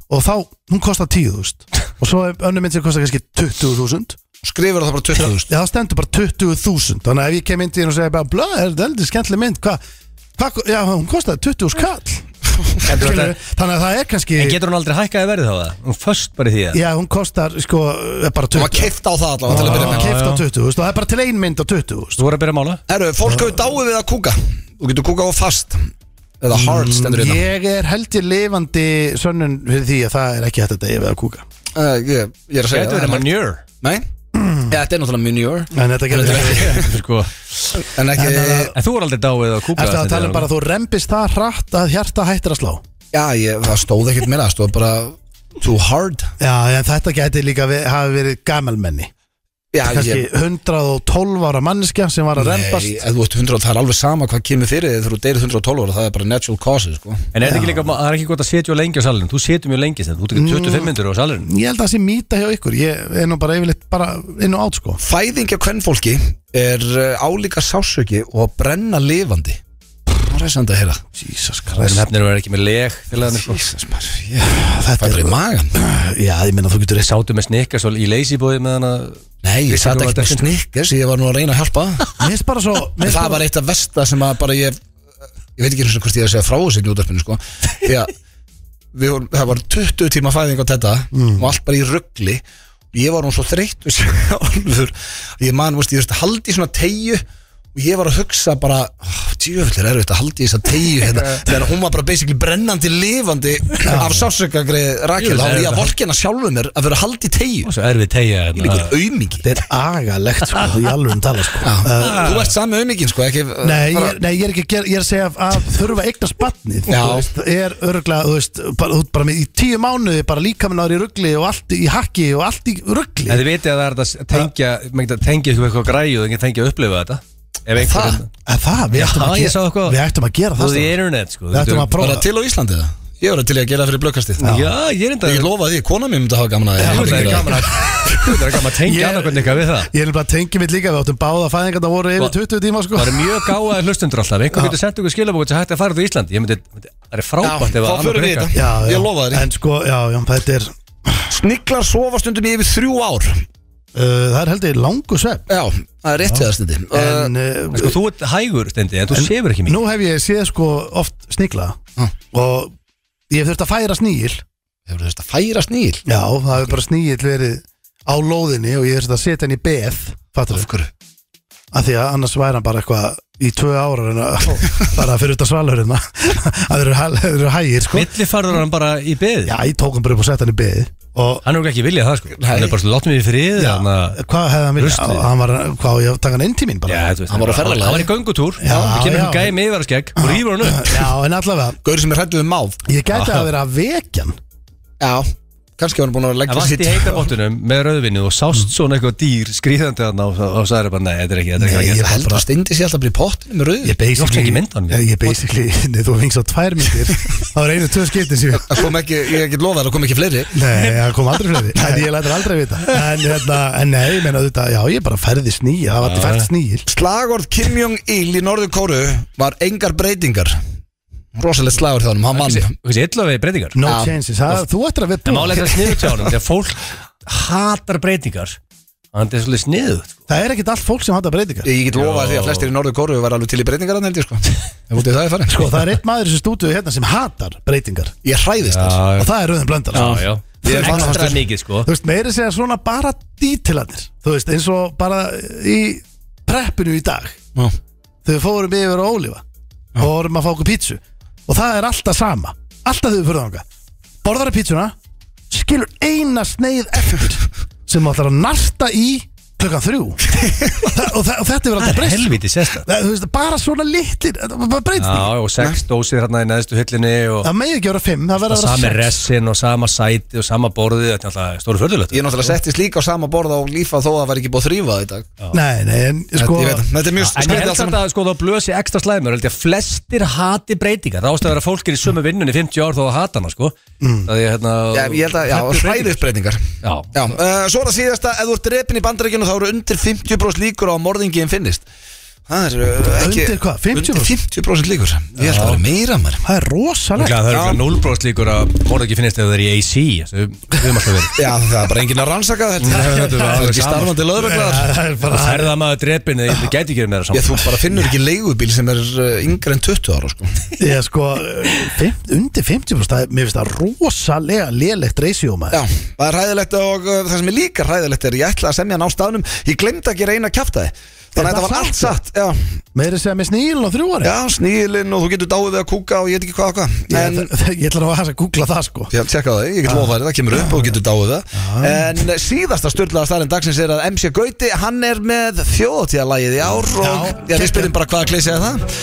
Speaker 2: Og þá, hún kostar tíu þúsund Og svo er önnur mynd sem kostar kannski 20.000
Speaker 1: Skrifur það bara 20.000
Speaker 2: Já, það stendur bara 20.000 Þannig að ef ég kem inn til þín og segja bara Blöð, er þetta heldur skemmtileg mynd Hvað? Hva, já, hún kostaði 20 skall (laughs) Skilurðu? Þannig að það er kannski
Speaker 3: En getur hún aldrei hækkaði verið þá það? Hún föst bara í því að
Speaker 2: Já, hún kostar sko er bara
Speaker 9: Hún var
Speaker 2: 20
Speaker 9: keift á það allavega til að
Speaker 1: Ah.
Speaker 9: byrja með
Speaker 2: Keift á 20 og það er bara til ein mynd á 20
Speaker 3: Þú voru að byrja að mála
Speaker 9: Herru, fólk hefur dáið við að kúka Þú getur kúka á fast Eða hard stendur hérna
Speaker 1: Mm,
Speaker 2: Ég er held ég lifandi sönnun fyrir því að það er ekki hægt að deyja við að kúka
Speaker 1: Uh, ég, ég er að segja
Speaker 3: Gætu verið manjur
Speaker 1: (laughs) (clears throat) Nei, ja, þetta er náttúrulega munjur
Speaker 2: En þetta getur ekki
Speaker 3: Sko
Speaker 1: (laughs) En ekki,
Speaker 3: En þú voru aldrei dáið að kúka
Speaker 2: Ertu að tala um bara að þú rempist það hratt að hjarta hættir að slá
Speaker 1: já, ég, það stóð ekkert meira Það stóð bara too hard
Speaker 2: Já, en þetta geti líka við, hafi verið gamalmenni
Speaker 1: Já,
Speaker 2: Kanski 112 ára manneskja sem var að
Speaker 1: Nei,
Speaker 2: rempast
Speaker 1: ef þú ert 100, það er alveg sama hvað kemur fyrir þegar þú deyrir 112 ára, það er bara natural causes sko.
Speaker 3: En er þetta ekki líka Það er ekki gott að setja lengi á salinu Þú setjum mjög lengi þetta Þú
Speaker 1: Mm.
Speaker 3: tekur 25 minnur á salinu
Speaker 2: Ég held að það sé mýta hjá ykkur Ég er nú bara yfirleitt bara inn og át sko
Speaker 1: Fæðing af kvennfólki er uh, álíka sásöki og að brenna lifandi Það er resandi að heyra
Speaker 2: Jesus
Speaker 3: Það
Speaker 2: Christ
Speaker 3: er nefnir að vera ekki með leg til að sko
Speaker 1: Jesus, maður, ég, Það er bara í magan
Speaker 2: Já, ég meina þú getur
Speaker 3: Við sátum með snikkasól í leysibóði með hana
Speaker 1: Nei, ég satt ekkert með snikkers, ég var nú að reyna að hjálpa
Speaker 2: Mér finnst bara svo mér
Speaker 1: En
Speaker 2: finnst
Speaker 1: það
Speaker 2: bara-
Speaker 1: var eitt af versta sem að bara ég Ég veit ekki eins og hvort ég er að segja frá þessi ljúdarpinu sko Því að við vorum, það var 20 tíma fæðing á þetta Og allt bara í ruggli Ég var nú svo þreytt og sjálfur Ég man, veist, ég þurfti að halda í svona tegju Og ég var að hugsa bara Tjöfullir er þetta, halda í þessa tegju hérna. Þegar hún var bara basically brennandi lifandi Af sásökagreið Rakel Þá var ég að vorkina sjálfur mér að vera að halda í tegju
Speaker 3: Og svo erfið tegja hérna.
Speaker 1: Líkur aumingi
Speaker 2: Þetta er agalegt sko Í alveg um tala sko uh,
Speaker 1: Eh, Þú ert sami aumingin sko ekki,
Speaker 2: Nei,
Speaker 1: bara-
Speaker 2: ég, nei, ég er ekki að gera, ég er að segja að þurfa eignast batnið
Speaker 1: Já.
Speaker 2: er örgulega, þú veist, bara, þú, ert bara með, í tíu mánuði bara líkamennar í ruggli og allt í hakki og allt í ruggli
Speaker 3: En þið vitið að það er hægt að tengja Mengið að tengja ykkur eitthvað græju Það er tengja að upplifa þetta Ef einhver
Speaker 1: Það?
Speaker 3: hérna-
Speaker 2: En það, við
Speaker 3: Já,
Speaker 2: ættum að,
Speaker 3: ég
Speaker 2: gera-
Speaker 3: sá eitthvað.
Speaker 2: við ættum að gera
Speaker 3: Þú
Speaker 2: það
Speaker 3: veist, í
Speaker 2: strákar.
Speaker 3: internet sko
Speaker 2: Við ættum að
Speaker 1: Var
Speaker 2: prófa
Speaker 1: það til á Íslandi það? Ég var til í að gera það fyrir blökkastið
Speaker 3: Já, ég er enda
Speaker 1: Ég lofaði því, kona mér myndi hafa gaman að
Speaker 3: Það er
Speaker 1: því
Speaker 3: gaman að Það er gaman að
Speaker 2: Ég-
Speaker 3: tengja annað hvernig eitthvað við það
Speaker 2: Ég er bara að tengja mitt líka, við áttum báða fæðingar það voru yfir
Speaker 3: Sko,
Speaker 2: 20 tíma sko
Speaker 3: Það er mjög gáðaði hlustundur alltaf einhver getur sendt okkur skilabók sem hægt að fara út í Ísland Ég myndi, myndi það er
Speaker 1: Já,
Speaker 3: frábært ef
Speaker 1: þá
Speaker 3: að
Speaker 1: förum við í
Speaker 3: ykkar-
Speaker 1: þetta.
Speaker 2: já, já.
Speaker 1: Ég lofa þér.
Speaker 2: En sko, já, já, þetta er,
Speaker 1: Sniklar sofa stundum í yfir þrjú ár
Speaker 2: uh, það er heldur langu svefn
Speaker 1: Já, það er rétt við það stundi
Speaker 2: En
Speaker 3: En
Speaker 2: uh,
Speaker 3: Sko, þú ert hægur stendi en þú sefur ekki mikið
Speaker 2: nú hef ég séð sko oft snikla
Speaker 1: Ah.
Speaker 2: og ég hef þurft að færa sníl
Speaker 1: Hefur þetta færa sníl?
Speaker 2: Já, það hefur bara sníill verið á lóðinni og ég þurfti að setja hann í beð fattur
Speaker 1: Af
Speaker 2: þau,
Speaker 1: hverju?
Speaker 2: af því að annars væri hann bara eitthvað í tvö ára en að (laughs) bara fyrir út að svalur hérna að þeir eru hæ- þeir eru hægir sko
Speaker 3: Milli farður hann bara í beð
Speaker 2: Já, ég tók hann bara upp og sett hann í beð og
Speaker 3: Hann er okkur ekki viljað það sko Hann er bara svo látum við í frið
Speaker 2: já,
Speaker 3: þannig að-
Speaker 2: hvað hefði hann vilja?
Speaker 3: Ruslið.
Speaker 2: Hann var, hvað, ég taka hann inn tíminn
Speaker 3: Já,
Speaker 2: bara
Speaker 3: þú veist,
Speaker 1: Hann var á ferðalagi.
Speaker 3: Hann var í göngutúr
Speaker 2: Já,
Speaker 3: Það kemur
Speaker 2: já.
Speaker 3: hann gæði með yfir að skegg og rýfur hann upp
Speaker 2: Já, en allavega,
Speaker 1: Gauri sem er hrættu við máf
Speaker 2: ég gæti að vera að vekja hann
Speaker 1: Já, kannski var hann búin að
Speaker 3: Það
Speaker 1: leggja
Speaker 3: vart í heitarbóttunum með rauðvinni og sást svona eitthvað dýr skrýðandi hann og og svo er það bara, nei, þetta er ekki, þetta
Speaker 2: Nei,
Speaker 3: er ekki
Speaker 2: ég
Speaker 3: að gera.
Speaker 2: held
Speaker 1: Heldur að steindi sér alltaf að bli pottin með rauð
Speaker 2: Ég basically,
Speaker 3: ekki mynd á hann.
Speaker 2: ég, ég basically Nei, þú vingst á tvær myndir Það var einu, tvö skiptin sem ég
Speaker 1: Það kom ekki, ég get lofað að kom ekki fleiri
Speaker 2: Nei, það kom aldrei fleiri En ég lætur aldrei vita En, hérna, en nei, ég meina þetta, já, ég bara færði sníil Það var þetta fært sníil
Speaker 1: Slagorð Kim Jong-il í norðu kóru var engar breytingar Rosalegt slagur þjónum, hann mann
Speaker 3: Þessi- Þessi illa við breytingar
Speaker 2: No
Speaker 1: Já.
Speaker 2: chances, það, þú ættir að við
Speaker 3: En málega þetta sniðut hjá hann Þegar fólk hatar breytingar Þannig að þetta er svolítið sniðut sko.
Speaker 2: Það er ekkert allt fólk sem hata breytingar
Speaker 1: Ég get lofað því að flestir í norðu kóru var alveg til í breytingar hann held ég sko Ef út í það er farin
Speaker 2: Sko, það er einn maður í þessu stúdíu hérna sem hatar breytingar
Speaker 1: Ég hræðist þar
Speaker 2: Og það er Röðin Blöndal sko.
Speaker 3: já
Speaker 1: Ég er bara
Speaker 3: Ekstra
Speaker 1: fastur.
Speaker 3: mikið sko
Speaker 2: Þú veist, meiri segja svona bara dítilanir Þú veist, eins og bara í preppinu í dag
Speaker 1: Já.
Speaker 2: Þegar við fórum yfir á Ólífa Og vorum að fá okkur pítsu Og það er alltaf sama Alltaf þegar við fyrir þangað Borðar að pítsuna Skilur eina sneið eftir Sem þú ætlar að narta í klukkan þrjú Þa- og, þa- og þetta er verið
Speaker 3: Það
Speaker 2: alltaf
Speaker 3: er
Speaker 2: breyst
Speaker 3: helviti sérsta
Speaker 2: Það- Þú veist, bara svona litlir þetta var Bara breytning
Speaker 3: Já, og sex dósir hérna í neðstu hillinni og
Speaker 2: Það megi ekki vera fimm, það verður að
Speaker 3: sami
Speaker 2: vera sex
Speaker 3: ressin og sama sæti og sama borði Þetta er alltaf stóru förðulegt
Speaker 1: Ég náttúrulega settist líka á sama borð á lífa þó að það var ekki búið að þrýfa í dag
Speaker 2: Nei, nei, en
Speaker 1: sko,
Speaker 2: sko
Speaker 1: Þetta ég veit, þetta er mjög
Speaker 3: En ég
Speaker 1: skrítið
Speaker 3: held
Speaker 1: allt
Speaker 3: samt
Speaker 1: saman
Speaker 3: að sko þá blösi ekstra slæmur held ég að flestir hati breytingar Það ástæður að fólk er í sömu vinnunni í 50 ár þó að hata hana sko Það er hérna
Speaker 1: Mm. Já, Ég held að, já,
Speaker 3: hræddir
Speaker 1: hræðist breytingar
Speaker 3: Já,
Speaker 1: Já, eh, uh, svo er það síðasta, ef þú ert drepin í bandaríkjunum þá eru undir 50% líkur á að morðingiðin finnist Það er uh, ekki
Speaker 2: Undir hvað? 50%?
Speaker 1: Undir 50% líkur Ég held að það vera meira maður
Speaker 2: Það er rosalegt
Speaker 3: Það eru núlbróst líkur að morða ekki finnist ef það er í AC þessu Við mást að vera
Speaker 1: (laughs) Já, það er bara enginn að rannsaka þetta
Speaker 3: Nei, þetta er
Speaker 1: Það
Speaker 3: alveg
Speaker 1: er ekki
Speaker 3: sama.
Speaker 1: starfandi löðreglar
Speaker 2: Það er bara
Speaker 3: Það ferða maður drepin eða ég gæti ekki verið meira
Speaker 1: Já,
Speaker 3: saman
Speaker 1: þú bara finnur ekki leigubíl sem er uh, yngre en 20 ára sko.
Speaker 2: Ég sko, fimm, undir 50% það er- Mér finnst það rosalega lélegt reysjó maður
Speaker 1: Já, það er ræðilegt og uh, það sem er líka ræðilegt er ég ætla að semja hann á staðnum Ég glemd ekki reyna að kjafta þið Þannig
Speaker 2: Er
Speaker 1: að þetta
Speaker 2: það
Speaker 1: var allt satt Já,
Speaker 2: Meiri segja með sníl og þrjúari
Speaker 1: já snílinn og þú getur dáið við að kúka og ég veit ekki hvað og hvað
Speaker 2: En,
Speaker 1: En
Speaker 2: ég, ég ætla (laughs) nú að hans að googla það sko
Speaker 1: Ég tjekka það, ég get lofa þér, það kemur upp og getur dáið það En síðasta styrlaða starinn dagsins er að MC Gauti, hann er með þjóðtíðalagið í ár og já, við
Speaker 2: kekja.
Speaker 1: spyrjum bara hvaða kleysi er það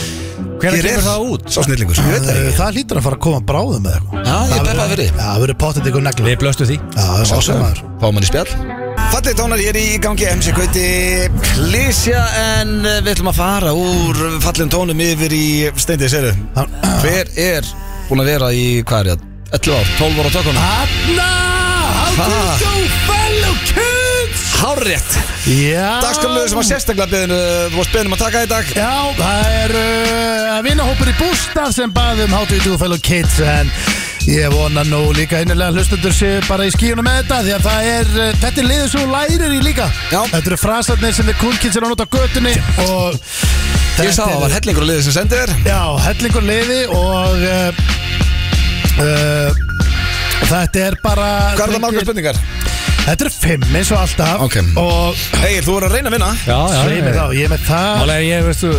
Speaker 3: Hvernig
Speaker 1: Hér er
Speaker 3: kemur það út?
Speaker 1: Sá snillingur, ég veit það
Speaker 2: Eh,
Speaker 1: ekki
Speaker 2: Það hlýtur að fara að koma bráðum með eitthvað
Speaker 1: Já, ég peppaði fyrir
Speaker 2: Já, það verður pottet ykkur negla
Speaker 3: Við blöstu því
Speaker 2: Já, það er svo sem maður
Speaker 1: Fá mann í spjall Fallið tónar, ég er í gangi MC Gauti Klísja en eh, við ætlum að fara úr fallin tónum yfir í steindið seru
Speaker 2: Hann-
Speaker 1: Hver er búin að vera í, hvað er ég, 11 ár, 12 ára tökuna
Speaker 2: Hanna, how to
Speaker 1: Ha.
Speaker 2: show fellow kids
Speaker 1: Hárrétt
Speaker 2: Já
Speaker 1: Dagskamluðu sem var sérstaklega beðinu, þú varst beðinu að taka í dag
Speaker 2: Já, það er uh, vinnahópur í bústað sem um baðum How to do fellow kids en ég vona nú líka innilega að hlustendur séu bara í skíunum með þetta því að það er, uh, þetta er liður svo þú lærir í líka
Speaker 1: Já.
Speaker 2: Þetta eru frasarnir sem þið cool kids er að nota á götunni og
Speaker 1: Ég sá að það var hellingur að liðið sem sendið þér
Speaker 2: Já, hellingur liði og uh, uh, þetta er bara
Speaker 1: Hvað er það margar spurningar?
Speaker 2: Þetta eru fimm eins og alltaf
Speaker 1: Ok.
Speaker 2: og
Speaker 1: Egil, þú voru að reyna að vinna
Speaker 3: Já,
Speaker 2: Svei mér þá, ég er með það
Speaker 3: Málega ég, veistu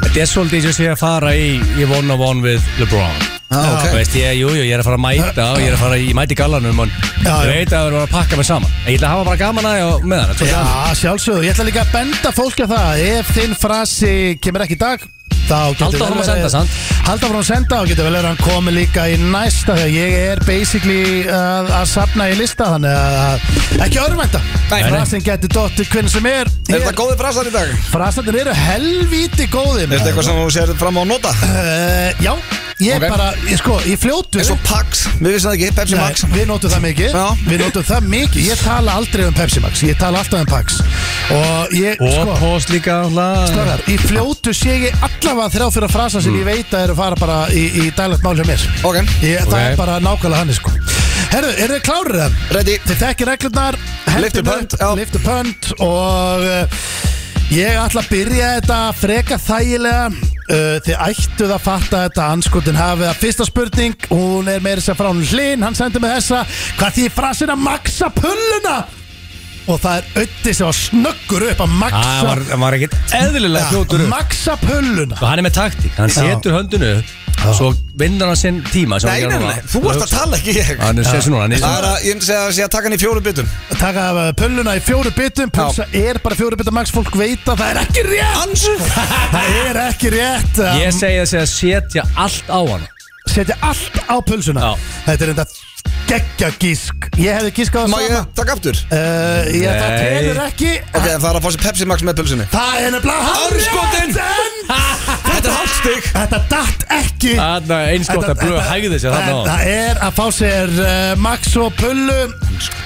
Speaker 3: Þetta er svolítið eins og ég sé að fara í Ég one on one with LeBron
Speaker 1: ah,
Speaker 3: Þú veist, ég, jú, jú, ég er að fara að mæta og ég er að fara í mæti gallanum og
Speaker 2: Já,
Speaker 3: ég
Speaker 2: já.
Speaker 3: veit að það er að pakka mig saman En ég ætla að hafa bara gaman að því og með hana
Speaker 2: Já, sjálfsögðu, ég ætla líka að benda fólki að það Ef þinn frasi kemur ekki í dag þá getur
Speaker 3: Halda
Speaker 2: vel
Speaker 3: áfram að
Speaker 2: verið-
Speaker 3: senda, sant?
Speaker 2: Halda frá að senda og getur vel verið að hann komi líka í næsta Þegar ég er basically eh, að, að safna í lista Þannig að, að ekki örvænta
Speaker 3: Nei, nei.
Speaker 2: Frasin getur dottir hvern sem er
Speaker 1: Er þetta góði frasar í dag?
Speaker 2: Frasandir eru helvíti góði
Speaker 1: Er þetta eitthvað sem þú sér fram á að nota?
Speaker 2: Eh, Já, ég
Speaker 1: Ok.
Speaker 2: bara, ég sko, ég fljótu
Speaker 1: Eins og Pax, við vissum það ekki, Pepsi
Speaker 2: Nei,
Speaker 1: Max
Speaker 2: Við notum það mikið
Speaker 1: Já.
Speaker 2: Við notum það mikið Ég tala aldrei um Pepsi Max Ég tala alltaf um Pax Og ég,
Speaker 3: Og
Speaker 2: sko
Speaker 3: post líka alltaf
Speaker 2: Strákar, í fljótu sé ég allavega þrjá fyrir að frasa
Speaker 1: Mm.
Speaker 2: sem ég veit að eru að fara bara í, í daglegt mál hjá mér
Speaker 1: Ok.
Speaker 2: ég, Það
Speaker 3: Ok.
Speaker 2: er bara nákvæmlega hann sko. Herðu, eru þið klárið það?
Speaker 1: Ready.
Speaker 2: Þið þekkir reglurnar
Speaker 1: Lift
Speaker 2: hendurnar,
Speaker 1: your punt, já.
Speaker 2: Lift your punt og uh, ég ætla að byrja þetta freka þægilega uh, Þið ættuð að fatta þetta anskotin hafið að fyrsta spurning hún er meira sér frá hún hlinn hann sendi mig þessa hvað því frasin að maksa pulluna og það er ötti sem var snöggur upp að maksa
Speaker 3: Það var, hann var ekkert eðlilega fljótur upp
Speaker 2: Maksa pulluna
Speaker 3: Og hann er með taktík, hann setur höndinu upp Svo vinnur hann sinn tíma sem hann
Speaker 1: Nei,
Speaker 3: gerir
Speaker 1: nei,
Speaker 3: núna.
Speaker 1: nei, þú varst að tala ekki ég
Speaker 3: Hann er sér núna, hann er
Speaker 1: Það er að, ég sé að, sé að taka hann í fjóru bitum
Speaker 2: Taka af eh, pulluna í fjóru bitum Pulsa er bara fjóru bitum Max fólk veit að það er ekki rétt
Speaker 1: Ansu
Speaker 2: (laughs) Það er ekki rétt um,
Speaker 3: Ég segi þessi að setja allt á hann
Speaker 2: Setja allt á pulsuna
Speaker 3: Já.
Speaker 2: Þetta er enda geggja gísk Ég hefði gískað það
Speaker 1: Má ég
Speaker 2: sama
Speaker 1: taka aftur?
Speaker 2: Uh, ég, það
Speaker 3: Nei.
Speaker 2: telur ekki
Speaker 1: Ok, það er að fá sér Pepsi Max með pulsunni
Speaker 2: Það er nefnilega
Speaker 1: Andskotinn!
Speaker 2: hárrétt, en
Speaker 1: Þetta er hálft stygg
Speaker 2: Þetta datt ekki
Speaker 3: Þannig að einskott
Speaker 2: Þetta-
Speaker 3: að blöð
Speaker 2: þetta-
Speaker 3: hægði sér
Speaker 2: en
Speaker 3: þarna á
Speaker 2: Það er að fá sér uh, Max og Pullu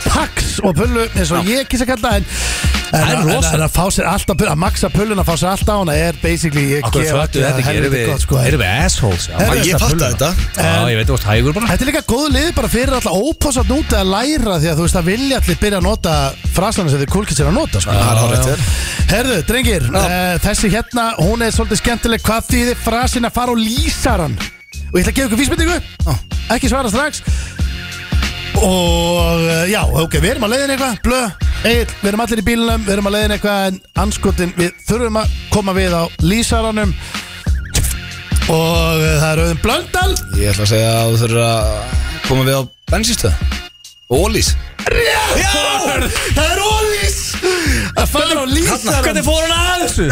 Speaker 2: Pax og Pullu eins og ég kýsa kalla það, en, en,
Speaker 3: Það er
Speaker 2: en, en,
Speaker 3: rosalegt.
Speaker 2: að fá sér alltaf að Maxa Pullun að fá sér alltaf hana er basically ég
Speaker 3: Akkur
Speaker 2: gef
Speaker 3: föttu
Speaker 2: öllu
Speaker 3: þetta ekki,
Speaker 2: helviti
Speaker 3: erum við,
Speaker 2: gott, sko.
Speaker 3: erum við assholes já,
Speaker 2: Herru,
Speaker 3: mæta
Speaker 1: ég fatta
Speaker 3: pulluna.
Speaker 1: þetta.
Speaker 3: Já, ég veit, þú varst hægur bara
Speaker 2: Þetta er líka góðu liði bara fyrir alltaf óposat núti að læra því að þú veist að vilja allir byrja að nota frasana sem þið kúlkitt sér að nota sko.
Speaker 1: það er hárrétt þér.
Speaker 2: Herðu, drengir, uh, þessi hérna hún er svolítið skemmtileg hvað þýðir frasin að fara og lýsa hann og ég ætla að gefa ykkur vísbendingu ekki svara strax og eh, já, ok, við erum að leiðin eitthvað blöð, Egil, við erum allir í bílunum við erum að leiðin eitthvað en anskotin við þurfum að koma við á lýsaranum og eh, það er auðvitað blöndal
Speaker 1: Ég ætla að segja að þú þurfur að koma við á bensinstöð Ólís
Speaker 2: Það er ólís Að fara og lýsa hann
Speaker 3: Hvernig fór hann að þessu?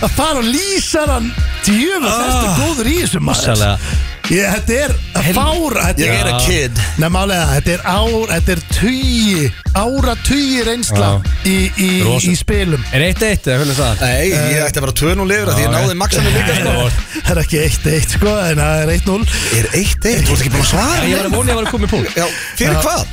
Speaker 2: Að fara og lýsa hann Djöfum ah, þessi góður í þessu maður
Speaker 3: Sjálega
Speaker 2: Ég, þetta er fára Þetta
Speaker 1: Ég er
Speaker 2: er
Speaker 1: a kid
Speaker 2: Nei, málega, þetta er ár, þetta er tugi, ára tugi reynsla í, í,
Speaker 3: Rosa.
Speaker 2: í spilum.
Speaker 3: Er eitt eitt, eða hvernig það?
Speaker 1: Nei, ég ætti að vera tönum lifur Því ég náði maxinu líka (laughs) sko.
Speaker 2: Það er ekki 1-1 sko, en það er 1-0.
Speaker 1: Er eitt eitt, þú ert ekki búin að svara
Speaker 3: Ég var að
Speaker 1: neinum.
Speaker 3: vona ég var að koma í punkt
Speaker 1: Já, fyrir hvað?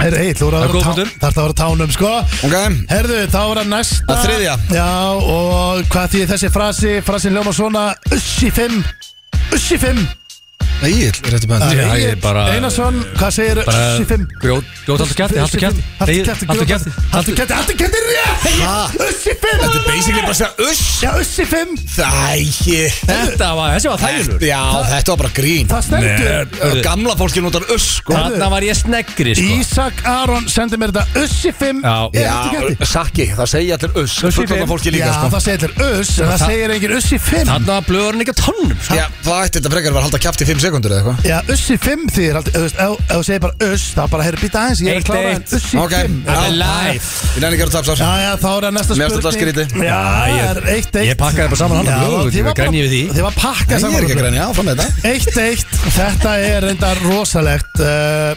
Speaker 2: Herru, hey, þú
Speaker 3: Það
Speaker 2: verður
Speaker 3: er góð
Speaker 2: að vera
Speaker 3: punktur.
Speaker 2: tá- þarft að vera tánum, sko
Speaker 1: Ok.
Speaker 2: Herðu, þá er að næsta
Speaker 1: Það þriðja.
Speaker 2: Já, og hvað því þessi frasi Frasin ljóma svona Ussi 5 Ussi 5
Speaker 1: Nei, ég er rétti bæðan
Speaker 3: Já, ég er bara-
Speaker 2: Einarsson, hvað segir Ussi 5
Speaker 3: Grjót haldur kjætti, haldur kjætti
Speaker 2: Haltu kjætti,
Speaker 3: Haldur kjætti
Speaker 2: haltu kjætti, haltu kjætti rétt Ussi 5
Speaker 1: Þetta er basically bara að segja uss
Speaker 2: Já, Ussi 5
Speaker 1: Þæ,
Speaker 3: Þetta var, þessi var þægilegur
Speaker 1: Já, þetta var bara grín
Speaker 2: Það stendur
Speaker 3: sko.
Speaker 1: Og Gamla fólki notar uss sko
Speaker 2: Herðu.
Speaker 3: Þarna var ég sneggri, sko
Speaker 2: Ísak Aron sendi mér þetta Ussi 5
Speaker 3: Já.
Speaker 2: er
Speaker 1: Já,
Speaker 2: haltu kjætti
Speaker 1: sakki, það segja allir uss
Speaker 3: Uss í
Speaker 1: Fullkomna
Speaker 3: fimm.
Speaker 1: fólki
Speaker 2: Já,
Speaker 1: líka sko
Speaker 2: það segir allir Uss En það
Speaker 3: Það-
Speaker 2: segir engin Ussi 5
Speaker 3: Þarna var blöðurinn ekki á tannum, sko
Speaker 1: Já, það ætti þetta frekar að vera að halda kjaft í 5 sekundur eða eitthvað
Speaker 2: Já, Ussi 5 þýðir alltaf Ef ef- ef þú segir bara Uss Það bara, heyrðu, býta aðeins Ég er
Speaker 3: Eitt,
Speaker 2: að klára
Speaker 3: eitt.
Speaker 2: en Ussi 5
Speaker 1: Ok,
Speaker 3: Þetta er
Speaker 1: já,
Speaker 3: live
Speaker 1: ég nefnir ekki að tapsa
Speaker 2: Já, já, þá er það næsta
Speaker 1: Mér
Speaker 2: spurning
Speaker 1: finnst þetta skrítið.
Speaker 2: Já,
Speaker 3: ég-
Speaker 2: það er eitt, eitt
Speaker 3: ég pakkaði bara saman hana,
Speaker 2: Já,
Speaker 3: jú,
Speaker 2: þið
Speaker 3: ég
Speaker 2: var bara-
Speaker 3: grenji við því.
Speaker 2: Þið var pakkað
Speaker 1: Ég
Speaker 2: saman
Speaker 1: er ekki að grænja áfram með þetta
Speaker 2: Eitt, eitt Þetta er reyndar rosalegt uh,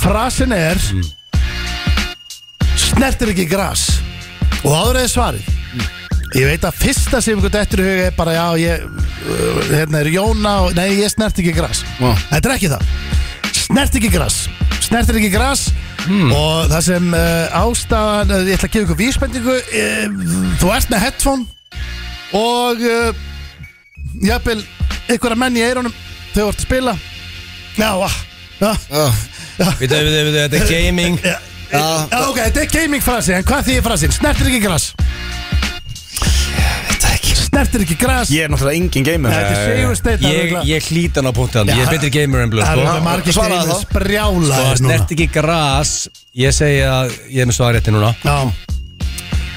Speaker 2: Frasin er Snertir ekki gras Og áður eða svarið Ég veit að fyrsta sem ykkur dettur í huga er bara já, ég, uh, hérna er Jóna og, nei, ég snert ekki gras Þetta er ekki það snert ekki gras snertir ekki gras og það sem uh, ástæðan uh, ég ætla að gefa ykkur vísbendingu uh, þú ert með headphone og uh, jafnvel einhverja menn í eyrunum þau vart að spila já, ah, já,
Speaker 3: Við þau, við þau, við þau, þetta er gaming
Speaker 2: já, já, ok, þetta er gaming frasi en hvað þýðir frasin? snertir ekki gras snertir ekki gras
Speaker 1: Ég er náttúrulega engin gamer
Speaker 2: þetta er
Speaker 1: Eh,
Speaker 2: segursteit
Speaker 3: Ég, ég hlýt hann á punktan, ég er betri gamer en blöð,
Speaker 2: það
Speaker 3: sko
Speaker 2: eru margir
Speaker 1: Svaraðu
Speaker 2: gamers
Speaker 1: þá.
Speaker 2: brjála
Speaker 3: Og snert ekki gras Ég segi að ég er með svarétti núna
Speaker 2: Já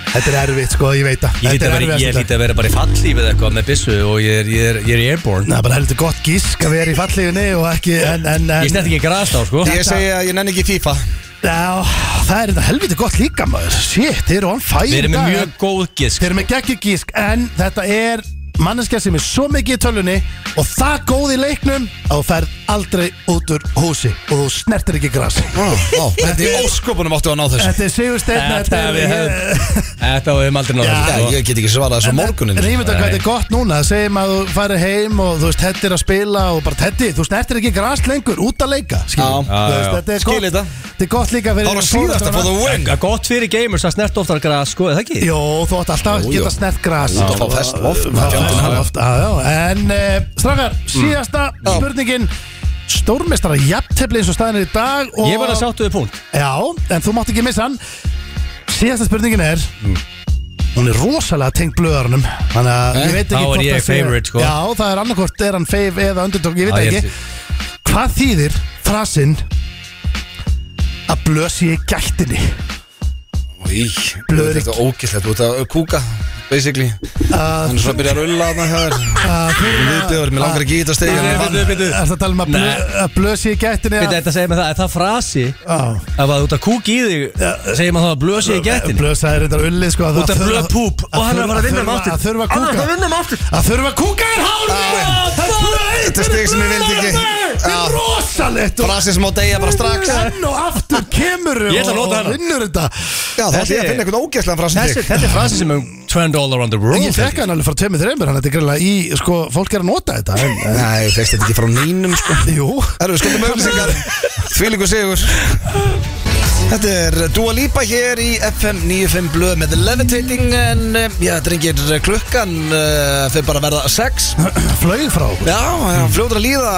Speaker 2: Þetta er erfitt sko, ég veit það
Speaker 3: Ég hlýt
Speaker 2: Þetta
Speaker 3: að
Speaker 2: er
Speaker 3: vera,
Speaker 2: erfitt
Speaker 3: ég hlýt að vera bara í fallífið eitthvað með byssu og ég er, ég er, ég er í airborne
Speaker 2: Það er bara heldur gott gísk að vera í fallífinni og ekki, en, en, en
Speaker 3: Ég snert ekki gras þá sko
Speaker 1: Ég segi að ég nenni ekki í FIFA
Speaker 2: Já, það er þetta helviti gott líka maður Shit, þeir eru on fire
Speaker 3: Við
Speaker 2: í
Speaker 3: erum með
Speaker 2: dag,
Speaker 3: mjög
Speaker 2: en-
Speaker 3: góð gisk
Speaker 2: Þeir eru með geggjur gísk, en þetta er manneskja sem er svo mikið í tölunni og það góð í leiknum að þú ferð aldrei út úr húsi og þú snertir ekki grasi
Speaker 3: sko.
Speaker 1: Þetta er óskopunum áttu að ná þessu
Speaker 2: Þetta er sigursteinn
Speaker 3: Þetta við höfum Þetta við höfum aldrei
Speaker 2: Já,
Speaker 3: náða
Speaker 1: Já,
Speaker 3: sko.
Speaker 1: ég get ekki svarað þessu á morgunin
Speaker 2: En eh, ég veit að hvað þetta er gott núna Það segjum að þú farir heim og þú veist Teddy er að spila og bara Teddy, þú snertir ekki gras lengur út að leika skilur.
Speaker 1: Já,
Speaker 2: Þú
Speaker 3: já, já.
Speaker 2: Þetta er
Speaker 1: Skil
Speaker 2: gott,
Speaker 1: þetta.
Speaker 2: þetta er gott líka fyrir
Speaker 1: Það var síðast að fóða win
Speaker 3: Það er Gott fyrir gamers að snert oftar gras sko, er það ekki?
Speaker 2: Jó, þú átt alltaf að
Speaker 1: Jú, jú.
Speaker 2: geta snert gras
Speaker 1: Út að fá fest loft,
Speaker 2: Fá
Speaker 1: maður fjöndin
Speaker 2: fest
Speaker 1: hafi.
Speaker 3: hérna.
Speaker 2: loft, já, já. En uh, strafgar,
Speaker 3: Mm.
Speaker 2: síðasta spurningin Stórmestara jafntefli eins og staðin er í dag og...
Speaker 3: Ég var að sáttu við punkt
Speaker 2: Já, en þú mátt ekki missa hann Síðasta spurningin er
Speaker 3: Mm.
Speaker 2: Hún er rosalega tengt blöðarunum Þannig að ég veit ekki
Speaker 3: Eh? Þá er
Speaker 2: hvort
Speaker 3: ég
Speaker 2: það sé-
Speaker 3: favorite, sko.
Speaker 2: Já, það er annarkvort er hann fave eða underdog Ég veit
Speaker 3: Já, ég
Speaker 2: ekki
Speaker 3: held
Speaker 2: Hvað þýðir frasinn Að blöð sé í gættinni
Speaker 1: Í,
Speaker 2: Blöðrik.
Speaker 1: Þetta er ógæslegt, þú ert að kúka Basically Hann er svona að byrja að rulla þarna hjá þér Viðbjöður, mér langar ekki í þetta stegi
Speaker 3: Nei, byrju, byrju.
Speaker 2: Er það að tala um að
Speaker 3: Nei.
Speaker 2: blöð, að blöð sé í gættinni
Speaker 3: Veit þetta segir mér það, er það frasi
Speaker 2: Já.
Speaker 3: Ef að þú ert að kúk í þig segir maður það að blösi í gættin
Speaker 2: Blöð sagði reyndar ullið sko að
Speaker 3: Út
Speaker 2: það
Speaker 3: af
Speaker 2: þurfa-
Speaker 3: blöð púp
Speaker 2: að
Speaker 3: og hann er að fara að vinna um
Speaker 2: þurfa-
Speaker 3: aftur
Speaker 2: Að þurfa að
Speaker 3: Hann er að
Speaker 2: kúka
Speaker 3: fara að vinna um aftur
Speaker 2: Að þurfa að kúka er hálf
Speaker 1: Þetta er stig sem ég vildi ekki.
Speaker 2: Þetta
Speaker 1: Já.
Speaker 2: er rosalegt og
Speaker 1: Frasi sem á degja bara strax
Speaker 2: Enn og aftur kemur
Speaker 3: Ég ætla að nota hana.
Speaker 2: Og vinnur þetta
Speaker 1: Já, þá ætlum ég að finna einhvern ógæslegan frasi
Speaker 3: Þessi, þetta er frasi sem er trend all around the
Speaker 2: En
Speaker 3: world
Speaker 2: ég þekka hann alveg frá tveimur þreimur Hann þetta er greiðlega í Sko, fólk er að nota þetta en,
Speaker 1: Nei, þú fegst þetta ekki frá nýnum sko
Speaker 2: en, Jú (clears throat)
Speaker 1: Herru, við skuldum auðvisingar Þvílíku sigur Þetta er Dua Lipa hér í FM 95 blöð með Levitating en eh, já, drengir, klukkan uh, fyrir bara að verða 6
Speaker 2: Flög frá okkur
Speaker 1: Já, já, fljóður að líða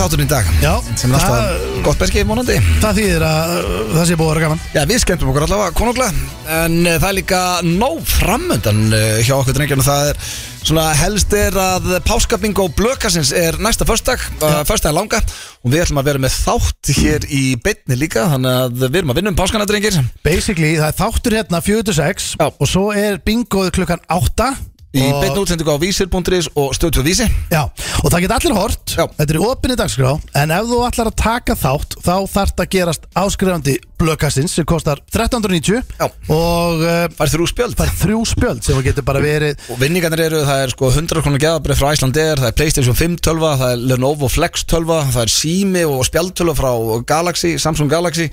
Speaker 1: þátturinn í dag
Speaker 2: Já.
Speaker 1: sem er alltaf
Speaker 2: Það-
Speaker 1: gott bergið vonandi
Speaker 2: Það þýðir að uh, það sé búið að vera gaman
Speaker 1: Já, við skemmtum okkur allavega konunglega en uh, það er líka nóg framöndan uh, hjá okkur drengjum og það er svona helst er að páskabingo blökasins er næsta förstak uh, förstak langa og við ætlum að vera með þátt hér í beinni líka þannig að við erum að vinna um páskana drengir í
Speaker 2: Basically, það er þáttur hérna 46
Speaker 1: Já.
Speaker 2: Og svo er bingoð klukkan 8 og-
Speaker 1: beinni útsendingu á vísir.is og stöðtöð vísi
Speaker 2: Já, og það geta allir hort
Speaker 1: Já.
Speaker 2: Þetta er í opinni dagskrá En ef þú ætlar að taka þátt Þá þarf það að gerast áskrifandi blökkastins Sem kostar 1390
Speaker 1: Já.
Speaker 2: Og uh,
Speaker 1: fær þrjú spjöld
Speaker 2: það er þrjú spjöld Sem þú getur bara verið
Speaker 1: og vinningarnir eru, það er sko 100 krónu geðabrið frá Icelandair, það er Playstation 5 tölva það er Lenovo Flex tölva, það er Simi og spjaldtölva frá Galaxy, Samsung Galaxy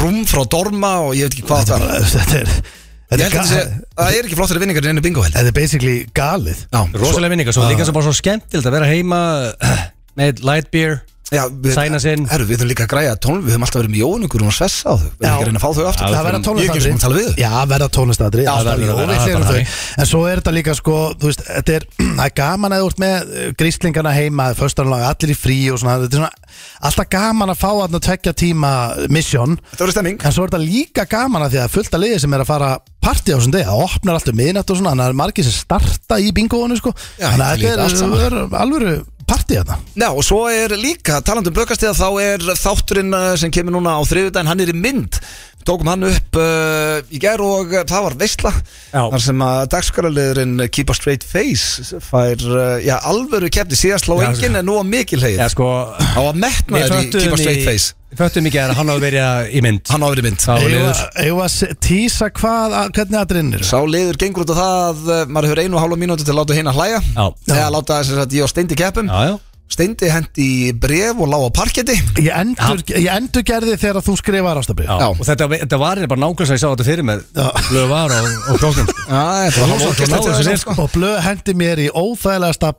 Speaker 1: Rúm frá Dorma og ég veit ekki hvað það er
Speaker 2: Mhm. (laughs) Þetta er
Speaker 1: Ég
Speaker 2: Þetta
Speaker 1: held
Speaker 2: er,
Speaker 1: að
Speaker 2: ga-
Speaker 1: það sé, það er ekki flottari vinningar en einu bingo held
Speaker 2: þetta er basically galið
Speaker 1: Já,
Speaker 3: Ah. Rosalega vinningar, svo líka svo bara svo skemmtilegt að vera heima eh, (clears throat) með light beer
Speaker 1: Já, við,
Speaker 3: Sæna sinn.
Speaker 1: Herru, við höfum líka að græja tón Við höfum alltaf verið með jóningur og svessa á þau Við
Speaker 2: Já.
Speaker 1: höfum ekki að reyna að fá þau aftur
Speaker 2: Það verða
Speaker 1: Ég er ekki sem að tala
Speaker 2: tónlistadri
Speaker 1: við þau
Speaker 2: Já, verða tónlistadri
Speaker 1: Já,
Speaker 2: Það
Speaker 3: verður
Speaker 2: verða
Speaker 3: að vera,
Speaker 2: jóvislir um
Speaker 3: það er
Speaker 2: þau En svo er þetta líka sko Þú veist, þetta er (clears throat) Það er gaman að þú ert með eh, gríslingana heima Föstanlega, allir í frí og svona Þetta er svona Alltaf gaman að fá að tvekja tíma Mission
Speaker 1: Þetta verður stemming
Speaker 2: En svo er þetta líka gaman að því að fullt að liði sem er að fara partí á þessum degi, það opnar alltaf miðnætt og svona, þannig að það er margir sem starta í bingoðinu sko,
Speaker 1: Já,
Speaker 2: þannig að
Speaker 1: þetta lítur allt
Speaker 2: þetta
Speaker 1: saman.
Speaker 2: er, er alvöru partí þarna.
Speaker 1: Já, og svo er líka, talandum blökastíða þá er þátturinn eh, sem kemur núna á þriðudaginn, hann er í mynd Við tókum hann upp uh, í gær og uh, það var veistla
Speaker 3: Já.
Speaker 1: þar sem að dagskaraliðurinn Keep a Straight Face fær, uh, já, alvöru keppni síðast slá
Speaker 3: Já,
Speaker 1: enginn en nú að mikil heið
Speaker 3: Já, sko
Speaker 1: á að metna
Speaker 3: Við
Speaker 1: þér í Keep a
Speaker 3: föttum
Speaker 1: Straight
Speaker 3: í
Speaker 1: Face
Speaker 3: Föttum ekki að hann hafa verið að- í mynd
Speaker 1: Hann á verið mynd
Speaker 3: Sá
Speaker 2: Eigum
Speaker 3: liður
Speaker 2: að- eigum að se- tísa hvað, að- hvernig að drinnir?
Speaker 1: Sá liður gengur út á það, uh, maður hefur einu og hálfa mínúti til að láta hinn að hlæja
Speaker 3: Já.
Speaker 1: Eða láta þess að ég á steindi keppum
Speaker 3: Já, já
Speaker 1: Steindi hendi í bref og lág á parketti
Speaker 2: Ég endur, ég endur gerði þegar þú skrifar ástabrið.
Speaker 3: Já.
Speaker 1: Já.
Speaker 3: og þetta, þetta var bara nákvæmst að ég sá þetta fyrir mér
Speaker 2: Já.
Speaker 3: Blöð var á, á króknum sko.
Speaker 1: Já, þetta var
Speaker 3: Þú
Speaker 1: ógeðslegt
Speaker 3: náður þessu
Speaker 1: þegar-
Speaker 3: vel, sko.
Speaker 2: Og blöð hendi mér í óþægilegasta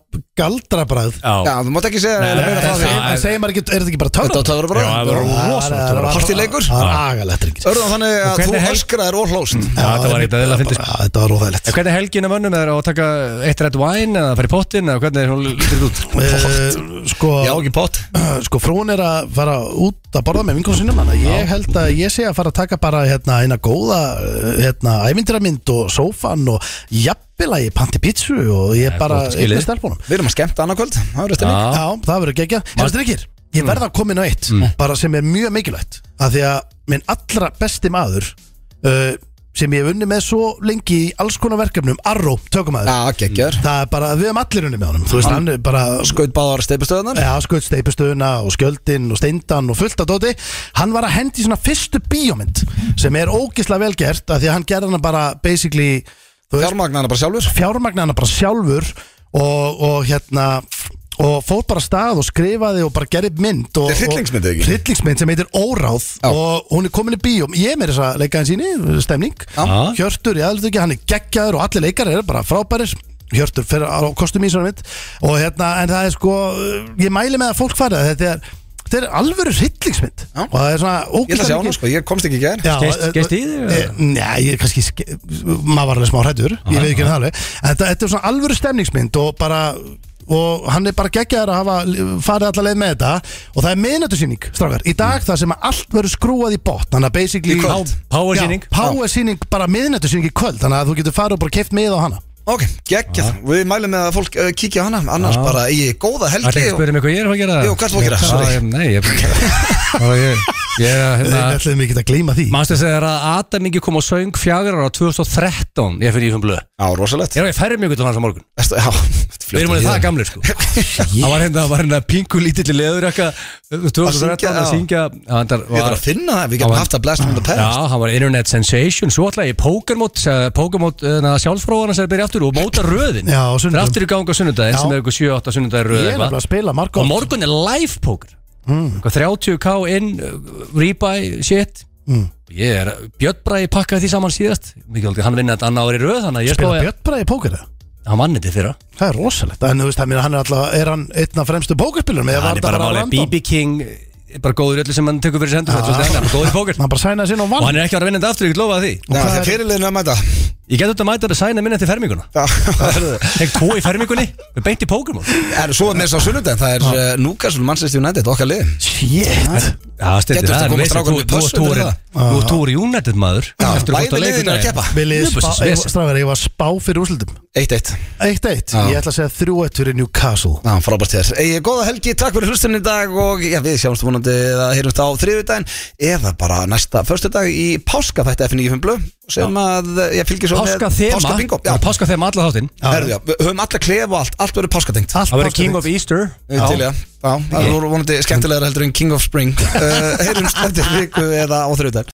Speaker 2: galdrabræð.
Speaker 1: Já,
Speaker 3: Já,
Speaker 1: þú mátt ekki segja
Speaker 3: Nei,
Speaker 1: meira
Speaker 3: nei,
Speaker 1: frá
Speaker 3: nei,
Speaker 1: því.
Speaker 3: nei.
Speaker 2: En segir maður ekki, er þetta ekki bara
Speaker 1: Þetta
Speaker 2: törn?
Speaker 1: á töfra bara
Speaker 3: Já, það var rosalegt töfra.
Speaker 1: Partíleikur?
Speaker 2: Það var agalegt ringir.
Speaker 1: Örðan þannig
Speaker 3: Og
Speaker 1: að
Speaker 3: hvernig Mm.
Speaker 1: þú
Speaker 3: hel-
Speaker 1: öskraðir og hlóst
Speaker 3: Já, þetta var eitthvað eðla að fyndist.
Speaker 2: Þetta var óþægilegt.
Speaker 3: En hvernig er helgin af mönnum er að taka eitt rætt væn eða fara í pottin eða hvernig er hún lítur út
Speaker 2: Eh, Sko,
Speaker 1: Já, ekki pott
Speaker 2: (clears throat) sko frún er að fara út að borða með vinkonum sínum þannig að ég held að ég sé að fara að taka bara hérna eina góða hérna ævindramynd og sófan og jafnvel að ég panti pítsu og ég
Speaker 3: Það er
Speaker 2: bara
Speaker 3: gott að skilja
Speaker 2: eignast
Speaker 3: þig.
Speaker 2: stelpunum
Speaker 1: Við erum að skemmta annarkvöld Það verður stemning
Speaker 3: Já.
Speaker 2: Já, það verður gegja Hefur strikkir, ég verða að koma inn á eitt bara sem er mjög mikilvægt af því að minn allra besti maður uh, sem ég hef unni með svo lengi í alls konar verkefnum Arró, tökumæður
Speaker 1: Já, geggjör
Speaker 3: Mm.
Speaker 2: Það er bara, við hefum allir unni með honum Þú veist, hann er bara
Speaker 1: Skaut báðar steipustöðunar
Speaker 2: Já, skutt steipustöðuna og skjöldin og steindan og fullt af dóti Hann var að hendi svona fyrstu bíómynd sem er ógislega vel gert af því að hann gerði hana bara basically þú veist,
Speaker 1: Fjármagnana bara sjálfur
Speaker 2: fjármagna hana bara sjálfur og, og hérna og fór bara af stað og skrifaði og bara gerði mynd og,
Speaker 1: Þetta er hryllingsmynd, eða ekki?
Speaker 2: og- hryllingsmynd sem heitir Óráð
Speaker 1: Já.
Speaker 2: og hún er komin í bíóm ég meir þess að leika hans íni, stemning
Speaker 3: Já.
Speaker 2: Hjörtur, ég aðlut ekki, hann er geggjaður og allir leikar eru bara frábærir Hjörtur fyrir á kostum í svona mitt og hérna, en það er sko ég mæli með að fólk fara þetta er, þetta er alvöru hryllingsmynd
Speaker 1: Já.
Speaker 2: og það er svona
Speaker 1: Ég ætla að sjá hana, sko Ég komst ekki í gær
Speaker 3: Skeist- skeist í þig, eða?
Speaker 2: eh, Nei, ég er kannski, ske- maður var alveg smá hrættur Ég veit ekki hann alveg En þetta, þetta er svona alvöru stemningsmynd og bara og hann er bara geggjaður að hafa farið allar leið með þetta og það er miðnættusýning strákar, í
Speaker 3: Mm.
Speaker 2: dag það sem að allt verður skrúað í botn þannig að basically
Speaker 1: Í kvöld.
Speaker 2: Já,
Speaker 3: Powersýning.
Speaker 2: powersýning, bara miðnættusýning í kvöld þannig að þú getur farið og bara keift mið á hana
Speaker 1: Ok, geggjör Við mælum með að fólk uh, kíkja á hana Annars bara í góða
Speaker 3: Það er
Speaker 1: helgi
Speaker 3: ekki að
Speaker 1: og-
Speaker 3: spyrja mig hvað ég er að gera
Speaker 1: Jú, hvað ert þú að gera? Sorry.
Speaker 3: Já, ég- Nei, ég
Speaker 1: (laughs)
Speaker 3: Já, ég- Ég er að
Speaker 2: Við
Speaker 3: hérna
Speaker 2: ætlum ekki að gleyma því
Speaker 3: Manstu þegar að Adam Ingi kom og söng fjagur ára 2013 ég fyrir í blöð
Speaker 1: Já, rosalegt
Speaker 3: Ég er á ég færði mjög gutt á hans á morgun
Speaker 1: Ertu- Já,
Speaker 3: Við erum alveg það gamlir
Speaker 1: (laughs)
Speaker 3: sko Það var hérna, það var hérna pingu lítill í leður
Speaker 1: Að
Speaker 3: 2013 að syngja Hann var-
Speaker 1: Ég þarf að finna það Við getum
Speaker 3: Já,
Speaker 1: haft að blast from the past
Speaker 3: Já, hann var internet sensation Svo ætlaði ég Pokermót Pokermót hérna, sjálfsfróðan sem er að byrja aftur og móta röðin
Speaker 2: Já, á sunnudaginn.
Speaker 3: Það er aftur í gang á sunnudaginn
Speaker 2: Já.
Speaker 3: sem er eitthvað 7-8 sunnudaginn
Speaker 2: Ég er
Speaker 3: röð
Speaker 2: nefnilega
Speaker 3: eitthvað.
Speaker 2: að spila margótt
Speaker 3: Og morgun er live poker mm. 30k inn, uh, rebuy, shit mm. Ég er, Björn Bræði pakkaði því saman síðast Mikið, Hann vinnaði þetta annað ári röð Þannig að ég
Speaker 2: Spila
Speaker 3: spáði
Speaker 2: Björn bara í póker eða?
Speaker 3: Hann vann þetta fyrir
Speaker 2: Það er rosalegt, en þú veist, hann er alltaf, er hann einn af fremstu pókerspilurum eða var
Speaker 3: Hann er
Speaker 2: þetta
Speaker 3: bara málið
Speaker 2: random?
Speaker 3: BB King er bara góður í öllu sem hann tekur fyrir sendur
Speaker 2: Já.
Speaker 3: Þetta er svolítið, hann er bara góður í poker
Speaker 2: hann bara sænaði sinna og
Speaker 3: (laughs) Og
Speaker 2: vann
Speaker 3: hann er ekki að vera vinnandi aftur, ég get lofað því
Speaker 1: Já,
Speaker 2: hvað
Speaker 1: það
Speaker 2: er-
Speaker 1: er fyrirlegin að mæta
Speaker 3: Ég get þetta að mæta að sæna minna til ferminguna
Speaker 1: (laughs) Já,
Speaker 3: Tek tvo í fermingunni Við beint í Pokémon Já,
Speaker 1: Er svo með þess á sunnudaginn, það er uh, Newcastle, Manchester United, okkar lið
Speaker 2: shit,
Speaker 1: Getur
Speaker 3: stendur
Speaker 1: þetta
Speaker 3: það
Speaker 1: komið strákum
Speaker 3: Þú
Speaker 1: í pössun fyrir það?
Speaker 3: þú ert úr United maður Eftir að
Speaker 1: bæði
Speaker 3: fórta
Speaker 1: liðin eru að keppa.
Speaker 2: Billy,
Speaker 3: Jöfus,
Speaker 2: spá,
Speaker 3: vesen.
Speaker 2: ég, strafgar, ég var spá fyrir úrslutum
Speaker 1: 1-1
Speaker 2: 1-1,
Speaker 1: Já.
Speaker 2: ég ætla að segja 3-1 fyrir Newcastle
Speaker 1: Já, frábært þér. Egið góða helgi, takk fyrir hlustunni í dag og já, við sjáumst vonandi að heyrumst á þriðudaginn eða bara næsta förstudag í páska þetta FNF Blö sem að ég fylgir svo
Speaker 3: Páska
Speaker 1: með
Speaker 3: þema
Speaker 1: páska bingo. Já,
Speaker 3: Já, Páska þema alla þáttinn
Speaker 1: herðu, já, við höfum alla klef og allt, allt verður páskatengt.
Speaker 2: Allt
Speaker 3: Það verður
Speaker 2: páskalegt.
Speaker 3: King of Easter
Speaker 1: Ég er Til, já. (laughs) já, það voru vonandi skemmtilegra heldur en King of Spring. Uh, heyrumst eftir Eh, viku eða á þriðudaginn.